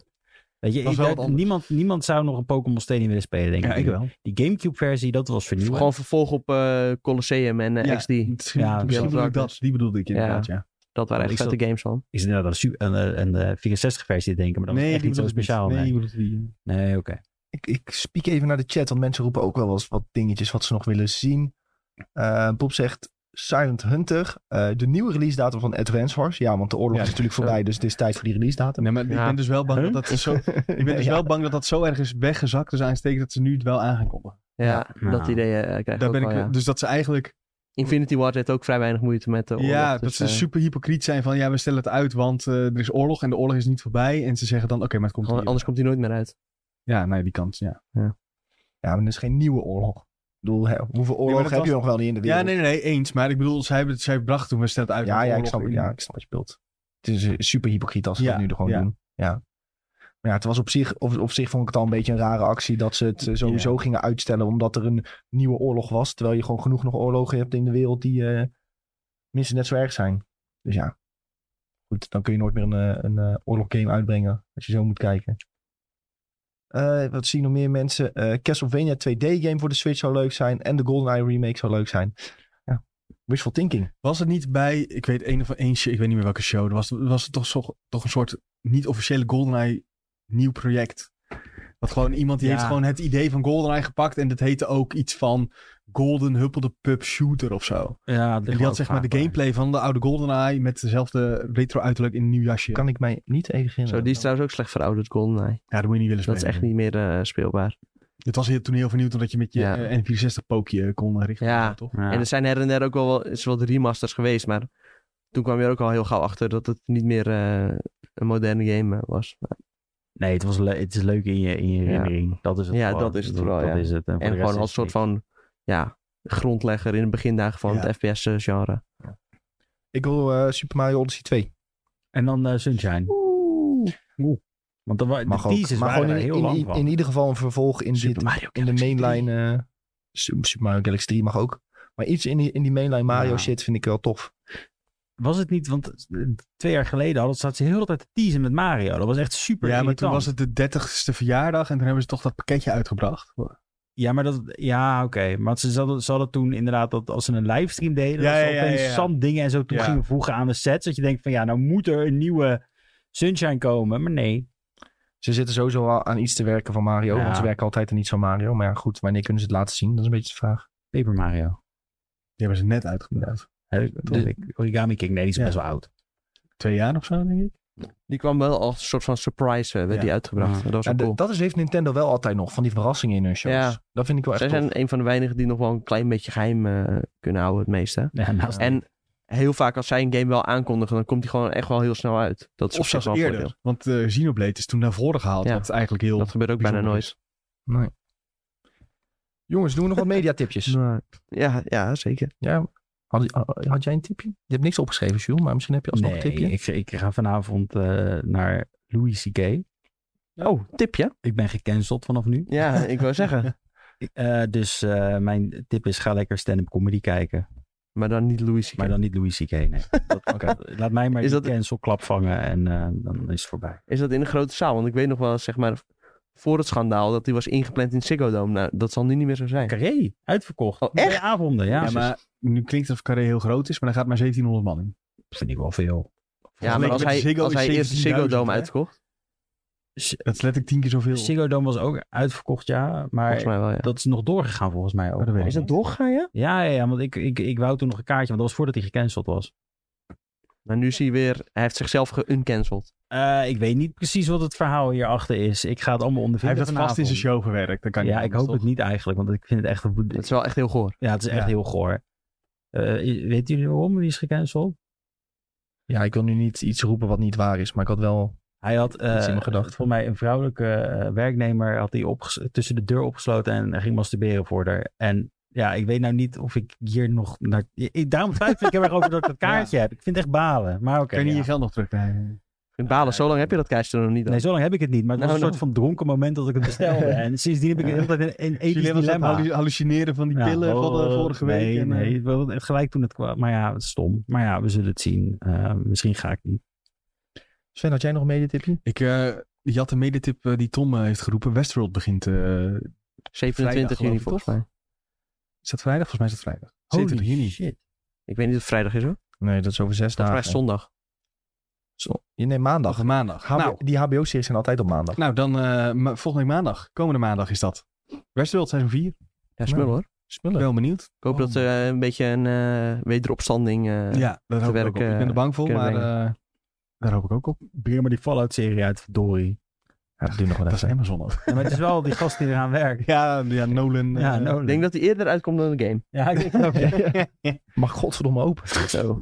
[SPEAKER 4] Weet je,
[SPEAKER 2] Dat is wel wat
[SPEAKER 4] ik- dat-
[SPEAKER 2] anders.
[SPEAKER 4] niemand, niemand zou nog een Pokémon Stadium willen spelen, denk ik.
[SPEAKER 2] Ja, ik wel.
[SPEAKER 4] Die Gamecube-versie, dat was vernieuwend.
[SPEAKER 3] Gewoon vervolg op eh, Colosseum en eh,
[SPEAKER 2] Ja,
[SPEAKER 3] XD.
[SPEAKER 2] Misschien,
[SPEAKER 4] Ja,
[SPEAKER 2] misschien
[SPEAKER 3] Yellow
[SPEAKER 2] bedoel ik
[SPEAKER 3] Darkness.
[SPEAKER 2] dat. Die bedoelde ik inderdaad, ja.
[SPEAKER 3] Dat waren echt
[SPEAKER 4] Ik zat-
[SPEAKER 3] vette games van.
[SPEAKER 4] Is inderdaad een, super- een, een, een 64-versie, denk ik. Maar dat was echt
[SPEAKER 2] die
[SPEAKER 4] niet zo
[SPEAKER 2] bedoel ik
[SPEAKER 4] speciaal.
[SPEAKER 2] Nee,
[SPEAKER 4] Nee,
[SPEAKER 2] die bedoelde die. eh.
[SPEAKER 4] nee oké.
[SPEAKER 1] Ik, ik spiek even naar de chat, want mensen roepen ook wel eens wat dingetjes wat ze nog willen zien. Eh, Bob zegt Silent Hunter, eh, de nieuwe release datum van Advance Wars. Ja, want de oorlog
[SPEAKER 2] Ja.
[SPEAKER 1] is natuurlijk voorbij, dus het is tijd voor die release datum.
[SPEAKER 2] Nee, maar ik
[SPEAKER 3] Ja.
[SPEAKER 2] ben dus wel bang dat dat zo... Ik ben dus
[SPEAKER 1] Ja.
[SPEAKER 2] wel bang dat dat zo erg is weggezakt is aansteken dat ze nu het wel aan gaan komen.
[SPEAKER 3] Ja,
[SPEAKER 4] Ja.
[SPEAKER 3] dat idee eh, krijg ik
[SPEAKER 2] Daar
[SPEAKER 3] ook
[SPEAKER 2] ben ik,
[SPEAKER 3] wel, ja.
[SPEAKER 2] Dus dat ze eigenlijk...
[SPEAKER 3] Infinity Ward heeft ook vrij weinig moeite met de oorlog.
[SPEAKER 2] ja,
[SPEAKER 3] dus,
[SPEAKER 2] dat ze
[SPEAKER 3] eh,
[SPEAKER 2] super hypocriet zijn van... Ja, we stellen het uit, want eh, er is oorlog en de oorlog is niet voorbij. En ze zeggen dan, oké, maar het komt
[SPEAKER 3] gewoon-
[SPEAKER 2] hier.
[SPEAKER 3] Anders komt hij nooit meer uit.
[SPEAKER 2] Ja, nee, die kans, ja.
[SPEAKER 1] Ja, maar dat is geen nieuwe oorlog. Ik bedoel, hè, hoeveel oorlogen
[SPEAKER 2] dat
[SPEAKER 1] heb je
[SPEAKER 2] was-
[SPEAKER 1] nog wel niet in de wereld?
[SPEAKER 2] Ja, nee, nee, nee, eens. Maar ik bedoel, zij, hebben- zij bracht toen, we stellen het uit.
[SPEAKER 1] Ja,
[SPEAKER 2] want
[SPEAKER 1] ja, ik
[SPEAKER 2] oorlog
[SPEAKER 1] snap,
[SPEAKER 2] in-
[SPEAKER 1] ja, ik snap wat je bedoelt. Het is eh, super hypocriet als ze
[SPEAKER 2] Ja,
[SPEAKER 1] dat nu er gewoon
[SPEAKER 2] ja.
[SPEAKER 1] doen. Ja. Maar ja, het was op zich, op, op zich vond ik het al een beetje een rare actie dat ze het eh, sowieso gingen uitstellen omdat er een nieuwe oorlog was. Terwijl je gewoon genoeg nog oorlogen hebt in de wereld die eh, minstens net zo erg zijn. Dus ja, goed, dan kun je nooit meer een, eh, een eh, oorloggame uitbrengen als je zo moet kijken. Eh, wat zien nog meer mensen? Eh Castlevania 2D-game voor de Switch zou leuk zijn. En de GoldenEye remake zou leuk zijn. Ja, wishful thinking.
[SPEAKER 2] Was het niet bij, ik weet een of een show, ik weet niet meer welke show, er was, was het toch, zo- toch een soort niet-officiële GoldenEye nieuw project? Dat gewoon iemand die
[SPEAKER 4] Ja.
[SPEAKER 2] heeft gewoon het idee van GoldenEye gepakt en dat heette ook iets van Golden Huppelde Pub Shooter of zo.
[SPEAKER 4] Ja,
[SPEAKER 2] En die had zeg maar de gameplay van de oude GoldenEye met dezelfde retro uiterlijk in een nieuw jasje.
[SPEAKER 1] Kan ik mij niet even herinneren.
[SPEAKER 3] Zo, die is trouwens ook slecht verouderd, GoldenEye.
[SPEAKER 2] Ja, dat moet je niet willen
[SPEAKER 3] Dat
[SPEAKER 2] spelen.
[SPEAKER 3] is echt niet meer eh, speelbaar.
[SPEAKER 2] Het was hier toen heel vernieuwd omdat je met je
[SPEAKER 3] Ja.
[SPEAKER 2] eh, N64 pookje kon eh, richten.
[SPEAKER 3] Ja.
[SPEAKER 2] toch?
[SPEAKER 3] En er zijn her en der ook wel wel- is wel wat remasters geweest, maar toen kwam je er ook al heel gauw achter dat het niet meer eh, een moderne game eh, was.
[SPEAKER 4] Nee, het, was le- het is leuk in je, in je
[SPEAKER 3] Ja.
[SPEAKER 4] herinnering. Dat is het
[SPEAKER 3] Ja,
[SPEAKER 4] vooral.
[SPEAKER 3] dat is het vooral,
[SPEAKER 4] Dat
[SPEAKER 3] ja.
[SPEAKER 4] is het. En, voor de
[SPEAKER 3] en
[SPEAKER 4] rest
[SPEAKER 3] gewoon
[SPEAKER 4] is
[SPEAKER 3] als
[SPEAKER 4] het
[SPEAKER 3] soort
[SPEAKER 4] niks.
[SPEAKER 3] van ja, grondlegger in de begindagen van
[SPEAKER 2] Ja.
[SPEAKER 3] het FPS-genre.
[SPEAKER 1] Ik wil eh, Super Mario Odyssey 2.
[SPEAKER 4] En dan eh, Sunshine. Oeh. Want dat wa- de
[SPEAKER 1] Mag ook.
[SPEAKER 4] teasers
[SPEAKER 1] maar
[SPEAKER 4] waren
[SPEAKER 1] gewoon
[SPEAKER 4] er
[SPEAKER 1] in,
[SPEAKER 4] dus heel
[SPEAKER 1] in-
[SPEAKER 4] lang
[SPEAKER 1] in,
[SPEAKER 4] van.
[SPEAKER 1] in ieder geval een vervolg in,
[SPEAKER 4] Super
[SPEAKER 1] dit,
[SPEAKER 4] Mario
[SPEAKER 1] in de mainline. eh, Su- Super Mario Galaxy 3 mag ook. Maar iets in die, in die mainline Mario
[SPEAKER 4] Ja.
[SPEAKER 1] shit vind ik wel tof.
[SPEAKER 4] Was het niet, want eh, twee jaar geleden hadden zat ze heel de tijd te teasen met Mario. Dat was echt super
[SPEAKER 2] Ja, maar toen
[SPEAKER 4] irritant.
[SPEAKER 2] was het de 30ste verjaardag en toen hebben ze toch dat pakketje uitgebracht.
[SPEAKER 4] Ja, maar dat... Ja, oké. Maar ze hadden, ze hadden toen inderdaad dat als ze een livestream deden...
[SPEAKER 2] Ja,
[SPEAKER 4] dat ze
[SPEAKER 2] ja, ja,
[SPEAKER 4] opeens
[SPEAKER 2] ja, ja.
[SPEAKER 4] zanddingen en zo toe
[SPEAKER 2] Ja.
[SPEAKER 4] gingen voegen aan de sets. Dat je denkt van, ja, nou moet er een nieuwe Sunshine komen. Maar nee.
[SPEAKER 1] Ze zitten sowieso al aan iets te werken van Mario.
[SPEAKER 4] Ja.
[SPEAKER 1] Want ze werken altijd aan iets van Mario. Maar ja, goed, wanneer kunnen ze het laten zien? Dat is een beetje de vraag.
[SPEAKER 4] Paper Mario.
[SPEAKER 2] Die hebben ze net uitgebracht.
[SPEAKER 4] Hè, de- Origami King, nee, die
[SPEAKER 2] Dus-
[SPEAKER 4] is
[SPEAKER 2] Ja.
[SPEAKER 4] best wel oud.
[SPEAKER 2] Twee jaar of zo, denk ik.
[SPEAKER 3] Die kwam wel als een soort van surprise, eh, werd
[SPEAKER 2] Ja.
[SPEAKER 3] die uitgebracht. Dat was
[SPEAKER 1] Ja,
[SPEAKER 3] wel
[SPEAKER 1] d-
[SPEAKER 3] cool.
[SPEAKER 1] Dat is, heeft Nintendo wel altijd nog. Van die verrassingen in hun shows.
[SPEAKER 3] Ja.
[SPEAKER 1] Dat vind ik wel echt
[SPEAKER 3] Zij
[SPEAKER 1] tof.
[SPEAKER 3] zijn een van de weinigen die nog wel een klein beetje geheim eh, kunnen houden, het meeste.
[SPEAKER 4] Ja, nou, naast...
[SPEAKER 3] En heel vaak als zij een game wel aankondigen, dan komt die gewoon echt wel heel snel uit. Dat is op
[SPEAKER 2] Of
[SPEAKER 3] zich
[SPEAKER 2] zelfs
[SPEAKER 3] wel een
[SPEAKER 2] eerder.
[SPEAKER 3] voordeel.
[SPEAKER 2] Want eh Xenoblade is toen naar voren gehaald.
[SPEAKER 3] Ja.
[SPEAKER 2] Wat eigenlijk heel...
[SPEAKER 3] Dat gebeurt ook bijna
[SPEAKER 2] bijzonder
[SPEAKER 3] nooit.
[SPEAKER 1] Jongens, doen we nog wat mediatipjes?
[SPEAKER 3] Ja, ja, zeker.
[SPEAKER 1] ja. Had, had jij een tipje? Je hebt niks opgeschreven, Jules. Maar misschien heb je alsnog
[SPEAKER 4] nee,
[SPEAKER 1] een tipje.
[SPEAKER 4] Ik, ik ga vanavond eh, naar Louis C.K.
[SPEAKER 3] Oh, tipje.
[SPEAKER 4] Ik ben gecanceld vanaf nu.
[SPEAKER 3] Ja, ik wou zeggen.
[SPEAKER 4] Eh, dus eh, mijn tip is ga lekker stand-up comedy kijken.
[SPEAKER 3] Maar dan niet Louis. C.K.
[SPEAKER 4] Maar dan niet Louis C.K. Nee. Dat, Laat mij maar
[SPEAKER 3] Is
[SPEAKER 4] die
[SPEAKER 3] dat-
[SPEAKER 4] cancelklap vangen en eh, dan is het voorbij.
[SPEAKER 3] Is dat in een grote zaal? Want ik weet nog wel, eens, zeg maar, voor het schandaal dat die was ingepland in Ziggo Dome. Nou, dat zal nu niet meer zo zijn.
[SPEAKER 4] Carré, uitverkocht.
[SPEAKER 3] Oh,
[SPEAKER 4] Twee
[SPEAKER 3] echt?
[SPEAKER 4] avonden, ja.
[SPEAKER 2] Ja, maar nu klinkt het of Carré heel groot is, maar dan gaat maar 1700 man in.
[SPEAKER 4] Dat vind ik wel veel.
[SPEAKER 3] Ja, maar als
[SPEAKER 2] met
[SPEAKER 3] hij,
[SPEAKER 2] Ziggo
[SPEAKER 3] als
[SPEAKER 2] is
[SPEAKER 3] hij eerst de Ziggo
[SPEAKER 2] 17.000,
[SPEAKER 3] Dome
[SPEAKER 2] hè?
[SPEAKER 3] uitkocht,
[SPEAKER 2] Dat is letterlijk tien keer zoveel.
[SPEAKER 4] Ziggo Dome was ook uitverkocht, ja. Maar
[SPEAKER 3] volgens mij wel, ja.
[SPEAKER 4] dat is nog doorgegaan volgens mij ook.
[SPEAKER 2] dat weet ik
[SPEAKER 3] Is dat doorgaan, ja?
[SPEAKER 4] Ja, ja, ja, want ik, ik, ik wou toen nog een kaartje, want dat was voordat hij gecanceld was.
[SPEAKER 3] Maar nu zie je weer, hij heeft zichzelf geuncanceld.
[SPEAKER 4] Eh, ik weet niet precies wat het verhaal hierachter is. Ik ga het allemaal
[SPEAKER 2] Hij
[SPEAKER 4] ondervinden
[SPEAKER 2] heeft dat vast in zijn show verwerkt. Dat kan
[SPEAKER 4] ja,
[SPEAKER 2] niet
[SPEAKER 4] ik
[SPEAKER 2] anders,
[SPEAKER 4] hoop het
[SPEAKER 2] toch?
[SPEAKER 4] niet eigenlijk, want ik vind het echt... een-
[SPEAKER 3] Dat is wel echt heel goor.
[SPEAKER 4] Ja, het is echt
[SPEAKER 2] Ja.
[SPEAKER 4] heel goor. Eh weet jullie waarom die is gecanceld?
[SPEAKER 1] Ja, ik wil nu niet iets roepen wat niet waar is. Maar ik had wel
[SPEAKER 4] Hij had eh,
[SPEAKER 1] Iets in mijn gedachten.
[SPEAKER 4] voor mij een vrouwelijke eh, werknemer had hij opges- tussen de deur opgesloten en ging masturberen voor haar. En ja, ik weet nou niet of ik hier nog naar. Ik, daarom twijfel ik heel erg over dat ik dat kaartje heb. Ik vind het echt balen. Maar oké.
[SPEAKER 2] Kan je niet
[SPEAKER 4] ja.
[SPEAKER 2] je geld nog terugkrijgen?
[SPEAKER 3] vind balen, zo lang heb je dat kaartje er nog niet. dan.
[SPEAKER 4] Nee, zo lang heb ik het niet. Maar het was
[SPEAKER 3] Nou,
[SPEAKER 4] een soort van dronken moment dat ik het bestelde. en sindsdien heb ik altijd een, een ethisch
[SPEAKER 2] Jullie was aan het
[SPEAKER 4] dilemma.
[SPEAKER 2] hallu- hallucineren van die
[SPEAKER 4] Ja,
[SPEAKER 2] pillen van de
[SPEAKER 4] oh,
[SPEAKER 2] vorige
[SPEAKER 4] nee,
[SPEAKER 2] week. en, eh,
[SPEAKER 4] Nee, wel, het gelijk toen het kwam. Maar ja, het is stom. Maar ja, we zullen het zien. Eh, misschien ga ik niet.
[SPEAKER 1] Sven, had jij nog een medetipje?
[SPEAKER 2] Ik eh die had een medetip eh, die Tom eh, heeft geroepen. Westworld begint. eh,
[SPEAKER 3] 27
[SPEAKER 2] Vrijdag, geloof
[SPEAKER 3] juni
[SPEAKER 2] ik,
[SPEAKER 3] volgens
[SPEAKER 2] toch?
[SPEAKER 3] mij.
[SPEAKER 2] is dat vrijdag? Volgens mij is dat vrijdag. 27 juni.
[SPEAKER 1] shit.
[SPEAKER 3] Ik weet niet of het vrijdag is hoor.
[SPEAKER 1] Nee, dat is over zes
[SPEAKER 3] Volgens mij
[SPEAKER 1] dagen.
[SPEAKER 3] is het zondag.
[SPEAKER 1] Zo- Je neemt maandag.
[SPEAKER 2] Of maandag.
[SPEAKER 1] HBO
[SPEAKER 2] Nou,
[SPEAKER 1] die HBO-series zijn altijd op maandag.
[SPEAKER 2] nou, dan eh, ma- volgende week maandag. Komende maandag is dat. Westworld seizoen 4. Ik
[SPEAKER 3] Ja, smul
[SPEAKER 1] Nou.
[SPEAKER 3] hoor.
[SPEAKER 1] Smullen.
[SPEAKER 2] ben wel benieuwd.
[SPEAKER 3] Ik hoop
[SPEAKER 2] Oh.
[SPEAKER 3] dat er eh, een beetje een eh, wederopstanding... eh,
[SPEAKER 2] ja, daar hoop ik ook op.
[SPEAKER 3] werk,
[SPEAKER 2] Ik ben er
[SPEAKER 3] eh,
[SPEAKER 2] bang voor,
[SPEAKER 3] kunnen
[SPEAKER 2] maar
[SPEAKER 3] brengen.
[SPEAKER 2] eh, daar hoop ik ook op.
[SPEAKER 4] Probeer maar die Fallout-serie uit, verdorie.
[SPEAKER 1] Ja, dat duurt nog wel
[SPEAKER 2] Dat is
[SPEAKER 1] even.
[SPEAKER 2] Amazon ook.
[SPEAKER 4] Ja, maar het is wel die gast die eraan werkt.
[SPEAKER 2] Ja, ja Nolan. eh,
[SPEAKER 4] Ja, Nolan.
[SPEAKER 3] Ik denk dat die eerder uitkomt dan de game.
[SPEAKER 4] Ja, ik denk het ook. ja.
[SPEAKER 1] Mag godverdomme open.
[SPEAKER 3] Zo.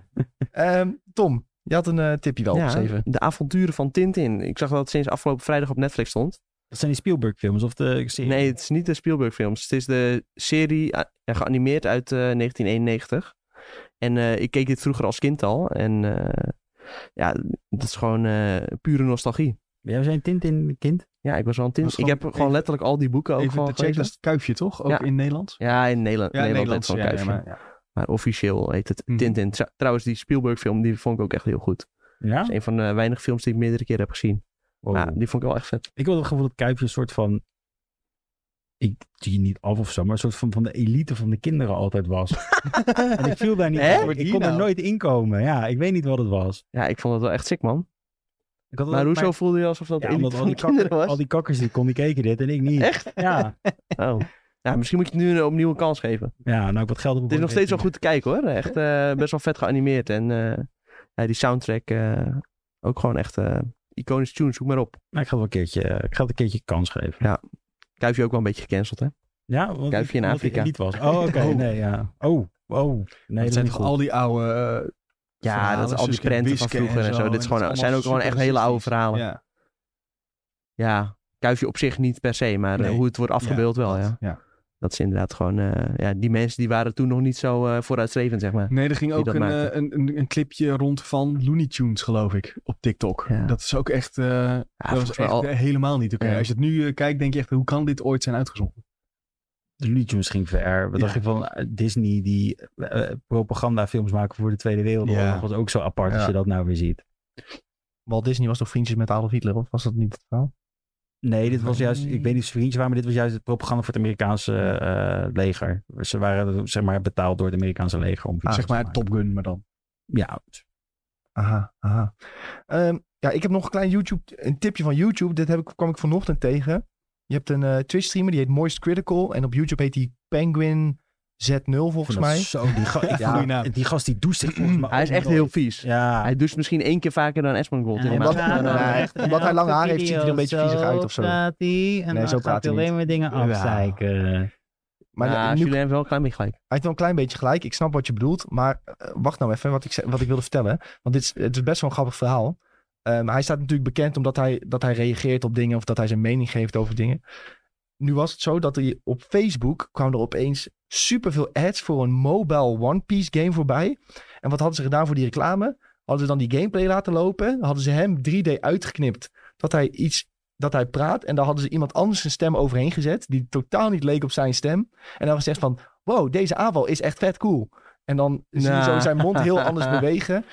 [SPEAKER 1] Ehm, Tom, je had een eh, tipje wel
[SPEAKER 2] Oh,
[SPEAKER 3] Ja,
[SPEAKER 1] opgeschreven.
[SPEAKER 3] de avonturen van Tintin. Ik zag dat het sinds afgelopen vrijdag op Netflix stond.
[SPEAKER 4] Dat zijn die Spielberg-films of de serie?
[SPEAKER 3] Nee, het is niet de Spielberg films. Het is de serie eh, geanimeerd uit eh, 1991. En eh, ik keek dit vroeger als kind al. En eh, ja, dat is gewoon eh, pure nostalgie.
[SPEAKER 4] Ben jij zijn Tintin kind?
[SPEAKER 3] Ja, ik was wel een
[SPEAKER 2] Was
[SPEAKER 3] Tintin.
[SPEAKER 2] gewoon
[SPEAKER 3] Ik heb gewoon
[SPEAKER 2] even-
[SPEAKER 3] letterlijk al die boeken ook
[SPEAKER 2] Even
[SPEAKER 3] gewoon
[SPEAKER 2] de check, dat is
[SPEAKER 3] gelezen.
[SPEAKER 2] het kuifje toch? Ook
[SPEAKER 3] Ja.
[SPEAKER 2] in Nederland?
[SPEAKER 3] Ja, in Nederland. Nederland heet het gewoon Kuifje.
[SPEAKER 2] maar,
[SPEAKER 3] maar... officieel heet het
[SPEAKER 2] Mhm.
[SPEAKER 3] Tintin. Tra- Trouwens, die Spielberg film, die vond ik ook echt heel goed.
[SPEAKER 4] Ja?
[SPEAKER 3] Dat is een van de weinige films die ik meerdere keren heb gezien.
[SPEAKER 4] Wow.
[SPEAKER 3] Ja, die vond ik wel echt vet.
[SPEAKER 4] Ik had het gevoel dat Kuipje een soort van... Ik zie je niet af of zo, maar een soort van, van de elite van de kinderen altijd was. en ik viel daar niet
[SPEAKER 3] Hè? nou?
[SPEAKER 4] over. Ik kon er nooit inkomen. Ja, ik weet niet wat het was.
[SPEAKER 3] Ja, ik vond het wel echt sick, man.
[SPEAKER 4] Ik had
[SPEAKER 3] Maar
[SPEAKER 4] altijd-
[SPEAKER 3] hoezo voelde je alsof dat
[SPEAKER 4] Ja,
[SPEAKER 3] elite
[SPEAKER 4] omdat al
[SPEAKER 3] van
[SPEAKER 4] die,
[SPEAKER 3] de kinderen
[SPEAKER 4] kakker-
[SPEAKER 3] was?
[SPEAKER 4] al die kakkers die konden, die keken dit en ik niet. Echt? Ja.
[SPEAKER 3] Oh. Ja, misschien moet je het nu een- opnieuw een kans geven.
[SPEAKER 4] Ja, nou ik wat geld op
[SPEAKER 3] Het is nog steeds wel goed te kijken, hoor. Echt eh, best wel vet geanimeerd. En eh, ja, die soundtrack eh, ook gewoon echt eh iconische tunes. Zoek maar op.
[SPEAKER 4] Maar Nou, ik ga het wel een keertje, ik ga het een keertje kans geven.
[SPEAKER 3] Kuifje ook wel een beetje gecanceld, hè?
[SPEAKER 4] Ja, want
[SPEAKER 3] Kuifje in
[SPEAKER 4] omdat ik
[SPEAKER 3] Afrika.
[SPEAKER 4] niet was. Oh, oké.
[SPEAKER 2] Oh.
[SPEAKER 4] Nee, ja. Oh, oh. Nee, dat
[SPEAKER 2] het
[SPEAKER 4] is
[SPEAKER 2] zijn
[SPEAKER 4] niet
[SPEAKER 2] toch
[SPEAKER 4] goed.
[SPEAKER 2] al die oude... eh,
[SPEAKER 3] Ja,
[SPEAKER 2] verhalen,
[SPEAKER 3] dat is al die
[SPEAKER 2] Suske en
[SPEAKER 3] prenten van
[SPEAKER 2] Wiske
[SPEAKER 3] vroeger en zo. Dit is
[SPEAKER 2] en
[SPEAKER 3] gewoon-
[SPEAKER 2] dat is
[SPEAKER 3] zijn ook
[SPEAKER 2] allemaal
[SPEAKER 3] gewoon echt hele oude
[SPEAKER 2] super
[SPEAKER 3] verhalen.
[SPEAKER 2] racistisch.
[SPEAKER 3] Ja, Kuifje op zich niet per se, maar eh,
[SPEAKER 2] Nee.
[SPEAKER 3] hoe het wordt afgebeeld wel, ja.
[SPEAKER 2] Ja.
[SPEAKER 3] Dat is inderdaad gewoon... eh, ja, die mensen die waren toen nog niet zo eh, vooruitstrevend, zeg maar.
[SPEAKER 2] Nee, er ging ook
[SPEAKER 3] dat
[SPEAKER 2] een,
[SPEAKER 3] maakte.
[SPEAKER 2] eh, een, een, een clipje rond van Looney Tunes, geloof ik, op TikTok.
[SPEAKER 3] Ja.
[SPEAKER 2] Dat is ook echt... eh, dat
[SPEAKER 3] volgens
[SPEAKER 2] was
[SPEAKER 3] mij
[SPEAKER 2] echt
[SPEAKER 3] al-
[SPEAKER 2] eh, helemaal niet oké.
[SPEAKER 3] Ja. Ah,
[SPEAKER 2] Als je het nu eh, kijkt, denk je echt, hoe kan dit ooit zijn uitgezonden?
[SPEAKER 4] de Looney Tunes ging ver. Wat dacht je van eh, Disney die eh, eh, propagandafilms maken voor de Tweede Wereldoorlog?
[SPEAKER 2] Ja.
[SPEAKER 4] Dat was ook zo apart als
[SPEAKER 1] Ja.
[SPEAKER 4] je dat nou weer ziet.
[SPEAKER 1] Walt Disney was toch vriendjes met Adolf Hitler, of was dat niet het verhaal?
[SPEAKER 4] Nee, dit was juist, ik weet niet of ze vriendjes waren, maar dit was juist het propaganda voor het Amerikaanse eh, leger. Ze waren zeg maar betaald door het Amerikaanse leger om
[SPEAKER 1] Ah,
[SPEAKER 4] video's
[SPEAKER 2] zeg
[SPEAKER 4] te
[SPEAKER 2] maar
[SPEAKER 4] maken.
[SPEAKER 2] Top Gun, maar dan.
[SPEAKER 4] Ja,
[SPEAKER 1] Aha, aha. Ehm, ja, ik heb nog een klein YouTube, een tipje van YouTube. Dit heb ik, kwam ik vanochtend tegen. Je hebt een eh Twitch streamer, die heet Moist Critical. En op YouTube heet die Penguin Z0
[SPEAKER 4] Ik
[SPEAKER 1] volgens
[SPEAKER 4] vind dat
[SPEAKER 1] mij.
[SPEAKER 4] Zo, die, ga- ik
[SPEAKER 2] Ja.
[SPEAKER 4] vond- die gast die doucht zich volgens mij
[SPEAKER 3] Hij is
[SPEAKER 4] ook
[SPEAKER 3] echt
[SPEAKER 4] nooit.
[SPEAKER 3] heel vies.
[SPEAKER 4] Ja,
[SPEAKER 3] Hij doucht misschien één keer vaker dan Esmond Gold.
[SPEAKER 1] Ja,
[SPEAKER 3] in de
[SPEAKER 1] omdat-
[SPEAKER 3] maand.
[SPEAKER 1] Ja, nou, nee. echt. Omdat hij lange haar heeft, ziet hij er een beetje viezig uit of zo.
[SPEAKER 4] Praat hij, en
[SPEAKER 1] Nee, zo
[SPEAKER 4] dan
[SPEAKER 1] praat
[SPEAKER 4] gaat hij
[SPEAKER 1] hij
[SPEAKER 4] alleen maar dingen
[SPEAKER 2] Ja.
[SPEAKER 4] afzeiken.
[SPEAKER 1] Maar
[SPEAKER 3] ja,
[SPEAKER 1] nu,
[SPEAKER 3] jullie
[SPEAKER 1] hij
[SPEAKER 3] hebben wel een klein beetje gelijk.
[SPEAKER 1] heeft wel een klein beetje gelijk. Ik snap wat je bedoelt. Maar eh, wacht nou even, wat ik, ze- wat ik wilde vertellen. Want dit is, het is best wel een grappig verhaal. Ehm, hij staat natuurlijk bekend omdat hij, dat hij reageert op dingen of dat hij zijn mening geeft over dingen. Nu was het zo dat hij op Facebook kwam er opeens superveel ads voor een mobile One Piece game voorbij. En wat hadden ze gedaan voor die reclame? Hadden ze dan die gameplay laten lopen? Hadden ze hem 3D uitgeknipt dat hij iets dat hij praat en daar hadden ze iemand anders zijn stem overheen gezet die totaal niet leek op zijn stem. En dan was echt van, wow, deze aanval is echt vet cool. En dan zie je
[SPEAKER 3] Nou.
[SPEAKER 1] zo zijn mond heel anders bewegen.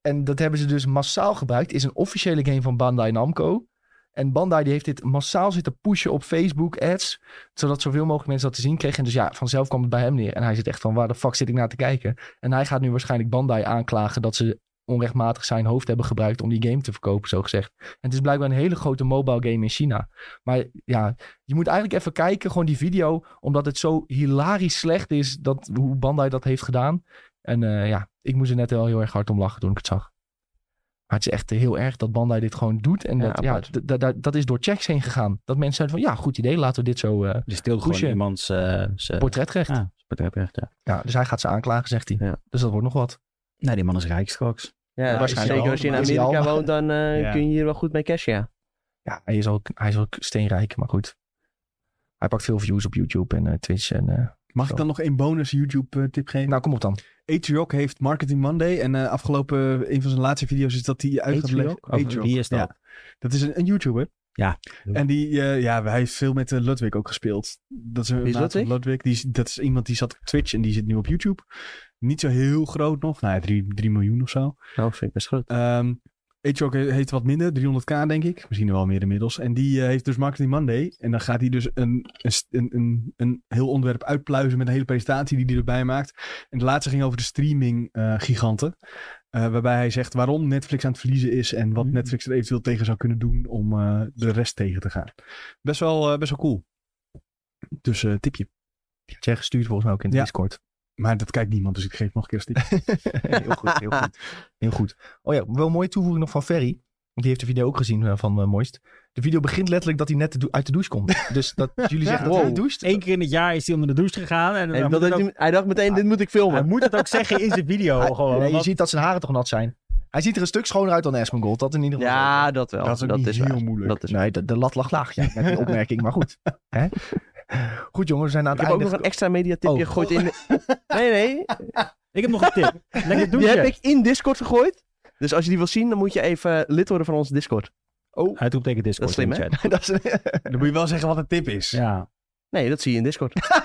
[SPEAKER 1] En dat hebben ze dus massaal gebruikt. Is een officiële game van Bandai Namco. En Bandai die heeft dit massaal zitten pushen op Facebook ads. Zodat zoveel mogelijk mensen dat te zien kregen. En dus ja, vanzelf kwam het bij hem neer. En hij zit echt van waar de fuck zit ik naar te kijken. En hij gaat nu waarschijnlijk Bandai aanklagen dat ze onrechtmatig zijn hoofd hebben gebruikt om die game te verkopen, zo gezegd. En het is blijkbaar een hele grote mobile game in China. Maar ja, je moet eigenlijk even kijken, gewoon die video, omdat het zo hilarisch slecht is dat, hoe Bandai dat heeft gedaan. En eh, ja, ik moest er net wel heel erg hard om lachen toen ik het zag. Maar het is echt eh, heel erg dat Bandai dit gewoon doet. En
[SPEAKER 3] Ja,
[SPEAKER 1] dat, ja,
[SPEAKER 3] apart.
[SPEAKER 1] d- d- d- dat is door checks heen gegaan. Dat mensen zeiden van, ja, goed idee, laten we dit zo eh
[SPEAKER 4] Dus stil gewoon
[SPEAKER 1] Poesje.
[SPEAKER 4] iemands eh, zijn-
[SPEAKER 1] portretrecht. Ja.
[SPEAKER 4] Ja, zijn portretrecht, ja.
[SPEAKER 1] dus hij gaat ze aanklagen, zegt hij.
[SPEAKER 3] Ja.
[SPEAKER 1] Dus dat wordt nog wat.
[SPEAKER 4] Nee, die man is rijkskraks.
[SPEAKER 3] Ja,
[SPEAKER 1] waarschijnlijk
[SPEAKER 3] zeker
[SPEAKER 1] wel,
[SPEAKER 3] als je in
[SPEAKER 1] maar is hij
[SPEAKER 3] Amerika
[SPEAKER 1] al?
[SPEAKER 3] woont, dan eh,
[SPEAKER 2] Ja.
[SPEAKER 3] kun je hier wel goed mee cashen, ja.
[SPEAKER 1] Ja, hij is, al, hij is al steenrijk, maar goed. Hij pakt veel views op YouTube en eh, Twitch en eh,
[SPEAKER 2] Mag ik dan nog één bonus YouTube-tip geven?
[SPEAKER 1] Nou, kom op dan.
[SPEAKER 2] Atriok heeft Marketing Monday. En eh, afgelopen, een van zijn laatste video's is dat hij uit gaat
[SPEAKER 4] Atriok?
[SPEAKER 2] leggen.
[SPEAKER 4] Of wie is dat?
[SPEAKER 2] ja. Dat is een, een YouTuber.
[SPEAKER 4] Ja.
[SPEAKER 2] En die, eh, ja, hij heeft veel met eh, Ludwig ook gespeeld. Dat is, een
[SPEAKER 3] Wie is
[SPEAKER 2] maat van
[SPEAKER 3] Ludwig?
[SPEAKER 2] Ludwig. Die, is- dat is iemand die zat op Twitch en die zit nu op YouTube. Niet zo heel groot nog. Nou ja, 3 miljoen of zo.
[SPEAKER 3] Nou, vind ik best goed.
[SPEAKER 2] Ehm Atriok he- heeft wat minder, 300k denk ik. Misschien wel meer inmiddels. En die eh, heeft dus Marketing Monday. En dan gaat hij dus een, een, st- een, een, een heel onderwerp uitpluizen met een hele presentatie die hij erbij maakt. En de laatste ging over de streaming eh, giganten. Eh, waarbij hij zegt waarom Netflix aan het verliezen is en wat
[SPEAKER 4] Mm.
[SPEAKER 3] Mm-hmm.
[SPEAKER 2] Netflix er eventueel tegen zou kunnen doen om eh, de rest tegen te gaan. Best wel, eh, best wel cool. Dus eh, tipje.
[SPEAKER 1] Jij gestuurd volgens mij ook in de
[SPEAKER 2] Ja.
[SPEAKER 1] Discord.
[SPEAKER 2] Maar dat kijkt niemand, dus ik geef nog een keer een tipje.
[SPEAKER 1] heel goed, heel goed. Heel goed. Oh ja, wel een mooie toevoeging nog van Ferry. Want die heeft de video ook gezien eh, van eh, Moist. De video begint letterlijk dat hij net de dou- uit de douche komt. Dus dat jullie zeggen dat hij
[SPEAKER 4] Wow.
[SPEAKER 1] doucht.
[SPEAKER 4] Eén keer in het jaar is hij onder de douche gegaan. En
[SPEAKER 3] Hij,
[SPEAKER 4] hij,
[SPEAKER 3] dat
[SPEAKER 4] moet het
[SPEAKER 3] heeft
[SPEAKER 4] ook,
[SPEAKER 3] hij- hij dacht meteen, dit moet ik
[SPEAKER 4] hij
[SPEAKER 3] filmen.
[SPEAKER 4] moet het ook zeggen in zijn video.
[SPEAKER 1] Hij-
[SPEAKER 4] gewoon,
[SPEAKER 1] Oh, nee, je
[SPEAKER 4] want-
[SPEAKER 1] ziet dat zijn haren toch nat zijn. Hij ziet er een stuk schoner uit dan Esmond. Dat in ieder geval.
[SPEAKER 3] Ja, dat wel.
[SPEAKER 2] dat is ook niet heel
[SPEAKER 3] waar.
[SPEAKER 2] moeilijk.
[SPEAKER 3] Dat is
[SPEAKER 1] Nee, de, de lat lag laag. Ja, met die opmerking, maar goed. Hè? Goed jongens, we zijn aan
[SPEAKER 3] Ik
[SPEAKER 1] het
[SPEAKER 3] heb ook
[SPEAKER 1] einde.
[SPEAKER 3] nog een extra mediatipje
[SPEAKER 1] Oh.
[SPEAKER 3] gegooid in... de- Nee, nee.
[SPEAKER 4] Ik heb nog een tip. Lekker
[SPEAKER 3] Die
[SPEAKER 4] douchen.
[SPEAKER 3] heb ik in Discord gegooid. Dus als je die wil zien, dan moet je even lid worden van onze Discord.
[SPEAKER 4] Uitroepteken
[SPEAKER 3] Dat
[SPEAKER 4] Discord
[SPEAKER 3] is slim,
[SPEAKER 4] in de
[SPEAKER 3] hè?
[SPEAKER 4] chat.
[SPEAKER 1] Dat is,
[SPEAKER 2] Dan moet je wel zeggen wat een tip is.
[SPEAKER 4] Ja.
[SPEAKER 3] Nee, dat zie je in Discord.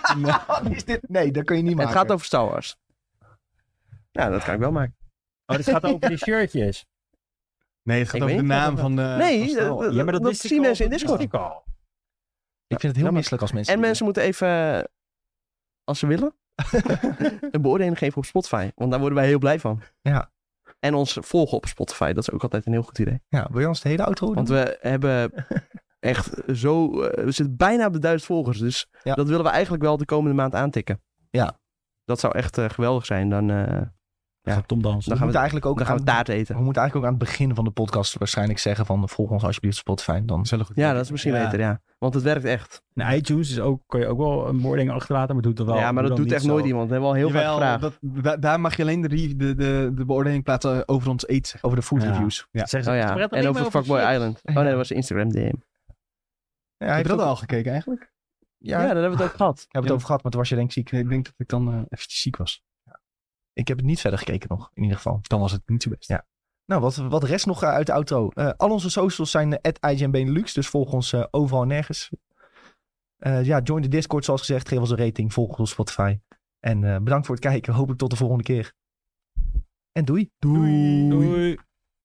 [SPEAKER 1] wat is dit? Nee, dat kun je niet
[SPEAKER 3] En
[SPEAKER 1] maken.
[SPEAKER 3] het gaat over Star Wars. Nou, dat kan ik wel maken.
[SPEAKER 4] Oh, dit gaat over die shirtjes.
[SPEAKER 2] Nee, het gaat
[SPEAKER 3] Ik
[SPEAKER 2] over de
[SPEAKER 3] weet niet
[SPEAKER 2] naam van
[SPEAKER 4] Eh,
[SPEAKER 2] de... van
[SPEAKER 3] Nee,
[SPEAKER 2] Star
[SPEAKER 3] dat,
[SPEAKER 2] Wars.
[SPEAKER 3] dat,
[SPEAKER 4] Ja, maar dat,
[SPEAKER 3] dat
[SPEAKER 4] wist ik
[SPEAKER 3] zien
[SPEAKER 4] al,
[SPEAKER 3] mensen in
[SPEAKER 4] dat
[SPEAKER 3] Discord.
[SPEAKER 4] wist ik al.
[SPEAKER 1] Ik vind
[SPEAKER 2] Nou,
[SPEAKER 1] het heel misselijk als mensen.
[SPEAKER 3] En mensen moeten even, als ze willen, een beoordeling geven op Spotify. Want daar worden wij heel blij van.
[SPEAKER 1] Ja.
[SPEAKER 3] En ons volgen op Spotify, dat is ook altijd een heel goed idee.
[SPEAKER 1] Ja, wil je ons de hele auto doen?
[SPEAKER 3] Want we hebben echt zo, eh, we zitten bijna op de duizend volgers. Dus
[SPEAKER 1] Ja.
[SPEAKER 3] dat willen we eigenlijk wel de komende maand aantikken.
[SPEAKER 1] Ja.
[SPEAKER 3] Dat zou echt eh, geweldig zijn. Dan, eh,
[SPEAKER 4] Ja. Gaat Tom dansen.
[SPEAKER 1] we
[SPEAKER 3] dan gaan
[SPEAKER 1] moeten
[SPEAKER 3] we,
[SPEAKER 1] eigenlijk ook
[SPEAKER 3] dan gaan we
[SPEAKER 1] aan-
[SPEAKER 3] taart eten.
[SPEAKER 1] We moeten eigenlijk ook aan het begin van de podcast waarschijnlijk zeggen van volg ons alsjeblieft op Spotify. Dan
[SPEAKER 2] Dat is wel een goed
[SPEAKER 3] Ja,
[SPEAKER 2] idee.
[SPEAKER 3] dat is misschien
[SPEAKER 4] Ja.
[SPEAKER 3] beter, ja. Want het werkt echt.
[SPEAKER 4] En iTunes is ook, kan je ook wel een beoordeling achterlaten, maar doet dat wel.
[SPEAKER 3] Nou. ja, maar
[SPEAKER 4] doe
[SPEAKER 3] dat
[SPEAKER 4] dan
[SPEAKER 3] doet
[SPEAKER 4] niet
[SPEAKER 3] echt
[SPEAKER 4] zo.
[SPEAKER 3] nooit iemand. Dat hebben we al heel
[SPEAKER 2] Jawel,
[SPEAKER 3] vaak gevraagd.
[SPEAKER 2] dat, da- daar mag je alleen de, re- de, de, de beoordeling plaatsen over ons eten.
[SPEAKER 1] over de food
[SPEAKER 4] Ja.
[SPEAKER 1] reviews.
[SPEAKER 2] Ja.
[SPEAKER 4] Zeggen ze,
[SPEAKER 3] Oh
[SPEAKER 4] "Spread
[SPEAKER 3] ja,
[SPEAKER 4] alleen
[SPEAKER 3] en
[SPEAKER 4] maar
[SPEAKER 3] over Fuckboy Island. Oh nee, dat was Instagram DM.
[SPEAKER 1] Ja, hij
[SPEAKER 2] Heb
[SPEAKER 1] heeft
[SPEAKER 2] je dat
[SPEAKER 1] ook-
[SPEAKER 2] al gekeken eigenlijk?
[SPEAKER 1] Ja,
[SPEAKER 3] Ja,
[SPEAKER 1] daar
[SPEAKER 3] daar hebben we het ook gehad.
[SPEAKER 1] hebben we het over gehad, maar toen was je denk ik ziek.
[SPEAKER 2] Nee, ik denk dat ik dan even eventjes ziek was.
[SPEAKER 1] Ik heb het niet verder gekeken nog, in ieder geval.
[SPEAKER 2] Dan was het niet zo best.
[SPEAKER 1] Ja. Nou, wat, wat rest nog eh, uit de auto? Eh, al onze socials zijn uh, Benelux, dus volg ons eh, overal en nergens. Eh, ja, join de Discord zoals gezegd, geef ons een rating, volg ons op Spotify. En eh, bedankt voor het kijken, hopelijk tot de volgende keer. En doei.
[SPEAKER 4] Doei.